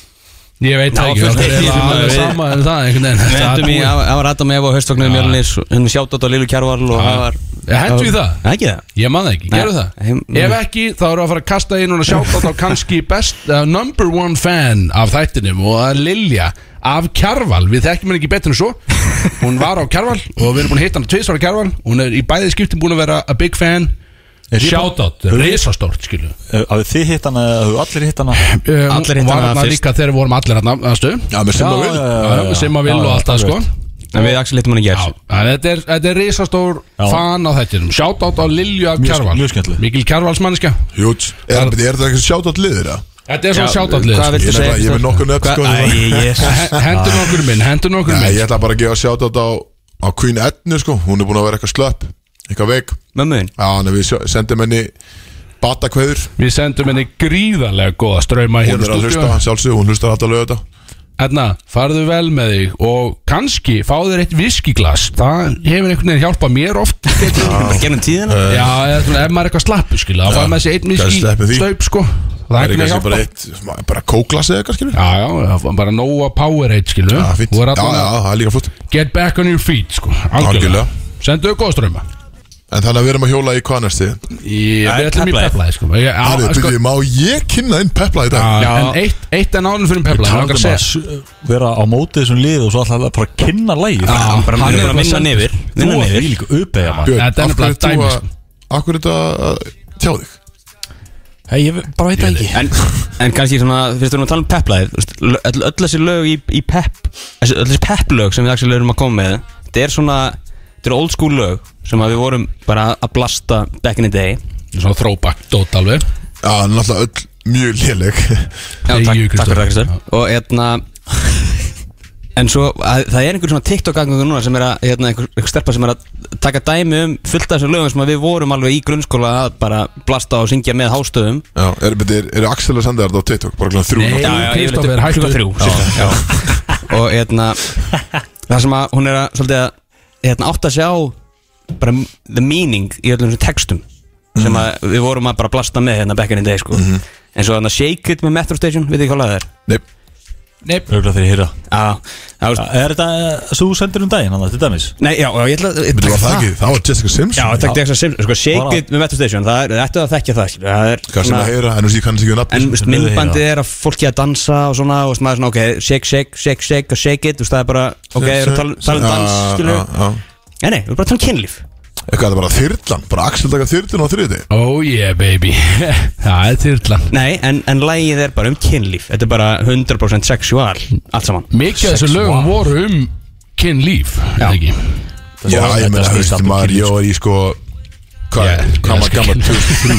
Ég veit það Já, ekki, fullt það eitt í er þessu, alveg maður. sama en það einhvern veginn Við Það er endum í, búið. það var Adam Eva og Haustóknir Mjölnir Hún sjátt átt á Lilu Kjærvarl og það var Hentu í það? Ekki það Ég man það ekki, Nei. gerðu það Nei. Ef ekki, þá erum við að fara að kasta inn og sjá þá kannski best uh, number one fan af þættinum og að Lilja af Kjarval, við þekkjum henni ekki betur en svo hún var á Kjarval og við erum búin að hitta hann tvisvar á Kjarval, hún er í bæði skiptum búin að vera a big fan Shoutout, risastórt skilu Hafið þið hitt hana, hafið allir hitt hana Allir hitta hana fyrst. líka þegar við vorum allir hérna, aðstu Já, með Simma Vil sem að vil og allt það sko En við Axel hittum hann í Já, gerð en þetta er, þetta er risastór fan á þættinum Shoutout á Lilju af Mjög- Kjarval mjög skemmtileg. Mikil Kjarvalsmanniska Hjúts Er er þetta eitthvað sjátt átt liðir það? Þetta er svona sko. sjátt Hvað allir Ég viltu er segja? nefnilega- ég er með nokkur nöfn, sko. Hendur nokkur minn, hendur nokkur Nei, minn ég ætla bara að gefa sjátt átt á á Queen Ednu sko Hún er búin að vera eitthvað slöpp Eitthvað veik Mömmuðin Já, þannig að við sjá- sendum henni batakveður Við sendum henni gríðarlega góða ströyma Hún hér er úr að hlusta, stúdíu sjálfsög, hún hlustar alltaf lögða Edna, farðu vel með þig og kannski fá þér eitt viskiglas Það hefur einhvern veginn hjálpað mér oft Gennum tíðina Já, eða svona, ef maður er eitthvað slappur skilja Það Já, var með þessi eitt kannski sleppum viski því. staup sko Það Það er er ekki að kannski hjálpa bara eitt, bara kóklas eða eitthvað skilur Já, já, það var bara nóa Powerade skilju Já, fínt Já, Þú er já, alltaf það er líka flott Get back on your feet sko Algjörlega. Algjörlega Sendu þau góða ströyma En þannig að við erum að hjóla í hvað næsti Ég Já, við ætlum í Peplæði. peflaði sko Ég- á, Herri, sko- byrju, má ég kynna inn pepla í dag? Já. En eitt, eitt en ánum fyrir Pepla Ég Talandum um langar að að segja s- vera á mótið þessum lið og svo alltaf bara að kynna lægið Já, Bara hann er hann er að bara vinna sendur. niður Þú Vinna að því niður líka uppeða maður Björn, Þetta er af hverju nefnilega ert þú dæmi, að- sko. Af hverju er þetta að tjá þig? Hei, ég bara veit það ekki En, en kannski svona, fyrst við erum að tala um peplaðið þú veist, lö- öll, öll þessi lög í, í pep þessi- Öll þessi peplög sem við Axel erum að koma með Þetta er svona, þetta er old school lög Sem að við vorum bara að blasta back in the day Svona throwback dót alveg Já, hann er alltaf öll mjög léleg [laughs] Já, Hey, takk, you, takk fyrir það Kristoffer. Kristján Og hérna En svo, að, það er einhver svona TikTok-gangungu núna sem er að, hérna, einhver, einhver stelpa sem er að taka dæmi um fullt af þessum lögum sem að við vorum alveg í grunnskóla að bara blasta og syngja með hástöðum Já, er, er, er Axel að senda þetta á TikTok? Bara glan þrjú Nei. nótt? Kristófer, hættu. klukka þrjú Já. cirka, já. Og hérna, það sem að hún er að, svolítið að, hérna, átt að sjá bara the meaning í öllum þessum textum Mhm. sem að við vorum að bara blasta með hérna back in the day, sko En svo hérna Shake It með Metro Station, veit ekki hvað lag það er? Nei, Örgulega þegar ég heyra Já, það var Er þetta, þú sendir um daginn hann til dæmis Nei, já, já, ég ætla að betur var það ekki, það var Jessica Simpson Já, takk til þess að simsa Sko, shake Bara- it með Metro Station Það er, ættu að þekkja það, skilur Það er Hvað sem að heyra, en þú sé ég kannast ekki um sko. að En nafn veist, myndbandið er að fólki að dansa og svona og svona, svona ok, shake, shake, shake, shake og shake it, þú veist, það er bara, ok, við erum að tala- tala um dans, skilur við Eitthvað, Nei, nei, við erum bara að tala um kynlíf þetta er bara þyrlan, bara Axel taka þyrlan á þriði Oh yeah baby [laughs] Það er þyrlan Nei, en, en lægið er bara um kynlíf Þetta er bara 100% sexual, allt saman Mikið af þessu lögum voru um kynlíf Já ekki. [laughs] Já, ég meina, snýst haustu allt um maður, ég var í sko Hvað, Yeah, hvað ég maður gammal 2003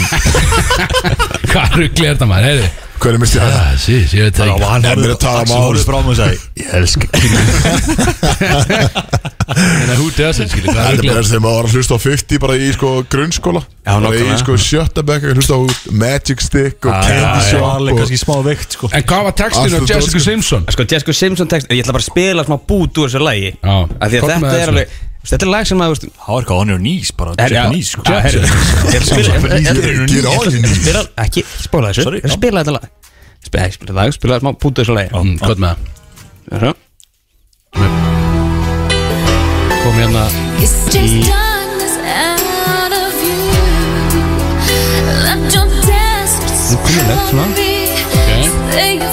Hvað ruggli er þetta maður, heyrðu Hvernig misti ég það? Ah, Sís, ég veit það ekki En við erum að tala um Axel horfði árið frá mig og sagði [laughs] Ég elska En að húti þessi, skilji, hvað Þetta er ruggli bara er sem að var að hlusta á 50 bara í sko grunnskóla Já, Bara í nákvæmlega. sko sjötta bekk að hlusta á Magic Stick og Það Candy er alveg Shop og kannski smá veikt sko En hvað var textinu á Allt Jessica dót, sko. Simpson? Sko, Jessica Simpson text, ég ætla bara að spila smá bút úr þessu lægi Já. Af Því að Komdu með þetta það, er alveg, þetta er lag sem að, þú veist, Það var eitthvað hann er nýs bara Herri, já. Japanese, sko. Já, herri. Ég ætla að spila- ég- ég- ég- ég- ég- ég- ég- ég- ég- ég- spila Ekki spóla þessu Sorry, Ég ætla að já. Spila þetta lag Spila ekki spila þetta lag Spila smá pútu þessu lagi Mm, Hvað með það? Svo. Kom hérna Kunnulegt svona Þetta er ekki- aldrei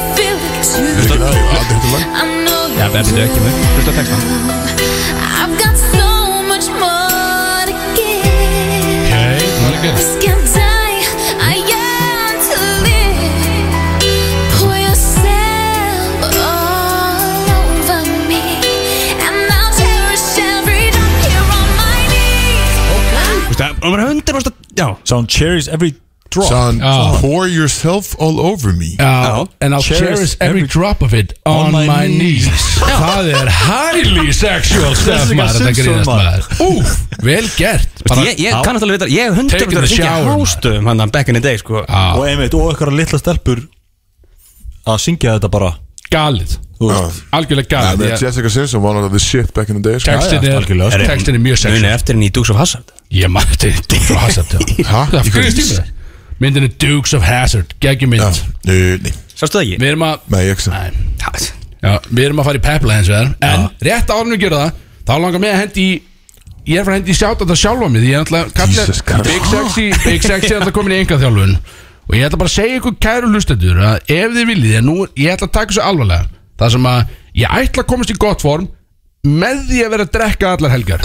þetta lag Já, það er þetta ekki með Hlusta á textan Ok, það er ekki Þú veist, Það var 100% Já Sound cherries every Son, Já. pour yourself all over me Já, and I'll cherish every drop of it on my knees Það er highly sexual stuff Jessica maður, þetta Simpson, grínast maður. maður Úf, vel gert Þú veist, Ég, ég Já. kannast alveg vita Ég hef Taking the 100% syngja shower, maður. hástöðum Hann back in the day sko Já. Og einmitt, og eitthvað litla stelpur Að syngja þetta bara Galið, Þú Já. veist algjörlega Ja, galið með Ég- Jessica Simpson var náttúrulega the shit back in the day sko. Textin Já, já, algjörlega, er, sko. textin er mjög Muni sexual eftir henni í Dukes of Hazzard Ég maður þetta er Dukes of Hazard já. [laughs] Ha? Það er fyrir stímið þér Myndin er Dukes of Hazard, Já, geggjumynd nei, nei, Sástu það ekki? Við erum að nei, ég ekki sem Nei. Já, Við erum að fara í pepla hins vegar En rétt árum við gera það Þá langar mig að hendi í ég er frá hendi sjátt að það sjálfa mig því ég er alltaf Jesus kallar Christ. Big Sexy Big Sexy er alltaf komin í enga þjálfun og ég ætla bara að segja ykkur kæru hlustendur að ef þið viljið en nú, ég ætla að taka þessu alvarlega það sem að ég ætla að komast í gott form með því að vera að drekka allar helgar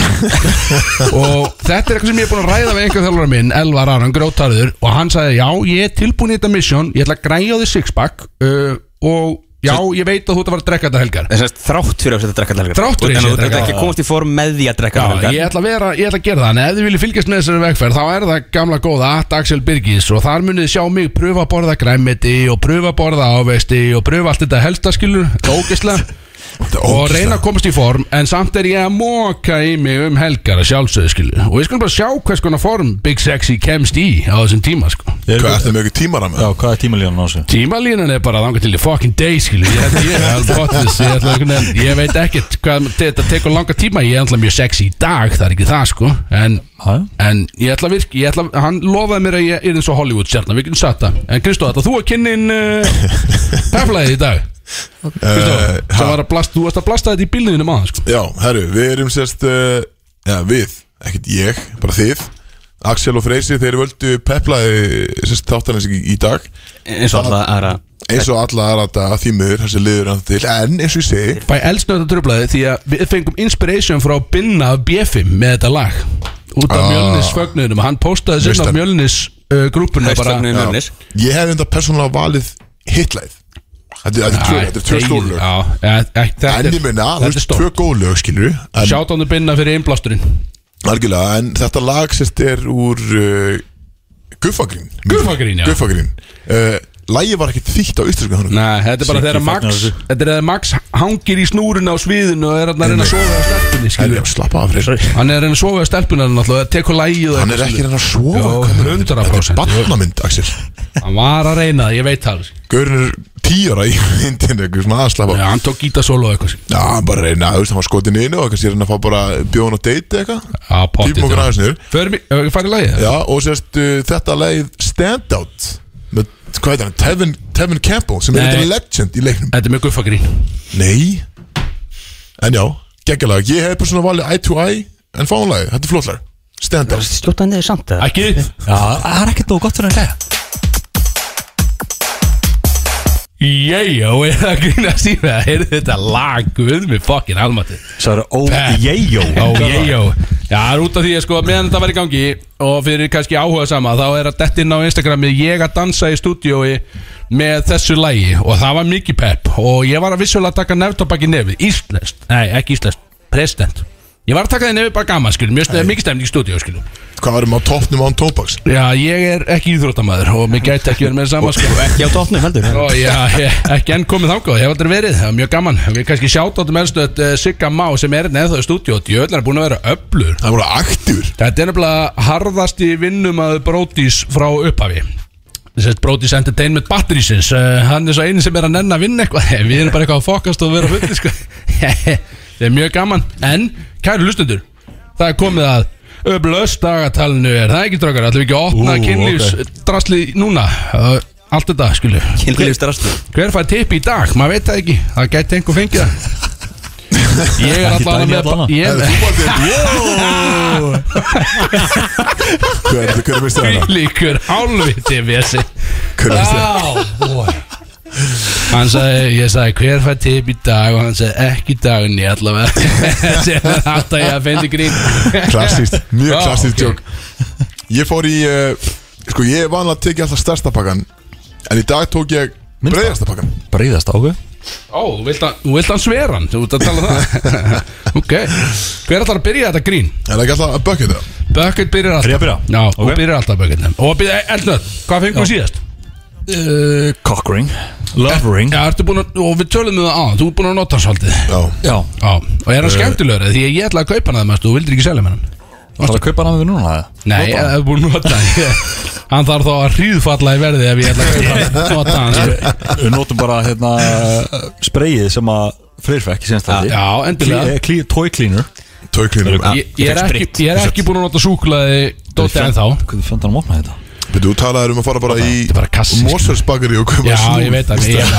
[laughs] og þetta er eitthvað sem ég er búin að ræða við einhver þjálfara minn, Elvar Aran Grótarður og hann sagði, já, ég er tilbúin í þetta mission ég ætla að græja á því sixpack uh, og já, ég veit að þú ert að vera að drekka þetta helgar Þess að þrátt fyrir að setja drekkartalgar Þrátt fyrir að að setja setja drekkartalgar En drekkarlegar. þú ert ekki komast í form með því að Já, drekkartalgar ég ætla að vera, ég ætla að gera það En ef þið viljið fylgjast með þessari vegferð Þá er það gamla góða at Axel Birgis Og þar munið þið sjá mig pröfa að borða græmiti Og pröfa að borða ávesti Og pröfa allt þetta helstaskilur Dókislega Þetta er og ógeðslega. reyna að komast í form en samt er ég að móka í mig um helgar að sjálfsögðu skilu og ég skal bara sjá hvers konar form Big Sexy kemst í á þessum tíma sko Er- Hvað, ertu með ekki tímara með? Já, hvað er tímalíðan á þessu? tímalínan er bara að þanga til í fucking day skilu ég, ég, ég, alveg pottis, ég, ætla einhvern veginn- ég veit ekkert hvað þetta tekur langa tíma ég er alltaf mjög sexy í dag það er ekki það sko en, Já. en ég ætla virk ég ætla, hann lofaði mér að ég er eins og Hollywood stjarnar við getum satt það en Kristó ætla þú að kynni inn uh, peflaðið í dag Kristó Eh, sem var að blasta þú varst að blasta þetta í bílniðinu maður sko Já, herru, við erum sérst uh, Já, við, ekkert ég, bara þið Axel og Freysi, þeir völdu peplaði sérst þáttanins í, í dag Eins og alltaf aðra eins og alla aðra daga því miður þessi liður hann til, en eins og ég segi Bæ elsnöðu þetta tröflaði því að við fengum inspiration frá Binna af BF með þetta lag út af Ah. Mjölnis fögnuðinum hann postaði Veist sinna af hann. Mjölnis uh, grúpuna bara Hægstöfnum mjölnis ég hef enda persónulega valið hitlæð þetta er- þetta er tvö- þetta er tvö stórlög e, en ég minna, þú veist, tvö góð lög skilur en Sjáttánu Binna fyrir innblásturinn algjörlega, en þetta lag sérst er úr uh, Guffagrín Guffagrín, já. Guffagrín uh, Lægi var ekkert þýtt á íslensku þannig Nei, þetta er bara Siggi þegar fagnar Max þessu. þetta er þegar Max hangir í snúruna á sviðinu og er þarna að reyna að sofa á stelpunni Herri, skilur. slappa af Freyr hann er að reyna að sofa á stelpunni náttúrulega, og tekur lægið og Hann er eitthvað, ekki skilur. hann að sofa Jó, gaur. 100%. Þetta er barnamynd, Axel hann var að reyna það, ég veit það alveg. Gaurin er tíara í [laughs] myndinu Eitthvað svona aðslappa Já, Já, hann tók gítasólu og eitthvað skilur. hann bara reyna, þú veist, hann var skotin inn og kannski er hann að fá bara bjóðan á date eða eitthvað Já, pottið, Týpum okkur já. aðeins niður Förum í- ef við farið í lagið? Já, og sérst uh, þetta leið Standout með, hvað heitir hann, Tevin, Tevin Campbell sem Nei. er eitthvað legend í leiknum Þetta er með guffagrín Nei En já, geggjalega, ég hef bara svona valið eye to eye en fáanlega, þetta er flottlega Standout Sljótaði niður samt eða? Ekki Já, það er ekkert nóg gott fyrir að hlæða Jæja, og er það að grínast í mig að heyrðu þetta lag Guð með fokkin almati Það er ó, jæjó Ó, jæja Já, það er út af því að sko, meðan þetta var í gangi og fyrir kannski áhuga sama þá er að detta inn á Instagramið ég að dansa í stúdiói með þessu lagi og það var mikið pepp og ég var að vissulega taka nefntabak í nefið Íslenskt, nei ekki íslenskt, president Ég var að taka því nefið bara gaman skilum, mjög stöðið mikið stemning í stúdiói skilum Hvað erum á toppnum án tóbaks? Já, ég er ekki íþróttamæður og mér gæti ekki verið með saman sko Ekki á tóttnum heldur Ó, já, ég, ekki enn komið þangað, ég hef aldrei verið, það er mjög gaman Við kannski sjátt áttum elstu að uh, Sigga Má sem er neða í stúdíu og djöðlar er búin að vera öblur Það voru aktífur Þetta er nefnilega harðasti vinnum að Brótis frá upphafi Sett Brótis Entertainment Batterísins uh, Hann er svo eini sem er að nenn að vinna eitthvað [laughs] Við erum bara eitthvað að fokast og vera fulli sko. [laughs] Það er mjög gaman En, kæru lustendur, það er komið að Öblöst dagatalinu er það ekki draugar Ætlum við ekki að opna Ú, kynlífs núna uh, Allt þetta, skilu Kynlífist rastu Hver fær tippi í dag? Maður veit það ekki Það gæti einhver fengið [laughs] það Ég er Ekki allavega Dagný með allavega. Það Ég er þú [laughs] Hver er hver er mistið er hana? líkur álviti Vessi Hver er Ah, mistið hana? Hann sagði, ég sagði hver fær tipp í dag og hann sagði ekki dagni allavega [laughs] sem alltaf ég að fendi grín Klassist, mjög Já, klassist Ah, ok. joke Ég fór í, uh, sko ég er vanlega að tekja alltaf stærsta pakkan En í dag tók ég Minnsta. breyðasta pakkan Breiðast ákveð Ó, þú vilt hann- þú vilt hann sveran, þú vilt að tala um það [laughs] Ok, hver ætlar að byrja þetta grín? Er það ekki alltaf að bökja þetta? Bökkut byrjar alltaf Er ég að byrja? Já, okay. Ok. byrjar alltaf bökkut Og byrja, Elnöð, hvað fengum við síðast? uh, Cockring Lovering Já, ertu búin að, og við tölum við það á, þú ert búin að nota hann svolítið Já, Já Já, og er hann skemmtilegur eða? Því að ég ætla að kaupa hann það mest og þú vildir ekki selja með hann Það er að kaupa hann við núna eða? Nei, ég hef búin að nota hann Hann þarf þá að hríðfalla í verði ef ég ætla að kaupa [laughs] hann Nota hann sko. Við notum bara hérna spreyið sem að Freyrfekk í senstætti Já, endilega eh, Toy cleaner tauklinum Ég, ég, er ekki, ég er ekki búin að nota súklaði Dótti en þá Hvernig fjöndan að mótna þetta? Við þú talaðir um að fara bara í Þetta er bara kassi, sko. Mósfellsbakari og koma Já, ég veit að ég,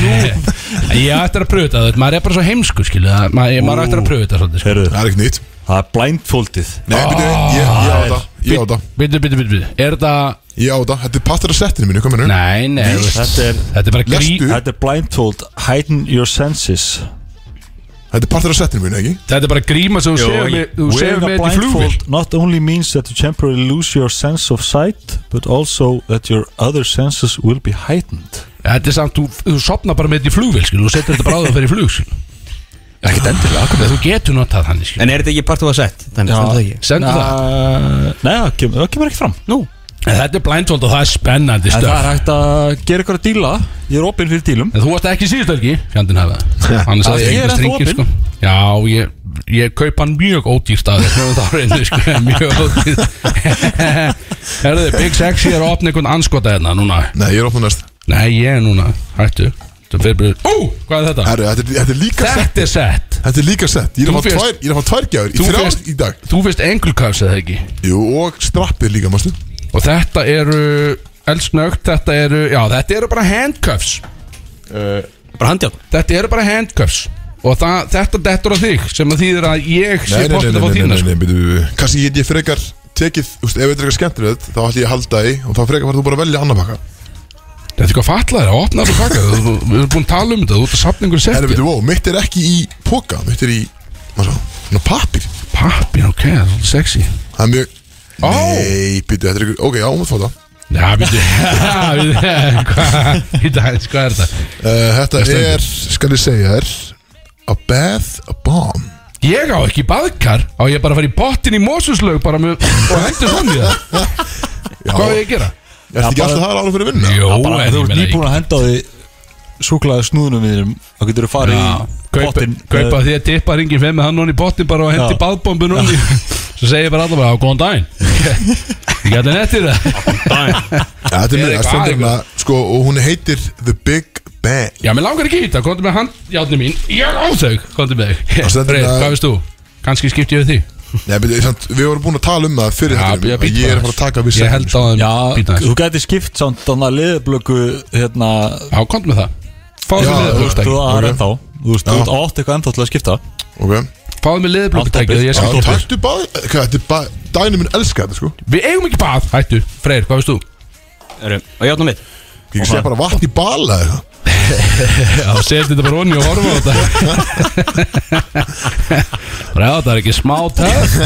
já, ég ætti að pröfa þetta þú veit, Maður er bara svo heimsku, skilu það- ma- Maður ætti að pröfa þetta svolítið, sko. Heyrðu Það er ekkert nýtt Það er blindfoldið Ah, Nei, byrju, ég, ég á það, ég á það, Bitu, bitu, bitu, bitu Er það, ég á það Þetta er partur af settinu mínu, hvað mennur? nei, nei þú veist, Þetta er, Þetta er bara grí Lestu, þetta er blindfold Heighten your senses þetta er partur af settinu mínu, ekki? Þetta er bara gríma sem þú segir með- þú segir Wearing a með þetta í flugvill blindfold not only means that you temporarily lose your sense of sight but also that your other senses will be heightened Þetta er samt, þú, þú sopnar bara með þetta í flugvél skil, þú setur þetta bara á það fyrir flug skil. Ekkert endilega, akkur, þú getur notað hann skil. En er þetta ekki part of a set? Þannig stendur það ekki Sendu það Nei, það kem- það kemur ekki fram Nú, En Þetta er blindfold og það er spennandi En það stöf er hægt að gera ykkur að díla Ég er opinn fyrir dílum En þú varst ekki síðust ekki, fjandinn hafa Þannig að Já, ég ég er er ennþá stringir sko. opinn. Já, ég, ég kaup hann mjög ódýrt að [laughs] þetta á reynu sko, Mjög ódýrt [laughs] Herðu, Big Sexy er að opna einhvern anskota hérna núna Nei, ég er opnað næst Nei, ég er núna, hættu Þetta fer bara- Ú, hvað er þetta? Herru, þetta er- þetta er líka sett Þetta er sett Þetta er líka sett Ég er að Þú fá fékkst- tvær, ég er að fá tvær gjafir Í Þú þrjá fékkst- í dag Þú finnst ankle cuffs eða ekki Jú, og strappið líka, mástu Og þetta eru Elsnögt, þetta eru Já, þetta eru bara handcuffs bara handjátt Þetta eru bara handcuffs Og það, þetta dettur á þig Sem að þýðir að ég sé Nei, nei, nei, nei, pottin að fá nei, þína nei, sko. nei, nei Kanski get ég frekar tekið Þú veist, ef þetta er eitthvað skemmtilegt Þá ætlum ég að halda í Og þá frekar var þú bara að velja annar pakka Þetta er eitthvað fatlaðir að opna þetta pakka Þú- þú- Við erum búin að tala um þetta Þú ert að safna einhverju Herru, setti veitu, wow, mitt er ekki í póka Mitt er í, maður svo, svona pappir Pappir, ok, það er svolítið sexy Það er mjög Ó. Nei, býtu, þetta er ykkur Ok, já, hún mátt fá það [laughs] Já, við Þetta er hvað sko, er þetta Uh, Þetta stendur. er, skal ég segja þér A bath bomb Ég á ekki baðkar Á ég bara að fara í pottin í mósuslaug Bara með Og hendur svona í það Hvað er ég að gera? Er þetta ekki bara- alltaf það ára fyrir vinnu? Jó, Það er bara, Þú en ég ert meina ekki- nýbúin að henda á því Súklaði snúðunum við þér Þá getur þú farið Já, í kaupa, pottin kaupa því að tippa ringin fyrir með hann onni í bottin bara og hendi Já. baðbombun onni [laughs] svo segir bara allar bara á góðan [laughs] daginn ég gæti nettir það Þetta er mjög, það Eða eitthvað stendur eitthvað. hérna Sko, og hún heitir The Big Bang já, mér langar ekki í þetta, komdu með handjátni mín ég á þau, komdu með þau Það stendur Freyr, að- hvað veist þú? kannski skipti ég við því Nei, beti, samt, við vorum búin að tala um það fyrir Já, þættinum, ég að být Ég er bara. að fara að taka við ég held á þeim Já, býta þessu. þú gæti skipt samt Þannig að liðblöku Hérna já, komdu með það Já, fáðu með þú- liðblökutæki Þú ok. er ennþá Þú veist, þú Já. átt eitthvað ennþá til að skipta sko, Ok fáðu með liðblökutæki og ég Já, skal dópa Taktu bað Hvað, þetta er bað Dæni minn elska þetta sko við eigum ekki bað, hættu, Freyr, hvað veist þú? Og játna mitt Ég sé bara vatn í bala eða eitthvað. [laughs] Já, setjum þetta bara onni og horfa á þetta [laughs] Ræða, það er ekki smá töf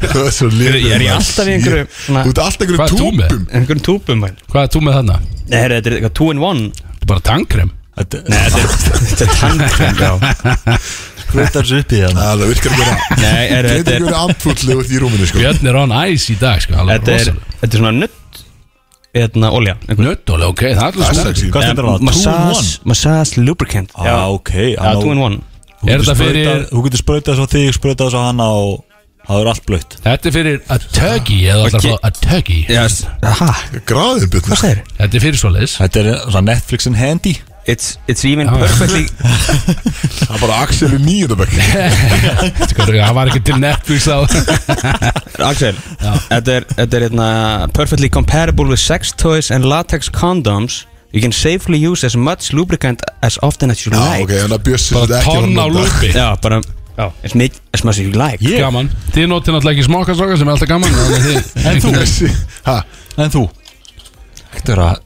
Það er svo liður Ég er í alltaf í einhverju- Þú ert alltaf í Hvað einhverju ert þú með? túpum Einhverjum túpum væl Hvað er þú með þarna? Nei, heyrðu, þetta er eitthvað two in one Þetta er bara tannkrem Nei, [laughs] Þetta er tannkrem, [laughs] já Hveit er þessu Æ, upp í hérna Það virkar ekki vera Nei, Þetta heyrðu, er þetta er ekki andfullu út í rúminu sko Björn er on ice í dag sko, alveg Þetta er, rosalega. þetta er svona nutt Þetta er olja Nöttóli, ok, það er alveg Það er svona sexy Hvað stendur það? Massage, massage lubricant Já, ok Já, two in one Þú Er getur þetta fyrir- sprautað- Þú getur sprautað svo þig, sprautað svo hana og það er allt blöytt Þetta er fyrir a tuggy eða alltaf okay. a tuggy Yes Graðin Björn sko. Hvað segir? Þetta er fyrir svoleiðis Þetta er svona Netflix and handy It's, it's even perfectly Það er bara Axel í nýjöndabæk Þetta er- Það var ekki til Netflix á Axel Þetta er, þetta er hérna Perfectly comparable with sex toys and latex condoms You can safely use as much lubricant as often as Já you like ok, þannig að Björn sem þetta Bara ekki tonn á [laughs] lúpi Já, bara já. As, much, as much as you like Gaman Þið notið náttúrulega ekki smokkastróka sem er alltaf gaman En En þú? [laughs] Hæ, En þú? Þetta er að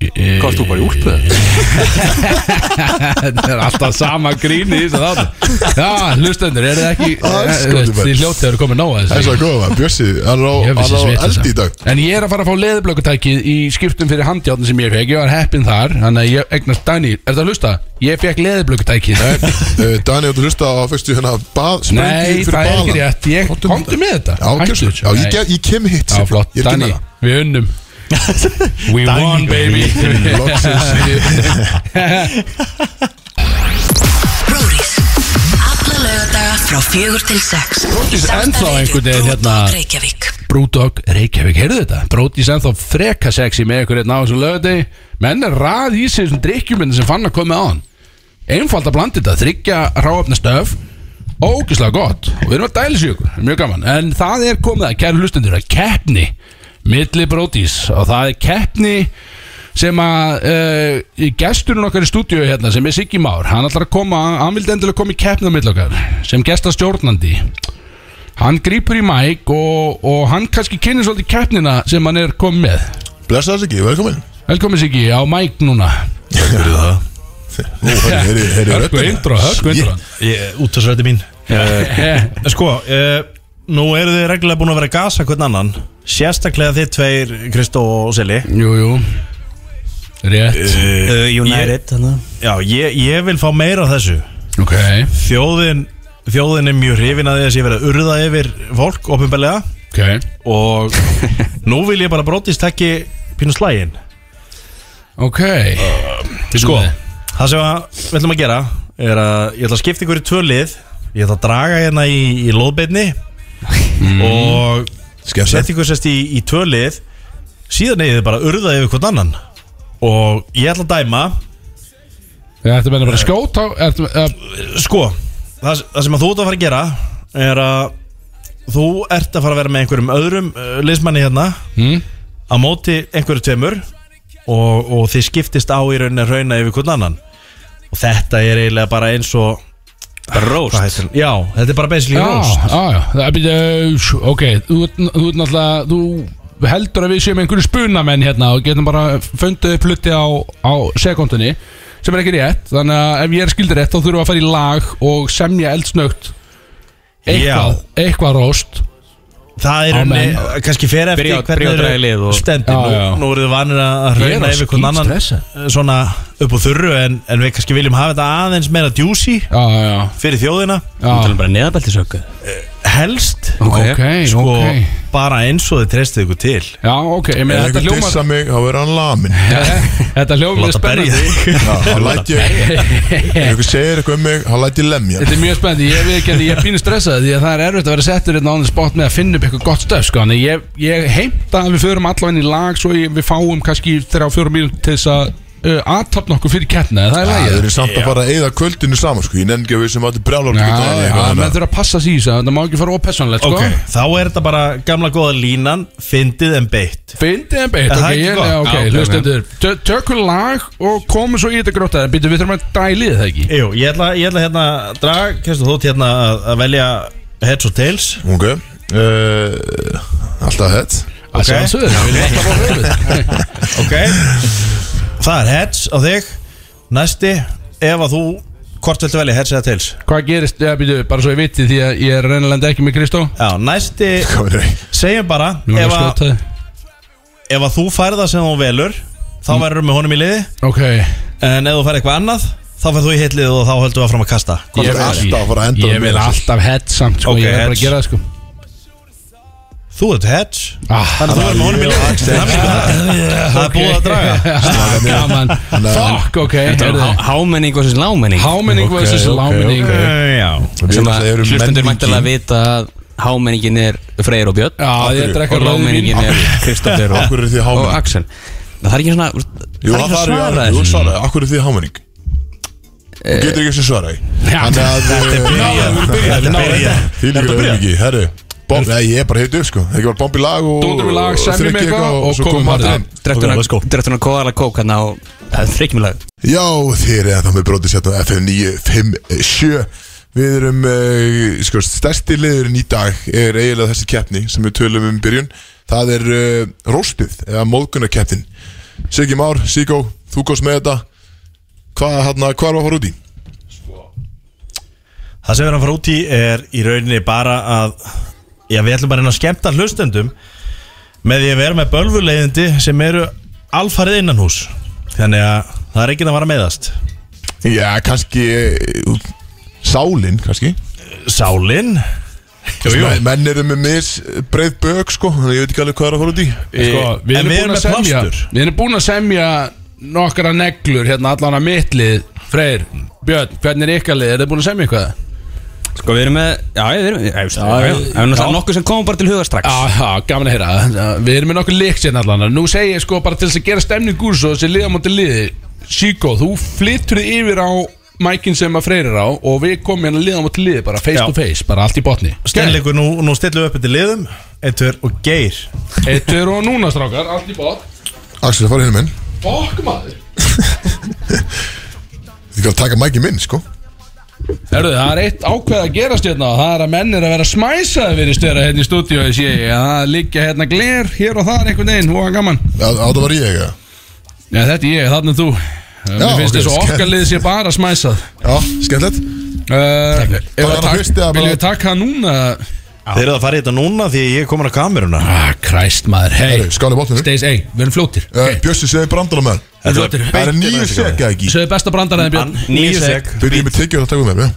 Hvað Hvað ert þú bara í úlpuð? [laughs] Þetta er alltaf sama grín í þessu þáttu Já, hlustendur, er þið ekki Andskotinn eh, Þið bara. hljótið eru komið nóg að það er þessu svo góð maður Björn, hann er á- Ég vissi hann er á svitla eldi í dag það. En ég er að fara að fá leðublökutækið í skiptum fyrir handjáttin sem ég fekk Ég var heppinn þar, þannig að ég eignast Dani Er það að hlusta? Ég fekk leðublökutækið Eh, Dani, þú hlusta á fyrstu hérna bað, Nei, sprengi fyrir baðan. það er ekki rétt Ég Komdu með komdu með þetta Já, Hættu gerðu þessu. svo. já ég, Nei. gef- ég kem hérna. hitt Já, flott, Ég er ekki Dani, með það við [laughs] unnum We won, baby [laughs] Brúris Alla lögadaga frá fjögur til sex Brúris, Í er ennþá samstarfi einhvern við veginn Brú hérna- og Reykjavík Brúdog Reykjavík, heyrðu þetta Brótis ennþá freka sexi með ykkur hérna á þessum lögadegi Menn er rað í sig þessum drikkjuminn sem fann að koma á hann Einfald að blanda þetta, þryggja ráöfna stöf Ógislega gott Og við erum að dælis í ykkur, mjög gaman En það er komið að, kæru hlustendur, að keppni Milli Brótis Og það er keppni sem að uh, gesturinn okkar í stúdíu hérna sem er Siggi Már, hann ætlar að koma hann vildi endilega koma í keppnum mill okkar sem gestastjórnandi hann grýpur í mæk og, og hann kannski kynir svolítið keppnina sem hann er komið með Blessa þess ekki, velkomin velkomin Siggi á mæk núna Fyrir það [laughs] hörku intro, hörku intro Útastrætti mín Eh, Sko, eh, nú eru þið reglulega búin að vera að gasa hvern annan Sérstaklega þið tveir, Kristó og Sili jú, jú rétt uh, United, þannig að Já, ég, ég vil fá meira af þessu ok, Þjóðin, þjóðin er mjög hrifin að því að sé verið að urða yfir fólk, ofinbelega ok Og nú vil ég bara brotist ekki pínu slægin ok Sko, það sem að við ætlum að gera er að ég ætla að skipta ykkur í tvö lið Ég ætla að draga hérna í, í lóðbeinni Mm. Og Skemmt setja ykkur sérst í, í tvö lið Síðan eigið þið bara að urða yfir hvern annan Og ég ætla að dæma þetta menna bara að skjóta á- ertu- eh, Sko, það, það sem að þú ert að fara að gera Er að þú ert að fara að vera með einhverjum öðrum uh, liðsmanni hérna Hmm? Mm. Á móti einhverju tveimur og, og þið skiptist á í rauninni að rauna yfir hvern annan Og þetta er eiginlega bara eins og Róst Já, þetta er bara basically já, róst já, ah, já það er býtið ok, þú ert þú ert náttúrulega þú heldur að við séum einhverju spunamenn hérna og getum bara fundið upp hluti á, á sekundinni sem er ekki rétt, þannig að ef ég er skildur rétt þá þurfum við að fara í lag og semja eldsnögt eitthvað, eitthvað róst Það er Á rauninni, menn. kannski fer eftir Byrja- byrja að draga í lið og- stendir Já, já. eh, Nú, nú eru þið vanir að Ég er rauna að yfir hvern annan skítstressa. eh, Svona upp úr þurru en, en við kannski viljum hafa þetta aðeins meira djúsi já, já, Fyrir þjóðina já Það er bara neðabeltisöku Eh, Helst ok, ok, Sko, [laughs] bara eins og þið treystið ykkur til já, ok, ég meina Ef einhver þetta hljómar dissa mig, þá verður hann lamin þetta hljómar er Láta berja spennandi Sko. þig [laughs] Já, [laughs] Þá læt ég Ef einhver segir eitthvað um mig, þá læt ég lemja Þetta er mjög spennandi, ég veit ekki að ég er pínu stressað því að það er erfitt að vera settur hérna á þannig spott með að finna upp eitthvað gott stöf sko, en ég, ég heimta að við förum allavega inn í lag svo ég, við fáum kannski þrjá fjórum mínútur til þess að uh, aðtapna okkur fyrir keppna, það er Það lagið eru samt að fara að eyða kvöldinu saman sko. Ég nenni ekki að um við sem áttu brjálar Já, já, menn þurfa að passa sér í þessu, þetta má ekki fara ópersonlegt sko Ok, þá er þetta bara gamla góða línan Fyndið en beitt Fyndið en beitt, Er það ok, ekki ég, gott? já, ok, Já, ok, hlustendur tö- Tökum lag og komum svo í þetta gróta en býtum við þurfum að dælið það ekki Jú, ég ætla, ég ætla hérna að draga Kjæstu þótt hérna að, að velja Heads og tails Ok uh, Alltaf hett Að sjálfsögðu, við viljum [laughs] alltaf fá höfuð. Ok Það er heads á þig Næsti, ef að þú Hvort viltu velja heads eða tails Hvað gerist, já, býtum, bara svo ég viti því að ég er reynilega ekki með Kristó Já, næsti Hvað verður það? Segjum bara Nú er ég Ef að að, skjóta þig. ef að þú færð það sem þú velur Þá Mm. verður með honum í liði Ok, En ef þú færð eitthvað annað Þá færð þú í hitlið og þá höldum við að fram að kasta Hvort er alltaf að fara að enda um Ég með vil þessu? alltaf head samt sko, Ok, Ég er bara heads. að gera það sko Þú ert heads ah, Þannig að þú verður með honum í liði Það er búið að [laughs] draga Ah, Gaman Fuck, ok heyrðu. Hámenning og þessi lámenning Hámenning var þessi lámenning Já Við Sem að náttúrulega erum hlustundur menningin. mæntilega vita að hámenningin er Freyr og Björn Já, ég drekka og rauðvín. lámenningin er Kristoffer og, Akkur er því og hámenning Axel Það er ekki svona Jú, Það er það er ekki að svara Jú, þessu svaraði Akkur er því hámenning Þú getur ekki sem svaraði Eh. Já. Þannig að Þetta byrja Því líka verður ekki Herru Bomb, nei, ég er bara heitu upp sko Ekki bara bomb í lag og Dúndum í lag, og semjum þrykki eitthvað og svo komum komum bara allir heim. heim. Dreftuna let's go. Dreftuna kóðala kók hérna og það er þryggjumlega Já, þér er það með brotið sett á FM 957 Við erum, uh, sko, stærsti liðurinn í dag er eiginlega þessi keppni sem við tölum um í byrjun Það er uh, Róstuð, eða móðgunarkeppnin Siggi Már, Sigó, þú komst með þetta Hvað, hérna, hvað var að fara út í? Það sem við erum að fara út í er í rauninni bara að Já, við ætlum bara að reyna að skemmta hlustendum Með því að vera með bölvuleiðindi sem eru alfarið innan hús Þannig að það er ekkert að vara meðast Já, kannski, uh, sálin, kannski Sálin Jú, jú Men- Menn eru með mis breið bök, sko, þannig að ég veit ekki alveg hvað er að fara út í Sko, við en við erum erum búin að með semja plástur. Við erum búin að semja nokkra neglur hérna allan að mittlið Freyr, Björn, hvernig er ykkar lið? Er þið búin að semja eitthvað? Sko við erum með Já, við erum Já, já, já Það er náttúrulega nokkuð sem komum bara til huga strax Já, já, gaman að heyra Já, Við erum með nokkur líkt hérna allan að. Nú segi ég sko bara til þess að gera stemning úr svo þessi liða mútið liði Sýko, þú flyttur þið yfir á mækin sem að Freyr er á og við komum hérna liða mútið liði bara face Já. to face, bara allt í botni Stenleikur, nú, nú stillum við upp eftir liðum Eittur og geir Eittur og núna strákar, allt í bot Axel, fara hérna minn Fokk maður Þið kannu taka mækið minn, sko Herðu, það er eitt ákveð að gerast hérna og Það er að menn er að vera smæsaði við störa hérna í stúdíu Það sé ég að það liggja hérna gler hér og þar einhvern veginn, hvað gaman Að það var ég, eða? Já, þetta er ég, þannig þú Mér finnst þess að okkar liðið sé bara smæsað Já, skemmtilegt Bara uh, hann Viljum hlusti að bara- við taka hann núna? Þeir eru að fara í þetta núna því ég er komin að kameruna Ah, Christ maður, hei Skáli bóttinu Stays, hei, við erum flótir uh, Bjössi segði brandara með Við erum flótir Það er nýju sek, eða ekki? Söðu besta brandaraðin Björn Byrðu ég með tekið og það tekum með mér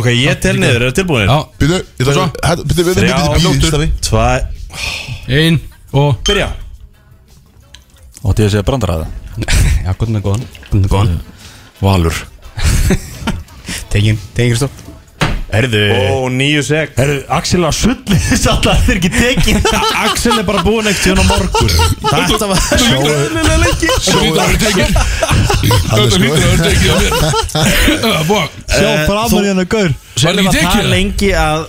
Ok, ég tel niður, eru tilbúinir? Já. Byrðu, ég þarf að hæ- Byrðu, við erum Þrjá, byrðu bíð Stafi. Tvær Einn og Byrja Ótti ég að segja brandaraða Já, gott með góðan Gott með góðan Valur Tegin, tegin Kristof Herðu Ó, nýju sek Herðu, Axel að sulli [laughs] Þess að það er ekki tekið Axel er bara búin ekkert hérna á morgun Þetta var Sjóðu Þetta er tekið Þetta sko. hlýtur að vera tekið á mér [laughs] Ah, fuck. Sjá eh, framan í hennar gaur Var þetta Var ekki það tekið? lengi að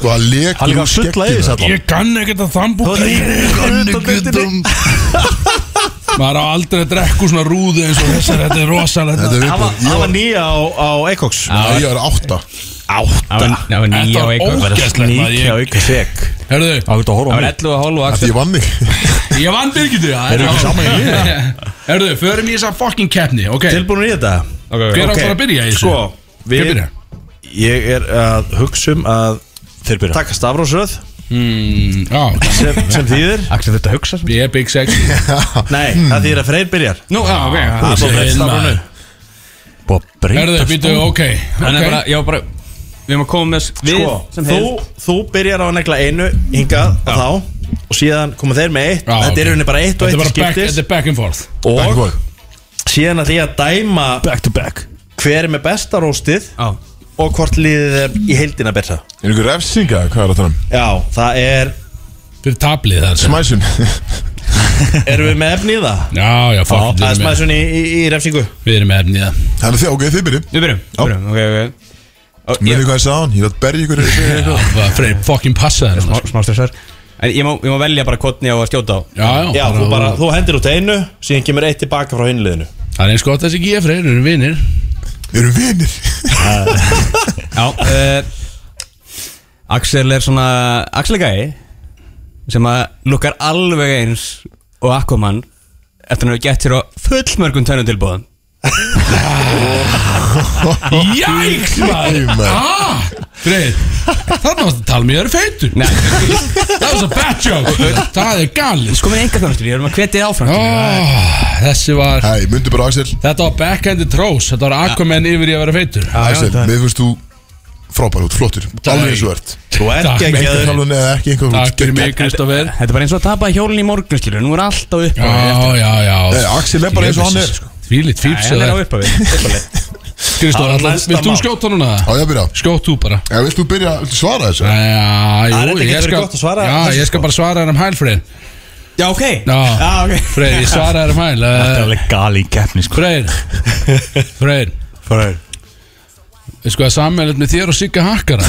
Sko, að leka Hann líka að sulla í þess allan Ég kann ekkert að þambú Maður á aldrei að drekku svona rúðu eins og þessar Þetta er rosalegt Þetta er Það var- það viðbúið Ég var var- nýja á, á Ekox Nei, Ég var átta Átta Það var Þetta nýja var og eitthvað ógæstlegt maður Nýja ég- auk sek Herðu, Það veit að horfa á Það var mig 11 og hálf og Af axel Því ég vann þig ég vann Birgitu Erum við saman í þetta? [laughs] Herðu, förum í þessa fucking keppni, ok Tilbúin í þetta Hver Ok. ákvar að byrja í þessu? Sko, Hver við byrja? Ég er að hugsa um að Þeir byrja Takka stafrósröð Mm, Já, sem, sem þýðir Axel þurfti að hugsa sem ég er Big Sex Nei, það þýðir að Freyr byrjar Nú, já, ok Það er bara breytt stafrónu Búið að hérna. Herðu, breyta býtu, ok Hann er ok. bara, já bara Við erum að koma með s- við Sko, sem þú, heild. þú byrjar á að negla einu hingað og þá og síðan koma þeir með eitt Já, Þetta ok. er í rauninni bara eitt og Þetta er eitt bara back, þetta skiptis er back and forth Back og boy. síðan að því að dæma Back to back hver er með besta róstið Já. og hvort liðið er í heildina betra Er einhver refsinga? Hvað er það þannig? Já, það er Fyrir tablið það sem [laughs] Smæsun Erum við með efni í það? Já, já, fuck Það er við erum með- smæðsson í, í, í refsingu Við erum með efni í það Þannig að þið, ok, þið byrju Við byrjum, við byrjum, ok, ok Og Mér ég- veit hvað ég sagði hann Ég látt berja ykkur fyrir Já, eitthvað. það er Freyr, fucking passa það Smá- Smá stressar En ég má, ég má velja bara hvort ég á að skjóta á Já, já, Já, þú bara, þú hendir út einu síðan kemur eitt tilbaka frá hinliðinu Það er eins gott að þessi ekki ég, Freyr, við erum vinir Við erum vinir Já uh, Axel er svona Axel er gæi sem að lukkar alveg eins og Aquaman eftir hann hefur gett sér á fullmörgum tönnu tilbúðum Jæks, maður Æ, maður. Ah, Freyr Þannig að tala mér, ég er feitur Nei, Það var svo bad joke Það er galið sko minn enga þjónustur, ég erum að hvetja þig áfram Ah, Þessi var Hei, myndu bara Axel Þetta var backhanded trós Þetta var Aquaman yfir í að vera feitur Axel, mér finnst þú frábær út, flottur Alveg eins og þú ert Þú ert Takk. ekki Ekki að þjálfun eða ekki einhver út Takk fyrir mig, geggjað. Kristoffer Þetta er bara eins og að tapa hjólinn í morgun skilur, nú er allt á upphafi Já, já, já Nei, Axel er bara eins og hann er Tvílit Nei, fýrs hann er á upphafi upphafið. Kristóð, Það var næsta vilt þú mál. skjóta núna? Á, ég að byrja Skjótt þú bara Eða vilt þú byrja, viltu svara þessu? Já, Það er jú, þetta ég getur skal verið gott að svara Já, þessu, ég skal bara svara þér um hæl, Freyr Já, ok Já, ok Freyr, ég svara þér um hæl Þetta er eh, alveg gali í keppni sko Freyr Freyr Freyr Við sko að sammeilið með þér og Sigga Hakkara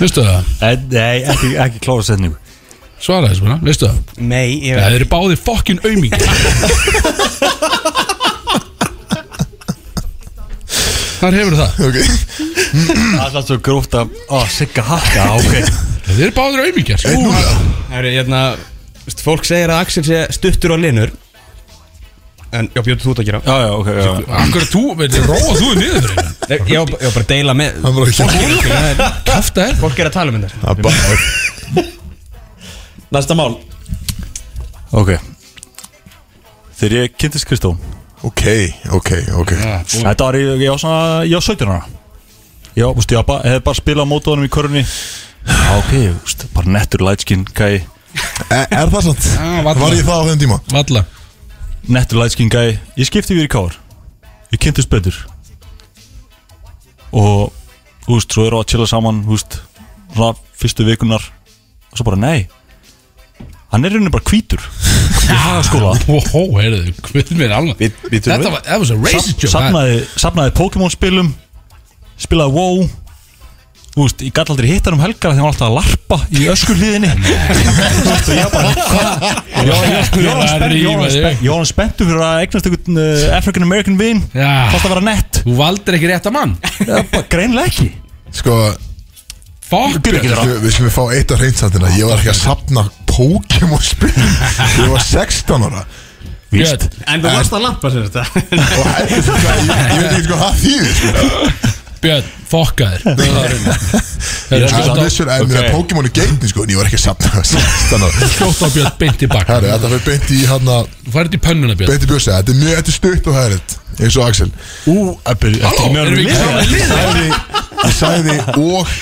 Veistu það? Eh, Nei, ekki, ekki klára setningu Svara þessu bara, veistu það? Nei, ég Það eru báði fokkin aumingi Þar hefur það Ok Það er alltaf svo gróft að Ó, sigga hakka, ok Þeir eru báðir aumingjar sko. Einn núna Það er hérna veist, Fólk segir að Axel sé stuttur á linur En, já, bjóttu þú þetta að gera Já, já, ok, já já. Akkur þú, veitir, róa þú er niður fyrir hérna. Ég, ég, var bara- ég var bara að deila með Hann var ekki að Kæfta er Fólk er að tala um þetta Það er bara Næsta mál Ok Mm. Þegar ég kynntist Kristó Ok, ok, ok Þetta var, ég, ég var svona, ég var 17 ára Já, þú veist, ég var bara- hefði bara spilað á móti honum í körunni Já, ok, þú veist, bara nettur lightskin gæi Er er það sant? Já, varla. Var ég það á þeim tíma? Valla Nettur lightskin gæi Ég skipti við í káar Ég kynntist betur Og, þú veist, svo erum við að chilla saman, þú veist Svona fyrstu vikunar Og svo bara, nei Hann er í rauninni bara hvítur Í hagaskóla Óhó, heyrðu, hvað mér alveg Þetta var, það var svo racist joke Safnaði, safnaði Pokémon spilum Spilaði WoW Þú veist, ég gæti aldrei hitt hann um helgar Þegar hann var alltaf að larpa í öskurliðinni Þú veist, og ég bara hvað? Ég var- ég var- ég var spennt- ég var spennt- Ég var spenntu fyrir að eignast einhvern uh, African American vin Ah. Fátt að vera nett Þú valdir ekki rétt að mann Greinlega ekki Sko Fokk Við skulum- við skulum fá eitt af reynsandina Ég var ekki að sapna Pokémon spil Ég var 16 ára Víst. En þú varst að lampa sér þetta Ég veit ekki sko hvað þýðir sko. Björn, fokkaður Ég er að vissur að mér að Pokémon er geitni sko En ég var ekki að sapna 16 ára Skjótt á Björn, beint í bak Herri, þetta fyrir beint í hérna Þú færði í pönnuna Björn Beint í bjössi Þetta er mjög þetta er stutt og hægrið Eins og Axel Ú, eftir Halló, með honum erum í við ekki liði? saman í liði? Sagði- Ég sagði og,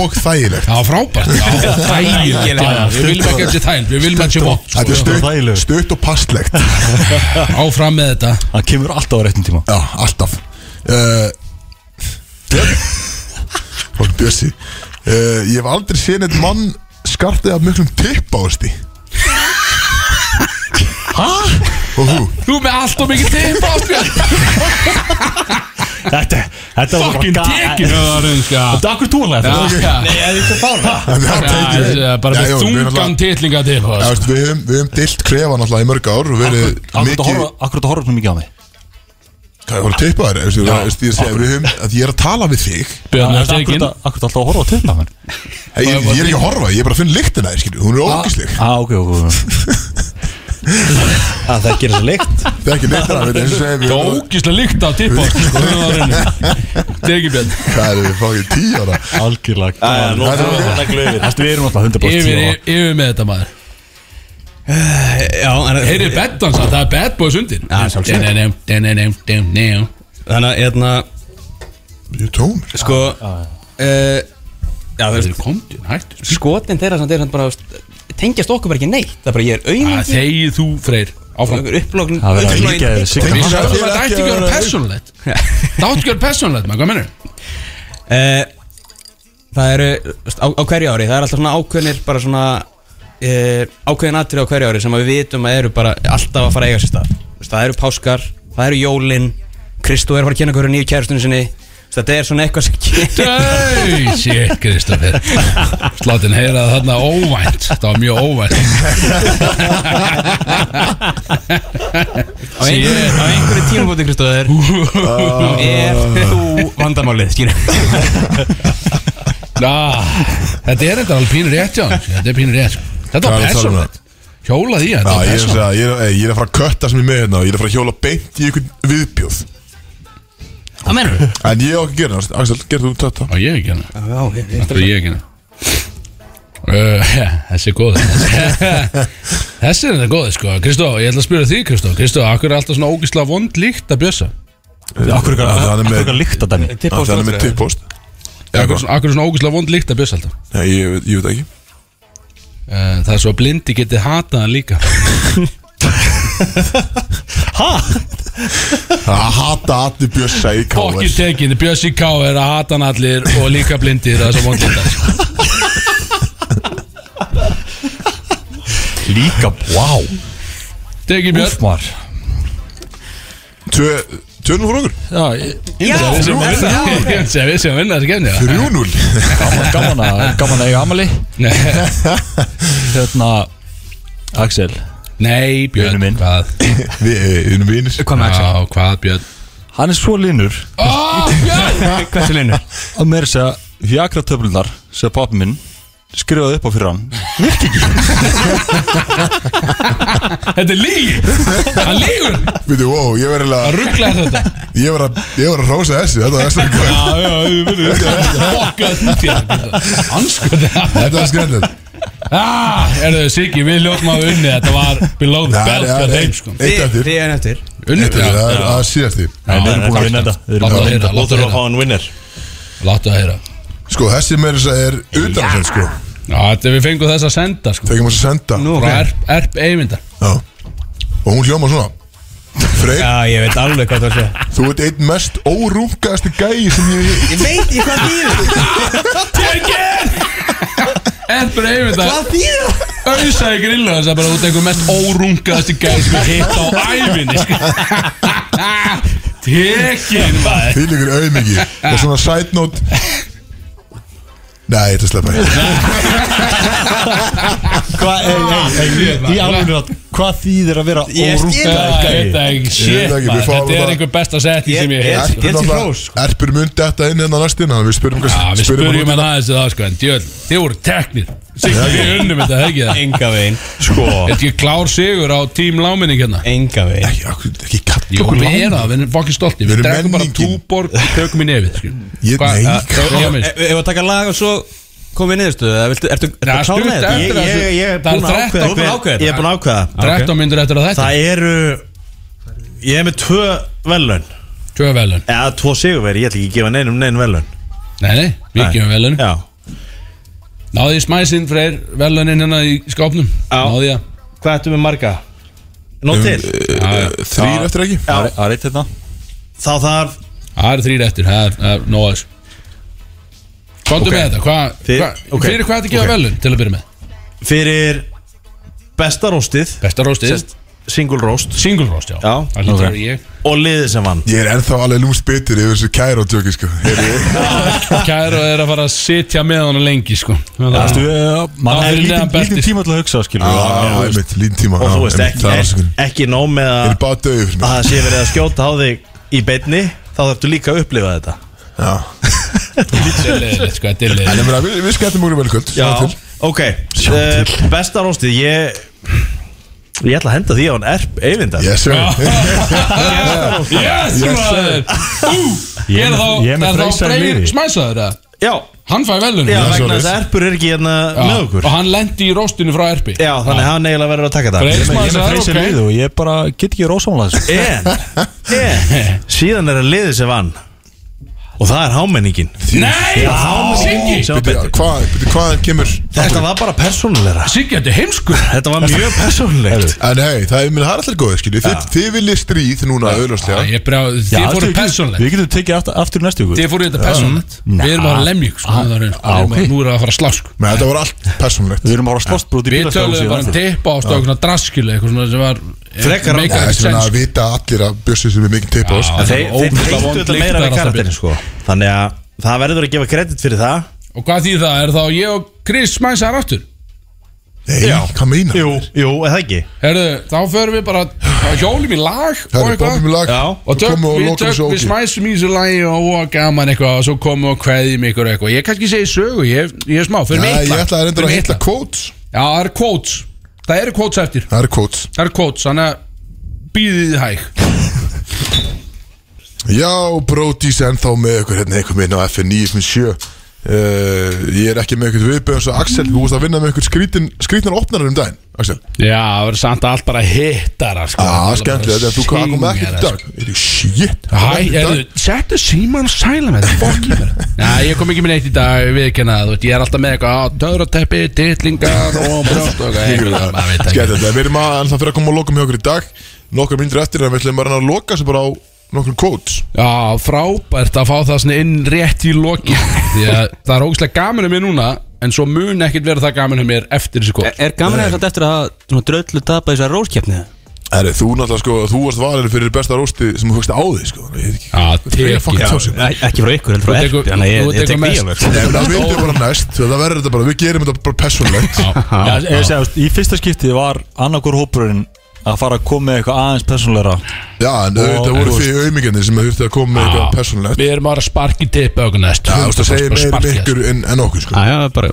og þægilegt Já, frábært Já, þægilegt já, já, Við viljum ekki eftir þægild Við viljum ekki vond Þetta er sko. stutt, Þægilegt. stutt og pastlegt Áfram með þetta Það kemur alltaf á réttum tíma Já, alltaf uh, Fólk bjössi uh, Ég hef aldrei séð neitt mann skartaði af miklum tipp á þesti Hæ? Og þú? Þú með allt og mikið tipp á Björn Þetta, þetta var Fucking tekin Þetta Þetta er akkur tónlega Nei, Það er tekið þetta er Já, bara já, við með erum þungan náttúrulega- titlinga til sko. Já, veistu, Við höfum, við höfum dilt krefa náttúrulega í mörg ár og verið mikið Akkur þetta horfum svona mikið á mig Hvað er voru tippa þér? Veistu, veistu, Ég segi, við höfum að ég er að tala við þig Björn, Akkur þetta er ekki inn þetta alltaf að horfa á tilna mér Ég, ég, ég er ekki að horfa, ég er bara að finna lyktina þér, skilju, Ah. hún er ógisleg Á, Ah, ok, ok, [laughs] Ah, ok að það gerir svo leikt Það er ekki lyktina, við erum sem Það við er ógíslega líkt af tipp á sko, [laughs] Tekið Björn Hvað erum við fáið tíu ára? Algjörlega Þetta við erum alltaf sko. 100% Yfir tíma. yfir með þetta maður Já, en Heyrið beddans að það er bad boys undir Já, Þannig að, hérna, Ég er tómur sko eh, Já, þú veist komdu, hættu Skotin þeirra sem þeir bara þú veist, tengjast okkur bara ekki neitt Það er bara, ég er Ah, auðvitað Þegið þú, Freyr Áfram Upplokn Það verður að líka þér Við Sigga sagðum að þetta ætti ekki að vera persónulegt Það ætti ekki að vera persónulegt, maður, hvað mennur? Eh, Það eru veist, á, á hverju ári, það er alltaf svona ákveðnir bara svona uh, ákveðin atrið á hverju ári sem að við vitum að eru bara alltaf að fara að eiga sér stað Þú veist, Það eru páskar, það eru jólin Kristó er að fara að kynna hverju nýju kærustunni sinni Þú veist, Þetta er svona [laughs] eitthvað sem kemur Dau, shit, Kristoffer Sláttin heyra það þarna óvænt Það var mjög óvænt á einhverju, á einhverju tímabóti Kristóður er þú vandamálið skýr Ná, Þetta er þetta alveg pínur rétt hjá hann sko. Þetta er pínur rétt sko. Þetta Hvað var er það að tala um persónulegt Hjólað í Já, hann, þetta var ég er, að persónulegt segja, ég, er, ég er að fara að kötta sem ég er með hérna og Ég er að fara að hjóla beint í einhvern viðbjóð Hvað mennur þú? En ég á ekki að gera það, Axel, gerðu þú þetta? Á ég ekki hana Já, ég Þetta er ég ekki hana Uh, [laughs] þessi er góð [laughs] Þessi er þetta góð sko Kristó, ég ætla að spyrja því Kristó Kristó, akkur er alltaf svona ógislega vond líkt að bjösa Akkur Já, það er með- eitthvað líkta dæmi Það er þannig með tippost Já, Akkur er hvað? svona, akkur er svona ógislega vond líkt að bjösa alltaf Nei, ég, veit- ég veit ekki uh, Það er svo að blindi geti hatað hann líka Það hata allir bjössa í [laughs] Fokkin káver tekin, Bjössi K er að hata hann allir og líka blindir, það er svo [laughs] vondlindar Líka, wow Tekin Björn Úfmar Tvö, tvö nú fyrir okkur Við sem vinna, við [laughs] sem- við sem vinna þessi kemni Þrjú núl Gaman, gaman, að- gaman að eiga amali Hérna Axel Nei, Björn, Vinur minn. hvað? Við við erum vinir Hvað með Axel? Já, hvað Björn? Hann er svo linur Ó, Björn! [laughs] Hversu linu? að meira segja Viagra töflunar sem pappi minn skrifaði upp á fyrir hann Þetta er lígi! Hann lígur! Við þú, ó, ég verður Hann að rugglaði þetta Ég verður að, ég verður að rósa þessu Þetta var þessu Já, já, við vinnum þetta Fokkað út í þetta Anskuð Þetta var skrænlega Ah, erðu Siggi, við ljótum að unni Þetta var below the Það belt er- það hjá er þeim, eitt sko. eitt eftir Þið er eftir Eitt Unnu eftir, þetta það er að síðast því en við erum búin að vinna þetta Við erum Láttu búin að að heyra, láttu að heyra hann vinnir Láttu að heyra Sko, þessi meira þess að er utan þess, sko Já, þetta við fengum þess að senda, sko Þegar maður að senda Nú, Frá erp, erp Eyvindar Já Og hún hljóma svona Freyr, Já, ég veit alveg hvað þú að segja þú ert einn mest órungaðasti gæi sem ég Ég veit ég hvað þýður [laughs] Erpur Eyvindar Hvað þýður? Auðsaði grillu þess að bara út einhver mest órungaðasti gæði sem ég hitt á ævinni [laughs] sko. Tekin maður Þýlíkur auðmiki Og svona side note Nei, þetta slepp ekki Hvað, ei, ei, ei, í alveg Hvað þýðir að vera Ég skil það órúkaður Þetta er ekki Ég shit veit ekki, maður. við fáum Þetta er það. einhver besta setning sem ég hef Erpur heyrt, sko. náttúrulega- Erpur mun detta inn hérna næstinn Við spyrjum hvað Já, Við spurjum hann aðeins það sko En djöl, þið voru teknir Sigur við unnum þetta, það ekki það Enga veginn Sko Þetta ekki klár sigur á tím láminning hérna Enga veginn Ekki, akkur- ekki kalla Jú, okkur við lána erum það, við erum fokkið stolti Við Við erum drekkum bara menningin. túborg, tökum í nefið sko. Ég- nei, Hvað- að- hvað- hvað- ég minnst. Ef Eh, við taka lag og svo komum við niðurstöðu eða viltu- Ertu ertu Já, að klára stutt með þetta? eftir Ég, að ég, þessu- ég er Það er búin að 13 ákveða Þú ert búin að hver- ákveða Ég er búin að ákveða 13 myndur eftir að þetta Það eru Ég er með tvö velun Tvö velun Eða tvo sigurveri, ég ætla ekki að gefa neinum nein velun Nei, nei, við Nei. gefum velun Já Náði í smæsinn freyr velunin hérna í skápnum Já. Náði ég Hvað ættum við marga? Um, Nótt til eh, Þrýr eftir ekki Það er eitt hérna Þá þarf Það eru þrýr eftir, það er- það er nóg aðeins Komdu með þetta, hvað Þið- hva, ok. Fyrir hvað þetta gefa Ok. velun til að byrja með fyrir besta róstið Besta róstið, Single róst single roast já Já, Það lítur ok. að vera ég Og liðið sem vann Ég er ennþá alveg lúmst bitur yfir þessu kæra djóki sko Heyrðu, Kæra er að fara að sitja með honum lengi sko Þú Það veist, við- mann Já, hefur fyrir neðan eh, lítinn- lítinn beltis. tíma til að hugsa skilur við. Já, einmitt, lítinn tíma Og já, þú veist einmitt, ekki, Það er ekki, ásökun ekki nóg með Ég að er bara döðu fyrir að mig það sé verið að skjóta á þig í beinni Þá þarftu líka að upplifa þetta Já. er leðilegt sko, þetta er En leðilegt ég meina, við- við skemmtum úr í velkvöld ok uh, Besta róstið, ég Ég ætla að henda því á hann erp Eyvindar Yes sir Yes maður Ég Er er þá, með- ég er með er þá freysa í Freyr liði smæsaður að Já, Hann fæ velun já svoleiðis. vegna þess að erpur er ekki hérna með okkur Og hann lendi í róstinu frá Erpi Já, þannig að hann eiginlega verður að taka það Freyr Ég er með freysa í smæsaður, liði og ég bara get ekki rósamlega þessu En, en Síðan er að liðið sem vann Og það er hámenningin ok Nei, Siggi Sem var Bíddu, betri. Hvað, bíddu, hvaðan kemur Þetta var bara persónulegra Siggi, þetta er heimskur Þetta var mjög persónulegt En hei, það er, ég meina, það er allir góðið skilju Þið, þið viljið stríð núna auðljóslega Ég brá, Já, þið fóru við- persónlegt Við getum tekið aftur, aftur næstu ykkur Þið fóru í þetta persónlegt Nei. Við erum að lemja ykkur, sko, það er eins, Ah, við erum að- ok. Nú er það að fara að slá sko Men þetta var allt persónlegt Við erum að fara að slást brúti Við töluðum bara um tippa ástu á eitthvað draskilu Eitthvað svona sem var Frekar á- make Það any er svona sense, að vita allir að bjössi sem er mikið tipp á oss Já. Þeir Ógeðslega þeir tengdu vond þetta lykt meira var við alltaf karakterin sko Þannig að það verður að gefa kredit fyrir það sko. Og hvað þýð það, er þá ég og Chris smæsaður aftur Nei, hvað meina? Jú, jú, eða ekki Herðu, þá förum við bara á hjólum í lag og Herru, eitthvað bombum í lag, Og svo tök, komum við og við, lokum tök, þessu við ógeð. smæsum í þessu lagi og og gaman eitthvað og svo komum við og kveðjum ykkur eitthvað Ég kannski segi sögu, ég, ég er smá, fyrir Já, mig ég ætla að reynda að hitla quotes Já, það eru quotes, það eru quotes eftir Það eru quotes Það eru quotes, þannig að býðið þið hæg Já, Brodís ennþá með ykkur hérna einhver minn á FN 957 uh, Ég er ekki með ykkur viðbjöðum svo Axel, þú veist að vinna með ykkur skrítin, skrítnar opnarar um daginn Axel, Já, það verður samt allt bara hittara sko. aða skemmtilega þetta er þú hvað að koma ekki Syngara, í dag Er þið shit Hæ, erðu, settu síman og sæla með þetta Fokk í mér [laughs] Já, ég kom ekki minn eitt í dag, ég veit ekki hana Þú veit, ég er alltaf með eitthvað Töðrateppi, dittlingar og brjóst og eitthvað maður veit ekki. Skemmtilega, við erum að ennþá fyrir að koma og lokum hjá okkur í dag Nokkar myndir eftir en við ætlum bara að loka þessu bara á nokkrum quotes Já, frábært að fá það svona inn rétt í loki [laughs] Því að það er ógæslega gaman um mér núna En svo mun ekkert vera það gaman um mér eftir þessi Er, kótt er gaman Eh. eða þetta eftir að hafa svona dröllu tapa þessar róskjæfni Herri, þú náttúrulega sko, þú varst valin fyrir besta rósti sem þú fyrst á því sko Ég veit ekki Já, Ég er fucking tekið tjósin Ekki frá ykkur, heldur frá Þú erfi tekur- Þannig að þú ég, ég tekur tek mest. því alveg sko. Nei, það vildi bara næst, það verður þetta bara, við gerum þetta bara persónlegt Já, ég segi, þú veist, í fyrsta skipti var annarkur hópurinn að fara að koma með eitthvað aðeins persónulegra Já, en en auðvitað þú voru því auðmyggjandi sem þurfti að koma með eitthvað persónlegt Við erum bara að sparki tippa okkur næst Já, þú veist að segja 100% meira um sparki þessu. ykkur en, en okkur sko Já, já, bara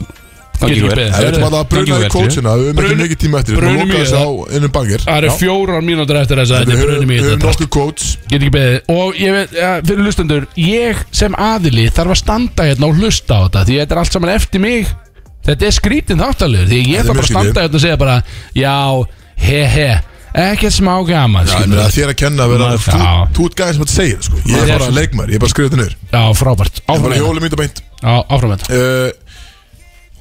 Get ekki Gangi vel beðið. Það er bara að bruna í Gangi vel, kótsina, við höfum ekki Brunum- mikið tíma eftir Við höfum brunum lokað í þessu á innum bangir Það eru fjórar mínútur eftir þess að Við þetta er brunum höfum í höfum þetta nokkuð kóts Get ekki beðið Og ég veit, ja, fyrir hlustendur Ég sem aðili þarf að standa hérna og hlusta á þetta Því þetta er allt saman eftir mig Þetta er skrítin þáttalegur Því ég Þetta er þarf bara mjög skrýtið. að standa hérna og segja bara Já, he he Ekkert smá gaman Já, skilur en það við. er þér að kenna að vera Maður- Þú Já. þú ert gæðin sem þetta segir, sko Ég er Maður er bara svo- leikmær, ég er bara að skrifa þetta niður Já, frábært Ég er Áfram bara hérna. hjólið mitt og beint Já, áfram þetta Eh,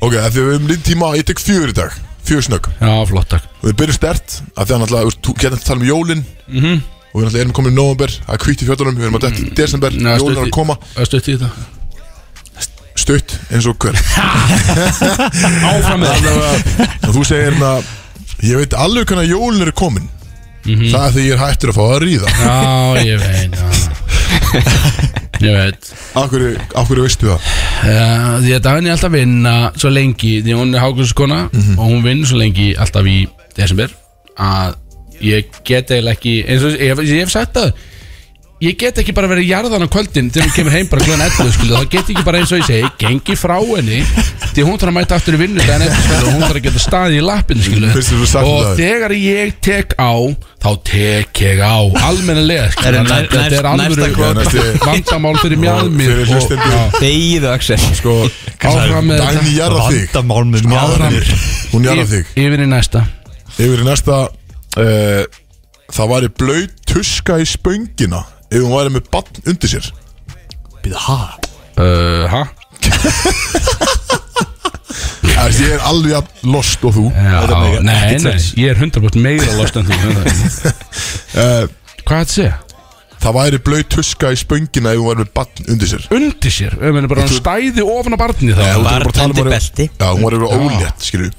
Ok, af því að við höfum lítið tíma, ég tek fjör í dag Fjör snögg Já, flott takk Og við byrjum stert, af því að náttúrulega, þú veist, þú getur að tala um jólin Og við náttúrulega erum komin í november, það er kvítt í fjöldunum, við erum að detta í desember, Nei, jólin er stutt að í- koma Það stutt í þetta stutt eins og hver Áfram með [laughs] þetta og þú segir hérna ég veit alveg hvernig að jólun eru komin Mhm. það er því ég er hættur að fá að ríða Já, ég veit já. Ég veit Akkur, akkur veistu það? uh, Því að Dagni er alltaf að vinna svo lengi Því að hún er hákurskona Mhm. Og hún vinnur svo lengi alltaf í desember Að ég get eiginlega ekki Eins og ég, ég hef sagt það Ég get ekki bara verið jarðan á kvöldin Þegar hún kemur heim bara kljóðan 11 skilur Það get ég ekki bara eins og ég segi Gengi frá henni Því hún þarf að mæta aftur í vinnu daginn eftir skilur Og hún þarf að geta staðið í lappinu skilur Fyrst þú sagt Og það. þegar ég tek á Þá tek ég á Almennilega skilur Herri, næ- Þetta er næst- næsta alvöru kvöld. vandamál fyrir mjadmir Fyrir hlustendur. Degiðu Axel Sko, áfram með Dagný jarða þig Sko, Vandamál með mjálnir Hún jarða þig þetta yfir í næsta Yfir í næsta uh, Það væri blaut tuska í spöngina Ef hún væri með bann undir sér Býða, ha? uh, ha? Það er ég er alveg að lost og þú Já, mega- nei, ekki nei, sens. ég er 100% meira lost en þú [laughs] uh, Hvað er þetta að segja? Það væri blaut tuska í spöngina Ef hún væri með bann undir sér Undir sér, ef henni bara hann stæði ofan á barni Já, þá þú Já, ert bara að tala um undir að- belti. Já, hún var yfir ólétt, skilju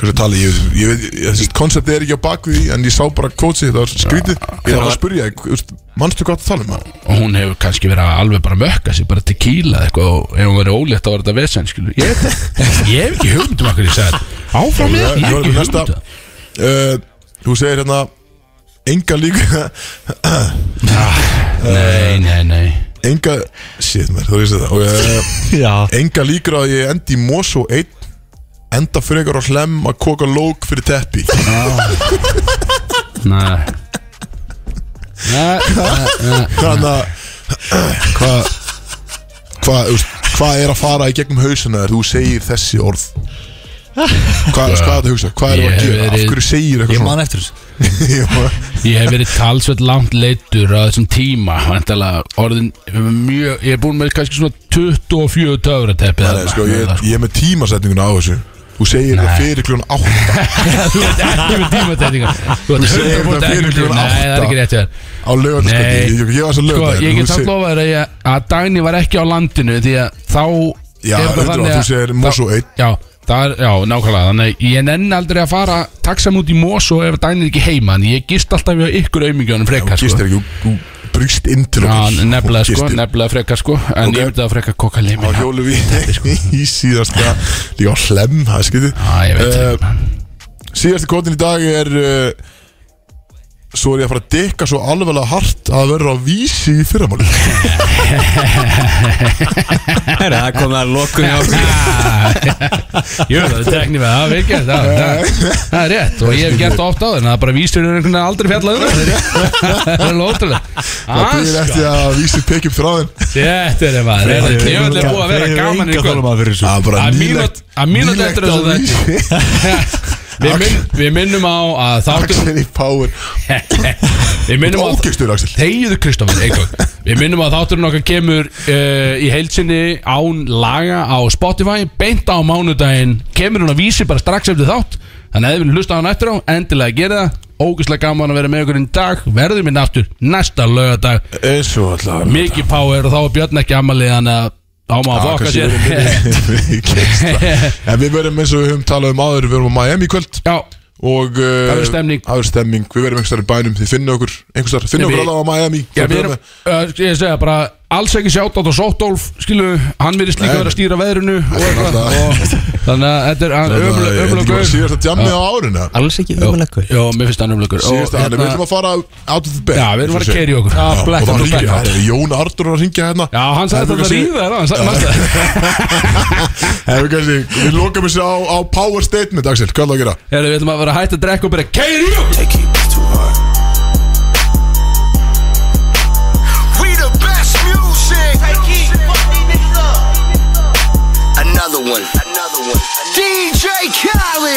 Hversu tali, ég, ég veit, ég, þessi koncept er ekki á baku því En ég sá bara kótsið, þetta var skrítið Ég var að spyrja, þig, þú veist, manstu hvað það tala um það? og hún hefur kannski verið að alveg bara mökka sig bara tequila eða eitthvað og ef hún verið ólétt þá var þetta vesen skilu ég, veit [laughs] það. ég hef ekki hugmynd um okkur ég sagði þetta. áfram með þetta, Ég var ég hef til ekki hugmynd næsta um það. Eh, Þú segir hérna Enga líka nei, nei, nei [laughs] Enga, shit mér, þú veist þetta Og eh, Já Enga líkur á að ég endi í Mosó 1 Enda frekar á hlem að koka lók fyrir teppi nei Nei, Þannig að Hvað Hvað hva er að fara í gegnum hausuna þegar þú segir þessi orð Hvað hva er það að hugsa? Hvað er það Ég að hef gera? Af verið- hverju segir eitthvað Ég svona? man eftir þessu [laughs] Ég man- Ég hef verið talsveit langt leittur á þessum tíma Væntalega orðin mjög, Ég er búinn með kannski svona 24 töfra teppi Nei, sko, ég, ég er með tímasetninguna á þessu Þú segir það fyrir kljóðan 8 [laughs] Þú ert ekki með tímatætinga Þú ert segir þetta 100% ekki með fyrir klukkan tíma Nei, það er átta. ekki rétt hjá þér. á lögataskvöldi Nei. Ég, ég var svo Sko, lögataskvöldi ég get samt lofað þér að ég- að Dagný var ekki á landinu Því að þá Já, er bara auðvitað, þannig þú segir Mosó 1 Já, það er, já, nákvæmlega Þannig að ég nenni aldrei að fara taksam út í Mosó ef Dagný er ekki heima Þannig ég gist alltaf við ykkur aumingjónum frekar Gist sko. er ekki, þú- þú brýst inn til Já, okkur nefnilega sko, Gistir. nefnilega frekar sko En Ok. ég myndi að frekar koka [laughs] á limin hjólu við [laughs] í síðasta líka á hlem, það er skytið sko. Já, ég veit það uh, síðasti kvotin í dag er uh, svo er ég að fara að dekka svo alveglega hart að verður á vísi í fyrramáli [laughs] Herra, það kom það að lokum hjá okkur. Jú, það er teknir með það, virkja það, það, það er rétt og ég hef gert það oft á þeir en það er bara vísur einhvern veginn aldrei fjallað um það, það er rétt það [laughs] er Ah, sko. alveg ótrúlega það byrðir Aska, eftir að vísi pekja upp þráðin Þetta er maður, þetta er djöfull er búið að vera gaman í kvöld fyrir þessu það er bara Að nýlegt mínút- að mínút nýlegt á eftir þessu þetta [laughs] vísi Við, minn, við minnum á að þáttur Axel í power Við minnum á ógistur Axel Þegiðu Kristoffer eitthvað Við minnum að þátturinn okkar kemur uh, í heilsinni án laga á Spotify beint á mánudaginn kemur hún að vísi bara strax eftir þátt þannig að ef við hlusta á hann eftir á endilega gera það ógeðslega gaman að vera með okkur í dag verðum við aftur næsta lögadag eins og alltaf mikið power og þá er Björn ekki amalið þannig að þá má að fokka sér en við verðum eins og við höfum talað um áður við verðum á Miami í kvöld [laughs] Já, og eh, Það verður stemning. það verður stemning við verðum einhverstaðar í bænum þið finna okkur einhverstaðar finna Nei, okkur við- alveg á Miami já við erum, uh, ég segja bara alls ekki sjátt á Sóttólf skilu, hann verðist líka Nei. vera að stýra veðrinu og eitthvað náttúrulega- og þannig að þetta er hann ömulega- ömulega ömlögur gaur. síðast að jammi á árinu Alls ekki umalagur Já, mér finnst hann hérna- umlökur síðast að við viljum að fara out of the bed Já, við erum bara að keyra í okkur. Já, og black það out of the ringja back. það er Jón Artur að ringja hérna Já, hann sagði þetta að ríða þér á, hann sagði [laughs] mannstu það en við kannski við lokum þessu á, á power statement Axel hvað er það að gera Herru, við ætlum að vera hægt að drekka og bara Keir í okkur We the best music. Another one. Another one. DJ Khaled.